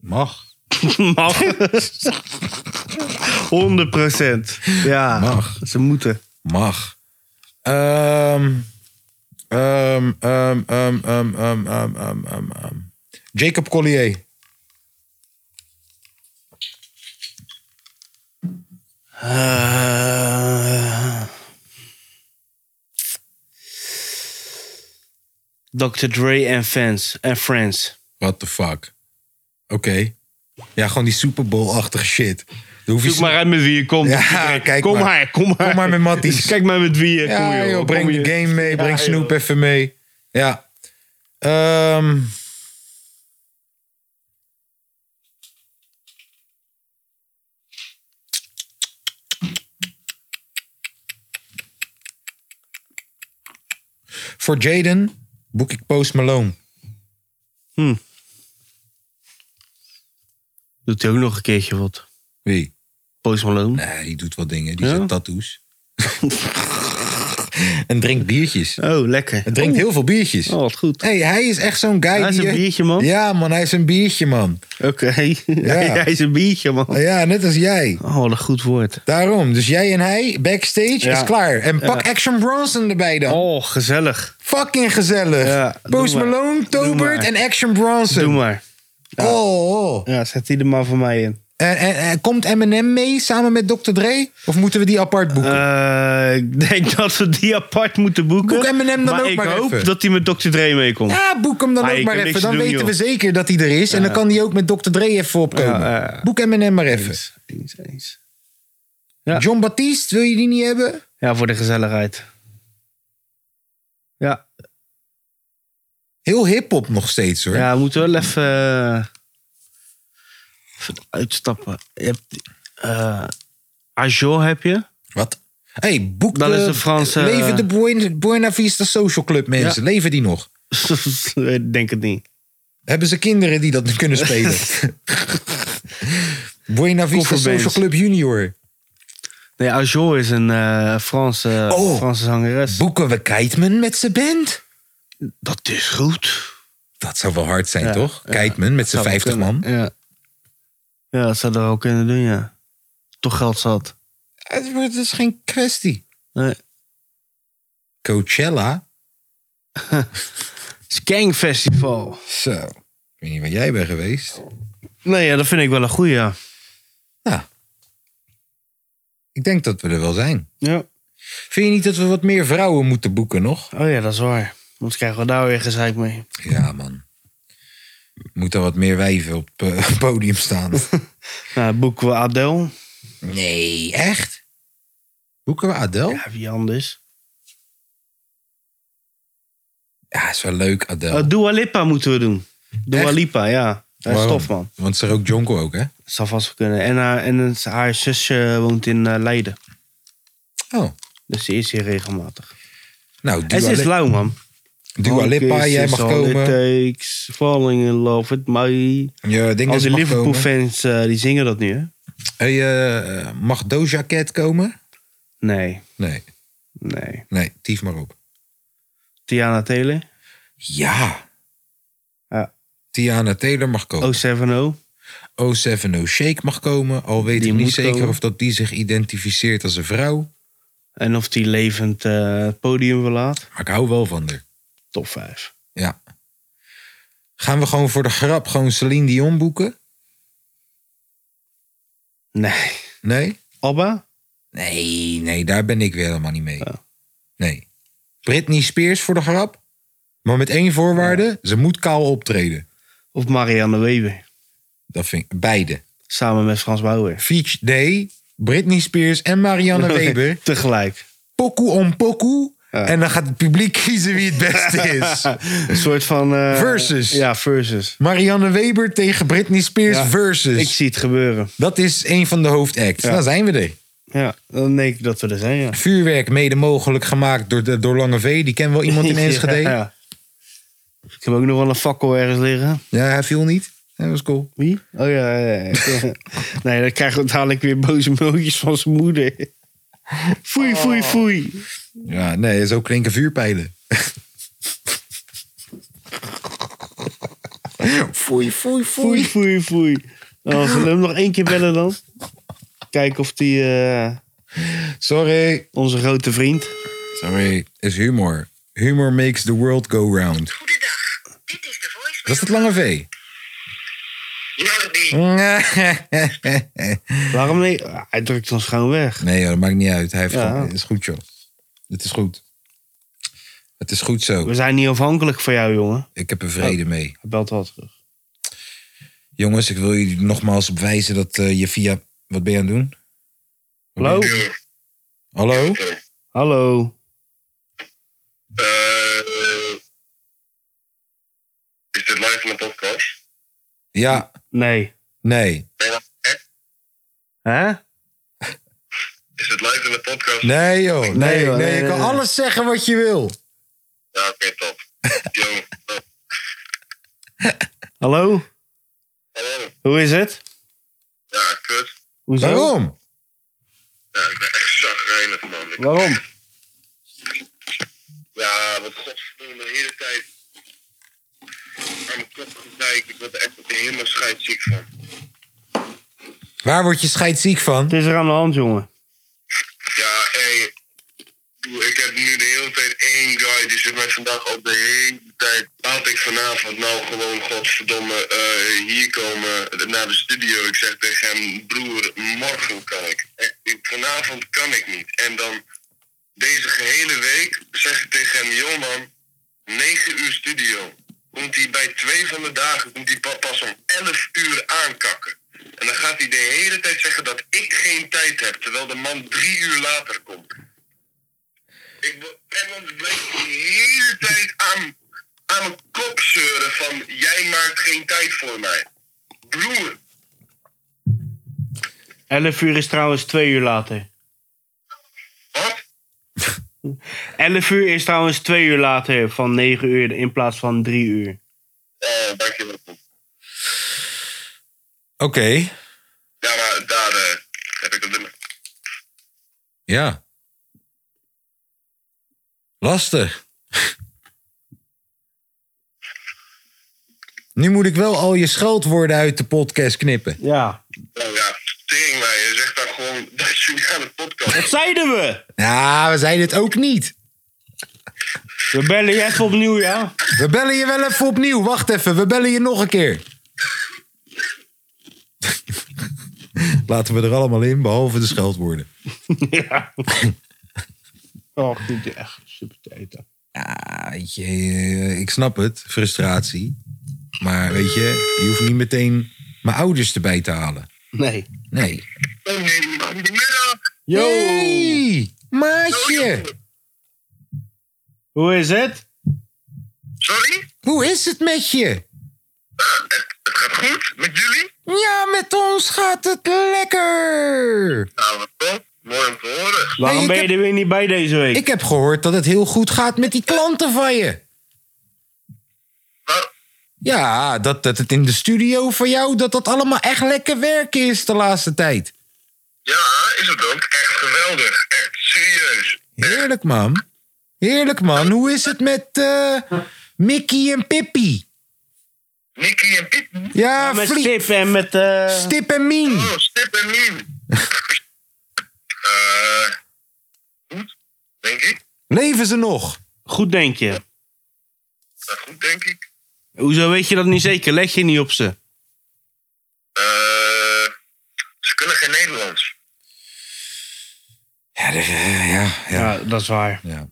Speaker 1: Mag.
Speaker 2: Mag. 100 Ja,
Speaker 1: Mag.
Speaker 2: ze moeten.
Speaker 1: Mag. Ehm ehm ehm ehm ehm ehm ehm ehm ehm, ehm. Jacob Collier.
Speaker 2: Eh, Dr. Dre en fans. En friends.
Speaker 1: What the fuck? Oké. Ja, gewoon die Super Bowl-achtige shit. Dan hoef je
Speaker 2: Zoek maar uit met wie je komt.
Speaker 1: Ja, kijk
Speaker 2: kom
Speaker 1: maar.
Speaker 2: maar. kom maar.
Speaker 1: Kom maar met Matties.
Speaker 2: Kijk maar met wie je
Speaker 1: Ja,
Speaker 2: komt,
Speaker 1: joh,
Speaker 2: joh.
Speaker 1: breng
Speaker 2: Kom
Speaker 1: de
Speaker 2: je-
Speaker 1: game mee. Breng
Speaker 2: Ja,
Speaker 1: Snoep
Speaker 2: joh.
Speaker 1: even mee. Ja. Ehm. Voor Jaden boek ik Post Malone.
Speaker 2: Doet hij ook nog een keertje wat.
Speaker 1: Wie?
Speaker 2: Post Malone.
Speaker 1: Nee, die doet wel dingen. Die
Speaker 2: Ja?
Speaker 1: zet tattoos. en drinkt biertjes.
Speaker 2: Oh, lekker.
Speaker 1: En drinkt heel veel biertjes.
Speaker 2: Oh, wat goed.
Speaker 1: Hey, hij is echt zo'n guy
Speaker 2: Hij is
Speaker 1: die
Speaker 2: een
Speaker 1: je-
Speaker 2: biertje, man.
Speaker 1: Ja, man, hij is een biertje, man.
Speaker 2: Oké. Hij, hij is een biertje, man.
Speaker 1: Ja, net als jij.
Speaker 2: Oh, wat een goed woord.
Speaker 1: Daarom. Dus jij en hij, backstage,
Speaker 2: Ja.
Speaker 1: is klaar. En pak Action Bronson erbij dan.
Speaker 2: Oh, gezellig.
Speaker 1: Fucking gezellig.
Speaker 2: Ja, doe
Speaker 1: Post
Speaker 2: maar.
Speaker 1: Malone,
Speaker 2: Doe
Speaker 1: Tobert
Speaker 2: maar.
Speaker 1: en Action Bronson.
Speaker 2: Doe maar.
Speaker 1: Oh, oh.
Speaker 2: Ja, zet die er maar voor mij in.
Speaker 1: En, en- en komt Eminem mee samen met Dr. Dre? Of moeten we die apart boeken?
Speaker 2: Eh, ik denk dat we die apart moeten boeken.
Speaker 1: Boek Eminem dan
Speaker 2: maar
Speaker 1: ook
Speaker 2: ik
Speaker 1: maar
Speaker 2: hoop
Speaker 1: even.
Speaker 2: dat hij met Dr. Dre meekomt.
Speaker 1: ja, boek hem dan
Speaker 2: Ah,
Speaker 1: ook
Speaker 2: je
Speaker 1: maar
Speaker 2: kan
Speaker 1: even.
Speaker 2: niks
Speaker 1: Dan
Speaker 2: doen,
Speaker 1: weten we
Speaker 2: joh.
Speaker 1: zeker dat hij er is. En dan kan hij ook met Dr. Dre even opkomen.
Speaker 2: Ja, ja.
Speaker 1: Boek Eminem maar even.
Speaker 2: Eens, eens, eens. Ja.
Speaker 1: John Baptiste, wil je die niet hebben?
Speaker 2: Ja, voor de gezelligheid. Ja,
Speaker 1: Heel hip-hop nog steeds hoor.
Speaker 2: ja we moeten wel even, eh, even uitstappen. Je hebt, eh Ajo heb je.
Speaker 1: Wat? hey, boek
Speaker 2: Dat
Speaker 1: de,
Speaker 2: is de Franse-
Speaker 1: Leven de Buena, Buena Vista Social Club mensen. Leven die nog?
Speaker 2: ik denk het niet.
Speaker 1: Hebben ze kinderen die dat kunnen spelen? Buena Vista
Speaker 2: Kofferbeens.
Speaker 1: Social Club Junior.
Speaker 2: Nee, Ajol is een eh, Franse,
Speaker 1: Oh.
Speaker 2: Franse zangeres.
Speaker 1: Boeken we Keitman met zijn band?
Speaker 2: Dat is goed.
Speaker 1: Dat zou wel hard zijn,
Speaker 2: Ja,
Speaker 1: toch?
Speaker 2: ja.
Speaker 1: Keitman met zijn
Speaker 2: Zou
Speaker 1: 50
Speaker 2: kunnen.
Speaker 1: man.
Speaker 2: Ja. ja, dat zou dat wel kunnen doen, ja. Toch geld zat.
Speaker 1: Het wordt- dat is geen kwestie.
Speaker 2: Nee.
Speaker 1: Coachella?
Speaker 2: Skank Festival.
Speaker 1: Zo. Ik weet niet waar jij bent geweest.
Speaker 2: Nee, ja, dat vind ik wel een goeie, ja.
Speaker 1: Nou. Ik denk dat we er wel zijn.
Speaker 2: ja.
Speaker 1: Vind je niet dat we wat meer vrouwen moeten boeken nog?
Speaker 2: Oh ja, dat is waar. Anders krijgen we daar weer gezeik mee.
Speaker 1: Ja, man. Moet er wat meer wijven op eh, het podium staan.
Speaker 2: Nou, boeken we Adele.
Speaker 1: Nee, echt? Boeken we Adele? Ja,
Speaker 2: Ja, wie anders?
Speaker 1: is wel leuk, Adele.
Speaker 2: Eh, Dua Lipa moeten we doen. Dua
Speaker 1: Echt?
Speaker 2: Lipa, ja. Dat is
Speaker 1: Waarom?
Speaker 2: tof, man.
Speaker 1: Want ze rookt jonko ook, hè? Oh,
Speaker 2: Dat zou vast wel kunnen. En, haar, en het- haar zusje woont in eh, Leiden.
Speaker 1: Oh.
Speaker 2: Dus ze is hier regelmatig.
Speaker 1: Nou,
Speaker 2: en
Speaker 1: Dua,
Speaker 2: ze is
Speaker 1: Li-
Speaker 2: lauw, man.
Speaker 1: Dua Lipa,
Speaker 2: Focus
Speaker 1: jij
Speaker 2: is
Speaker 1: mag
Speaker 2: all it
Speaker 1: komen.
Speaker 2: takes, falling in love with my...
Speaker 1: Je ding
Speaker 2: eh, Al
Speaker 1: dat ze
Speaker 2: die
Speaker 1: mag komen.
Speaker 2: Liverpool-fans eh, die zingen dat nu, hè?
Speaker 1: Hey, eh, mag Doja Cat komen?
Speaker 2: Nee,
Speaker 1: Nee,
Speaker 2: nee.
Speaker 1: nee, tief maar op.
Speaker 2: Tiana Taylor,
Speaker 1: Ja.
Speaker 2: Ja.
Speaker 1: Tiana Taylor mag komen.
Speaker 2: 070.
Speaker 1: 070 Shake mag komen. Al weet
Speaker 2: Die
Speaker 1: ik niet
Speaker 2: moet
Speaker 1: zeker
Speaker 2: komen.
Speaker 1: of dat die zich identificeert als een vrouw.
Speaker 2: En of die levend eh, het podium verlaat.
Speaker 1: Maar ik hou wel van haar.
Speaker 2: Top 5.
Speaker 1: Ja. Gaan we gewoon voor de grap gewoon Celine Dion boeken?
Speaker 2: Nee.
Speaker 1: Nee?
Speaker 2: Abba?
Speaker 1: Nee, nee, daar ben ik weer helemaal niet mee.
Speaker 2: Ja.
Speaker 1: Nee. Britney Spears voor de grap? Maar met één voorwaarde. Ze moet kaal optreden.
Speaker 2: Of Marianne Weber?
Speaker 1: Dat vind ik beide.
Speaker 2: Samen met Frans Bauer.
Speaker 1: Feach Day, Britney Spears en Marianne Weber.
Speaker 2: Tegelijk.
Speaker 1: Pokoe om pokoe.
Speaker 2: Ja.
Speaker 1: En dan gaat het publiek kiezen wie het beste is.
Speaker 2: Een soort van... eh,
Speaker 1: Versus.
Speaker 2: Ja, versus.
Speaker 1: Marianne Weber tegen Britney Spears
Speaker 2: Ja,
Speaker 1: versus.
Speaker 2: Ik zie het gebeuren.
Speaker 1: Dat is een van de hoofdacts. Nou zijn we er.
Speaker 2: Ja, dan denk ik dat we er zijn, ja.
Speaker 1: Vuurwerk mede mogelijk gemaakt door, de, door Lange V. Die kent wel iemand in Enschede. ja.
Speaker 2: Ja. Ik heb ook nog wel een fakkel ergens liggen.
Speaker 1: hij viel niet. Dat was cool.
Speaker 2: Wie? Oh ja, ja, ja. nee, dan krijgen we dadelijk weer boze mailtjes van zijn moeder. Foei, foei, foei.
Speaker 1: Ja, nee, zo klinken vuurpijlen. foei, foei,
Speaker 2: Foei,
Speaker 1: foei.
Speaker 2: foei, foei. Nou, Als we hem nog één keer bellen dan. Kijken of die eh,
Speaker 1: Sorry.
Speaker 2: onze grote vriend...
Speaker 1: Sorry. Is humor. Humor makes the world go round.
Speaker 8: Goedendag, dit is de voicemail.
Speaker 1: Dat is het Lange V.
Speaker 2: Waarom nee? Ah, Hij drukt ons gewoon weg.
Speaker 1: Nee, joh, dat maakt niet uit. Hij heeft
Speaker 2: Ja.
Speaker 1: gewoon- het is goed, joh. Het is goed. Het is goed zo.
Speaker 2: We zijn niet afhankelijk van jou, jongen.
Speaker 1: Ik heb er vrede mee.
Speaker 2: Hij belt wel terug.
Speaker 1: Jongens, ik wil jullie nogmaals op wijzen dat eh, je via... Wat ben je aan het doen?
Speaker 2: Hallo?
Speaker 1: Hallo?
Speaker 2: Hallo?
Speaker 8: Eh, is dit live van de podcast?
Speaker 1: Ja,
Speaker 2: Nee.
Speaker 1: nee.
Speaker 2: Hè?
Speaker 8: Is het live in de podcast?
Speaker 1: Nee, joh. Nee, nee,
Speaker 2: Nee, joh, nee,
Speaker 1: je
Speaker 2: nee,
Speaker 1: kan
Speaker 2: nee.
Speaker 1: alles zeggen wat je wil.
Speaker 8: Ja, oké, top. Yo, top.
Speaker 2: Hallo?
Speaker 8: hallo.
Speaker 2: Hoe is het?
Speaker 8: Ja, kut.
Speaker 2: Hoezo?
Speaker 1: Waarom?
Speaker 8: Ja, ik ben echt chagrijnig, man. Ik-
Speaker 2: Waarom?
Speaker 8: ja, wat godverdomme, de hele tijd aan mijn kop gekijkt. Ik word er echt helemaal scheidsziek van.
Speaker 1: Waar word je scheidziek van?
Speaker 2: Het is er aan de hand, jongen.
Speaker 8: Ja, hé. Doe, Ik heb nu de hele tijd één guy die zit mij vandaag op de hele tijd. Laat ik vanavond nou gewoon, godverdomme, eh, hier komen naar de studio. Ik zeg tegen hem, broer, morgen kan ik. Eh, ik- Vanavond kan ik niet. En dan deze gehele week zeg ik tegen hem, joh man, 9 uur studio. Komt hij bij twee van de dagen, komt hij pa- pas om 11 uur aankakken. En dan gaat hij de hele tijd zeggen dat ik geen tijd heb, terwijl de man drie uur later komt. Ik wo- en dan blijft hij de hele tijd aan, aan mijn kop zeuren van jij maakt geen tijd voor mij. Broer,
Speaker 2: 11 uur is trouwens 2 uur later.
Speaker 8: wat?
Speaker 2: 11 uur is trouwens 2 uur later van 9 uur in plaats van 3 uur.
Speaker 8: Eh, dankjewel.
Speaker 1: Oké.
Speaker 8: Ja, maar daar eh, heb ik het nummer.
Speaker 1: Ja. Lastig. Nu moet ik wel al je scheldwoorden uit de podcast knippen.
Speaker 2: Ja.
Speaker 8: Nou ja, tering wij, je zegt dan gewoon dat jullie aan de podcast.
Speaker 2: Dat zeiden we.
Speaker 1: Ja, we zijn het ook niet.
Speaker 2: We bellen je even opnieuw, ja?
Speaker 1: We bellen je wel even opnieuw. Wacht even, we bellen je nog een keer. Laten we er allemaal in, behalve de scheldwoorden.
Speaker 2: ja. Oh, ik vind het echt super tijd.
Speaker 1: Ja, weet je, eh, ik snap het, frustratie. Maar weet je, je hoeft niet meteen mijn ouders erbij te halen.
Speaker 2: Nee.
Speaker 1: Nee.
Speaker 8: Oh nee, man, goedemiddag.
Speaker 2: Yo!
Speaker 1: Hey, maatje,
Speaker 2: Hoe is het?
Speaker 8: Sorry?
Speaker 1: hoe is het met je?
Speaker 8: Het, het gaat goed met jullie?
Speaker 1: Ja, met ons gaat het lekker.
Speaker 8: Nou, wat top. Mooi om te horen.
Speaker 2: Waarom
Speaker 1: ik
Speaker 2: ben je
Speaker 1: heb-
Speaker 2: er weer niet bij deze week?
Speaker 1: Ik heb gehoord dat het heel goed gaat met die klanten van je.
Speaker 8: Wa-
Speaker 1: Ja, dat, dat het in de studio van jou, dat dat allemaal echt lekker werk is de laatste tijd.
Speaker 8: Ja, is het ook. Echt geweldig. Echt serieus.
Speaker 1: Heerlijk, man. Heerlijk, man. Hoe is het met eh, Mickey en Pippi?
Speaker 8: Nicky en Piet.
Speaker 1: Ja,
Speaker 2: met
Speaker 1: Vlie-
Speaker 2: Stip en met... eh,
Speaker 1: Stip en Mien.
Speaker 8: Oh, Stip en Mien. Eh, goed, denk ik.
Speaker 1: Leven ze nog?
Speaker 2: Goed, denk je.
Speaker 8: Gaat goed, denk ik.
Speaker 2: Hoezo weet je dat niet zeker? Leg je niet op ze.
Speaker 8: Eh, ze kunnen geen Nederlands.
Speaker 1: Ja, dat- eh, ja, ja.
Speaker 2: dat is waar.
Speaker 1: ja.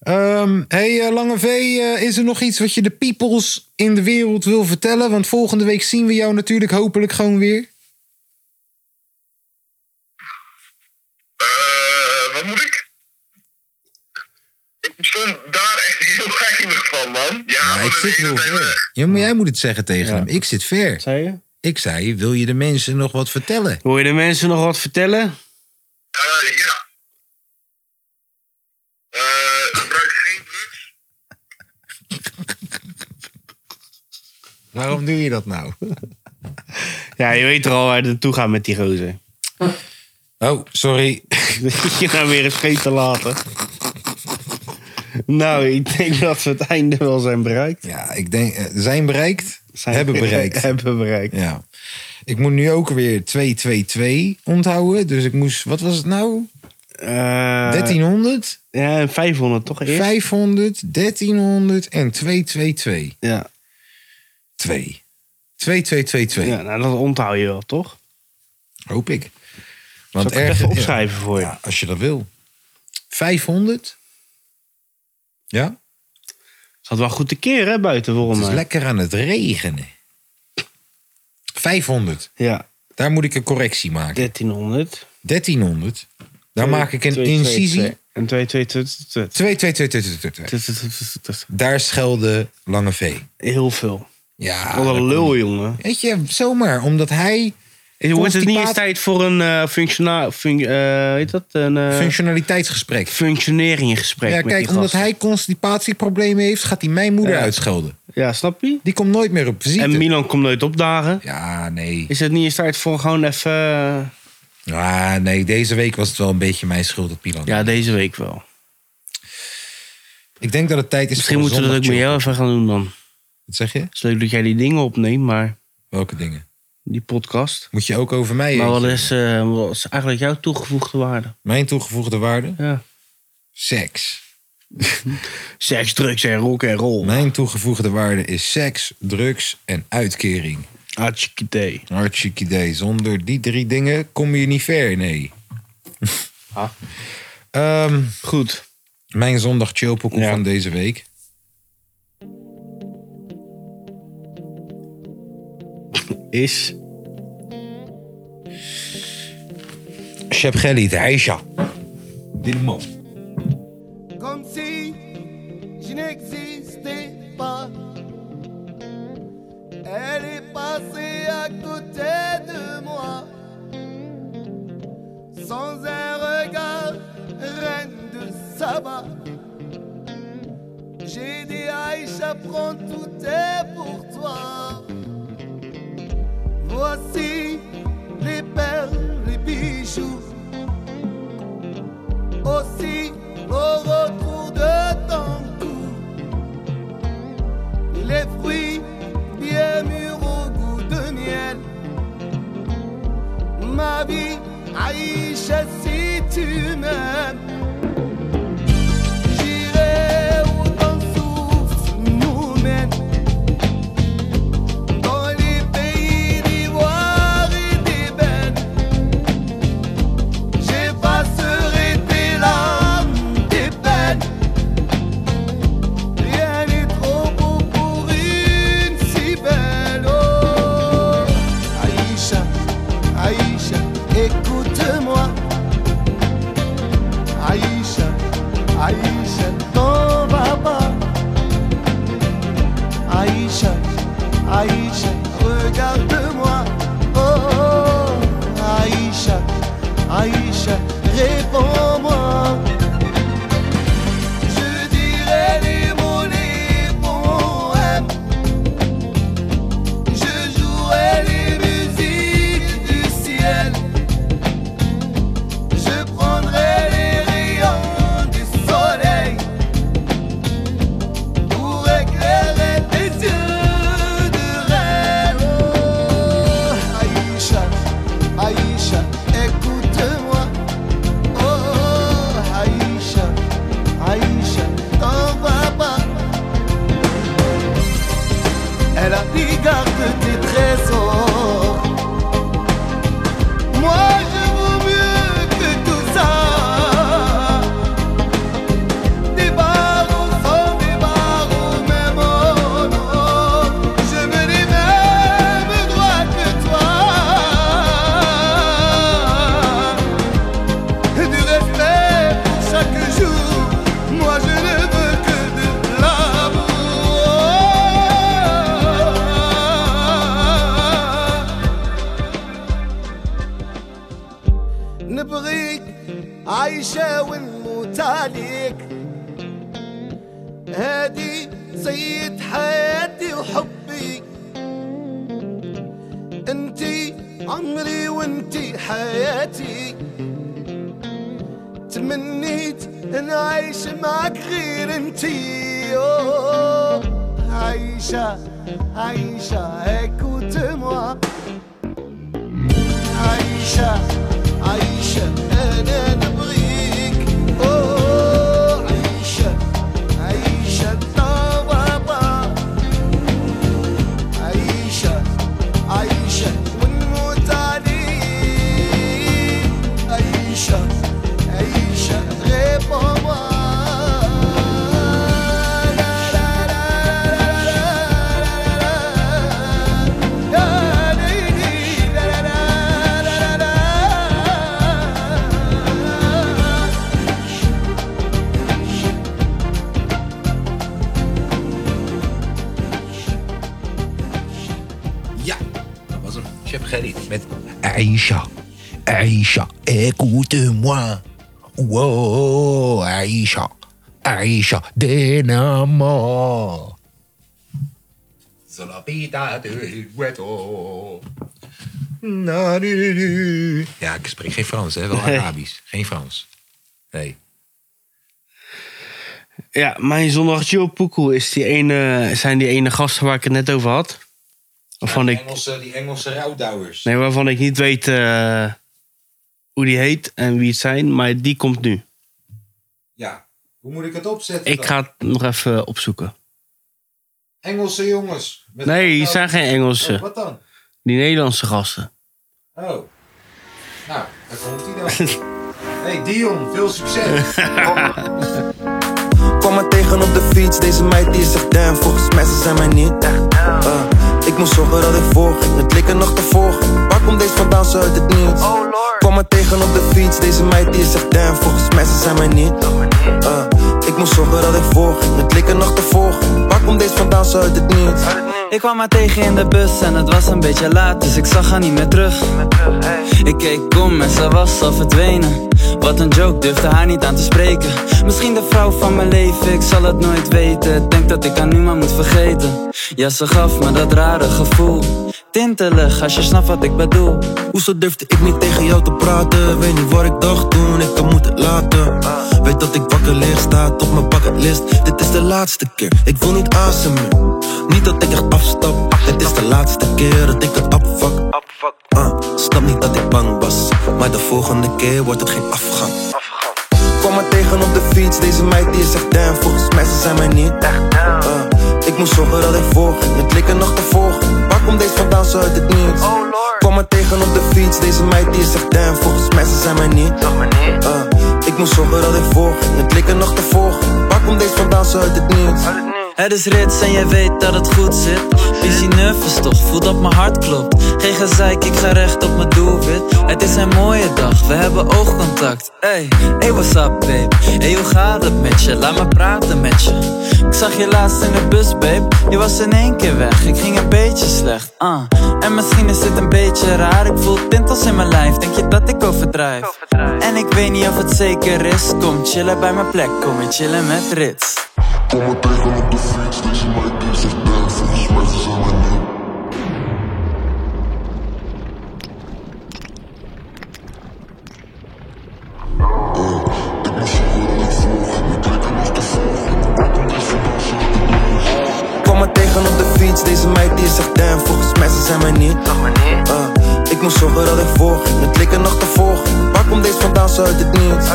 Speaker 1: Ehm, hey, eh, Lange V, eh, is er nog iets wat je de peoples in de wereld wil vertellen? Want volgende week zien we jou natuurlijk hopelijk gewoon weer.
Speaker 8: Eh, wat moet ik? Ik stond daar echt heel weinig van, man. Ja,
Speaker 1: Ja, ik
Speaker 8: wat een
Speaker 1: zit
Speaker 8: hele
Speaker 1: heel
Speaker 8: tijd weg.
Speaker 1: ver. Ja, maar jij moet het zeggen tegen hem. Ik zit ver.
Speaker 2: Zei je?
Speaker 1: Ik zei, wil je de mensen nog wat vertellen?
Speaker 2: Wil je de mensen nog wat vertellen?
Speaker 8: Eh, ja. Eh, gebruik geen drugs.
Speaker 1: Waarom doe je dat nou?
Speaker 2: Ja, je weet er al waar het naartoe gaat met die gozer.
Speaker 1: Oh, sorry.
Speaker 2: je nou weer een scheet te laten. Nou, ik denk dat we het einde wel zijn bereikt.
Speaker 1: Ja, ik denk, eh, zijn bereikt,
Speaker 2: Zijn
Speaker 1: hebben bereikt.
Speaker 2: hebben bereikt.
Speaker 1: Ja. Ik moet nu ook weer 222 onthouden. Dus ik moest, wat was het nou?
Speaker 2: Eh,
Speaker 1: 1300,
Speaker 2: Ja, en 500 toch eerst?
Speaker 1: 500, 1300 en 2222.
Speaker 2: Ja.
Speaker 1: 2. 2222,
Speaker 2: ja, nou dat onthoud je wel, toch?
Speaker 1: hoop ik.
Speaker 2: Zal
Speaker 1: Want
Speaker 2: ik het
Speaker 1: ergens,
Speaker 2: even
Speaker 1: ja.
Speaker 2: opschrijven voor je?
Speaker 1: Ja, als je dat wil. 500. Ja,
Speaker 2: Zat wel goed te keer, hè, buiten volgens
Speaker 1: het is
Speaker 2: mij.
Speaker 1: lekker aan het regenen. 500.
Speaker 2: Ja,
Speaker 1: Daar moet ik een correctie maken.
Speaker 2: 1300.
Speaker 1: 1300. Daar maak ik een
Speaker 2: Twee- twee-
Speaker 1: incisie.
Speaker 2: twee- En 2222.
Speaker 1: 2222. Daar schelde Lange V.
Speaker 2: Heel veel.
Speaker 1: Ja.
Speaker 2: Wat een lul, jongen.
Speaker 1: Weet je, zomaar. Omdat hij
Speaker 2: Wordt het niet eens
Speaker 1: Constipaat-
Speaker 2: tijd voor een eh functiona- func- eh, heet dat? Een eh
Speaker 1: functionaliteitsgesprek.
Speaker 2: functioneringsgesprek
Speaker 1: Ja,
Speaker 2: met
Speaker 1: kijk,
Speaker 2: die
Speaker 1: omdat
Speaker 2: gast.
Speaker 1: hij constipatieproblemen heeft, gaat hij mijn moeder
Speaker 2: Ja.
Speaker 1: uitschelden.
Speaker 2: Ja, snap je?
Speaker 1: Die komt nooit meer op visite.
Speaker 2: En Milan komt nooit opdagen.
Speaker 1: Ja, nee.
Speaker 2: Is het niet eens tijd voor gewoon even... eh,
Speaker 1: Ja, nee, deze week was het wel een beetje mijn schuld dat Milan.
Speaker 2: Ja, deze week wel.
Speaker 1: Ik denk dat het tijd is
Speaker 2: Misschien
Speaker 1: voor
Speaker 2: moeten we dat ook met jou even gaan doen dan.
Speaker 1: Wat zeg je?
Speaker 2: Het is leuk dat jij die dingen opneemt, maar
Speaker 1: Welke dingen?
Speaker 2: die podcast...
Speaker 1: Moet je ook over mij
Speaker 2: Maar
Speaker 1: eentje?
Speaker 2: wat is, eh, wat is eigenlijk jouw toegevoegde waarde?
Speaker 1: Mijn toegevoegde waarde?
Speaker 2: Ja.
Speaker 1: Seks.
Speaker 2: Seks, drugs en rock en roll.
Speaker 1: Mijn toegevoegde waarde is seks, drugs en uitkering.
Speaker 2: Hartstikke idee.
Speaker 1: Hartstikke idee. Zonder die drie dingen kom je niet ver, nee.
Speaker 2: Ah.
Speaker 1: Ehm,
Speaker 2: Goed.
Speaker 1: mijn zondag chillpokoe
Speaker 2: Ja.
Speaker 1: van deze week.
Speaker 2: Is.
Speaker 1: Shep Gelly, de Aisha. Dit man.
Speaker 4: Comme si je n'existais pas. Elle est passée à côté de moi. Sans un regard, reine de Saba. J'ai dit Aïcha, prends tout est pour toi. Voici les perles, les bijoux. عايشة زيتنا جيري وأنصوف سموما طالي بيدي واغدي بان J'effacerai tes larmes, tes peines. Rien n'est trop beau pour une si belle. Oh, Aïcha, Aïcha, écoute-moi. Aïcha, Aïcha, t'en vas pas. Aïcha, Aïcha, regarde-moi. Oh, oh, Aïcha, Aïcha, réponds-moi. Je dirai les mots, les poèmes. Je jouerai les musiques du ciel. Je prendrai les rayons du soleil pour éclairer tes yeux de rêve. Oh, Aïcha, Aïcha, écoute-moi. Oh, oh, Aïcha, Aïcha, t'en vas pas. Elle a dit garde tes trésors. Moi, je vaux mieux que tout ça. Des barreaux sans des barreaux, même en or. Je me les mêmes droits que toi. Du respect pour chaque jour, moi je ne veux que de l'amour. نبغيك عايشة ونموت عليك هادي سيد حياتي وحبي انتي عمري وانتي حياتي تمنيت نعيش معك غير انتي أوه. عايشة عايشة écoute-moi عايشة عايشة أنا نبغيك أوه عايشة عايشة طبابة عايشة عايشة ونموت عليك عايشة عايشة غير بابا لا لا لا
Speaker 1: Ja, dat was hem. Chef Gerry met
Speaker 7: Aisha, Aisha, écoute-moi. Wow, Aisha, Aisha, denamo. Solapita del hueto. Na, du, du, du.
Speaker 1: Ja, ik spreek geen Frans, hè? Wel Arabisch. Geen Frans. Nee.
Speaker 2: Ja, mijn zondag chill poekoe is die ene, zijn die ene gasten waar ik het net over had. Waarvan ik,
Speaker 1: Engelse, die Engelse rouwdouwers.
Speaker 2: nee, waarvan ik niet weet eh, hoe die heet en wie het zijn, maar die komt nu.
Speaker 1: Ja. Hoe moet ik het opzetten?
Speaker 2: Ik ga het nog even opzoeken.
Speaker 1: Engelse jongens. Oh,
Speaker 2: Nee, hier zijn geen Engelsen.
Speaker 1: Wat dan?
Speaker 2: Die Nederlandse gasten.
Speaker 1: Oh. Nou, daar komt hij dan. hey Dion, veel succes.
Speaker 9: Kwam me tegen op de fiets, deze meid die is echt damn Volgens mij ze zijn mij niet echt eh. Ik moest zorgen dat ik voorging, het leek er nog te volgen Waar komt deze vandaan, ze uit het niets Kwam me tegen op de fiets, deze meid die is echt damn Volgens mij ze zijn mij niet echt eh. Ik moest zorgen dat ik voorging, het leek er nog te volgen Waar komt deze vandaan, ze uit het niets
Speaker 10: Ik kwam haar tegen in de bus en het was een beetje laat, dus ik zag haar niet meer terug. Ik keek om en ze was al verdwenen. Wat een joke, durfde haar niet aan te spreken. Misschien de vrouw van mijn leven, ik zal het nooit weten. Denk dat ik haar nu maar moet vergeten. Ja, ze gaf me dat rare gevoel. Tintelig, als je snapt wat ik bedoel.
Speaker 9: Hoezo durfde ik niet tegen jou te praten? Weet niet wat ik dacht toen, ik kan moeten laten. Weet dat ik wakker lig, staat op mijn bucketlist. Dit is de laatste keer, ik wil niet asemen. Niet dat ik echt afstap, het is de laatste keer dat ik het opvak. Ah, Snap niet dat ik bang was, maar de volgende keer wordt het geen afgang. Kwam me tegen op de fiets, deze meid die is echt down. Volgens mij ze zijn mij niet echt down. Eh, ik moest zorgen dat ik volging, het leek er nog te volgen. Waar komt deze vandaan, ze uit het nieuws? Kwam me tegen op de fiets, deze meid die is echt down. Volgens mij ze zijn mij niet Eh, ik moest zorgen dat ik volging, het leek er nog te volgen. Waar komt deze vandaan, ze uit het nieuws?
Speaker 10: Het is rits en jij weet dat het goed zit. Busy nervous toch, voel dat mijn hart klopt. Geen gezeik, ik ga recht op mijn doelwit. Het is een mooie dag, we hebben oogcontact. Hey, hey what's up babe? Hey hoe gaat het met je? Laat me praten met je. Ik zag je laatst in de bus babe, je was in één keer weg. Ik ging een beetje slecht, ah. En misschien is dit een beetje raar, ik voel tintels in mijn lijf. Denk je dat ik overdrijf? En ik weet niet of het zeker is. Kom chillen bij mijn plek, kom en chillen met rits.
Speaker 8: Kom me tegen op de fiets, deze meid die is echt down. Volgens mij ze zijn mij niet.
Speaker 9: Kwam me tegen op de fiets, deze meid die is echt down. Volgens mij ze zijn mij niet. Eh, ik moest zorgen dat ik volging, het leek er nog te volgen. Waar komt deze vandaan, ze uit het nieuws?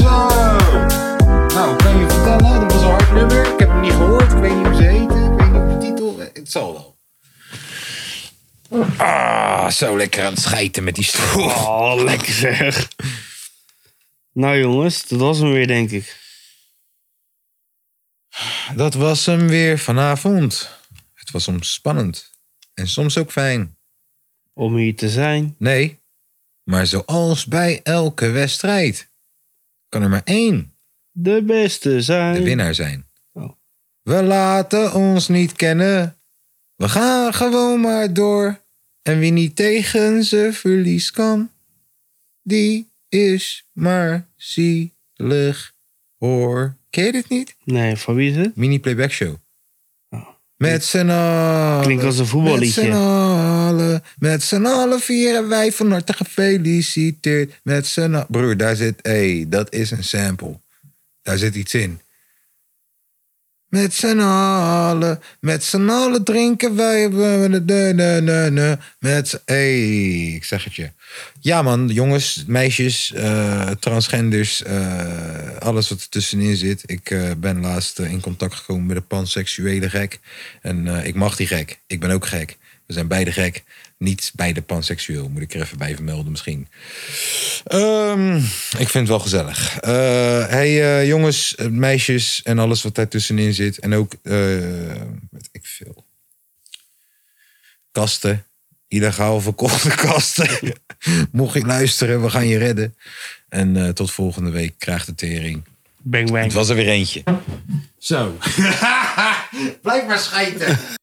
Speaker 11: Zo! Nou, kan je vertellen, dat was een hard nummer. Ik heb hem niet gehoord, ik weet niet hoe ze heten, ik weet niet hoe de titel... Het zal wel.
Speaker 1: Ah, zo lekker aan het schijten met die stoel.
Speaker 2: Oh, lekker zeg. Nou jongens, dat was hem weer denk ik.
Speaker 1: Dat was hem weer vanavond. Het was soms spannend. En soms ook fijn.
Speaker 2: Om hier te zijn.
Speaker 1: Nee, maar zoals bij elke wedstrijd. Kan er maar één.
Speaker 2: De beste zijn.
Speaker 1: De winnaar zijn. We laten ons niet kennen. We gaan gewoon maar door. En wie niet tegen ze verlies kan, die is maar zielig hoor. Ken je dit niet?
Speaker 2: Nee, van wie is het?
Speaker 1: Mini Playback Show. Met z'n allen.
Speaker 2: Klinkt als een voetballiedje.
Speaker 1: Met z'n allen. Met z'n allen vieren wij van harte gefeliciteerd. Met z'n allen. Broer, daar zit. hey, dat is een sample. Daar zit iets in. Met z'n allen. Met z'n allen drinken wij. Met z'n. hey, ik zeg het je. Ja, man, jongens, meisjes, eh, transgenders, eh, alles wat er tussenin zit. Ik eh, ben laatst eh, in contact gekomen met een panseksuele gek. En eh, ik mag die gek. Ik ben ook gek. We zijn beide gek. Niet beide panseksueel, moet ik er even bij vermelden misschien. Ehm, ik vind het wel gezellig. Eh, hey eh, jongens, eh, meisjes en alles wat daar tussenin zit. En ook, eh weet ik veel, kasten. Illegaal verkochte kasten. Mocht je luisteren, we gaan je redden. En eh, tot volgende week krijgt de tering.
Speaker 2: Bang bang.
Speaker 1: Het was er weer eentje.
Speaker 11: Zo.
Speaker 1: Blijkbaar schijten.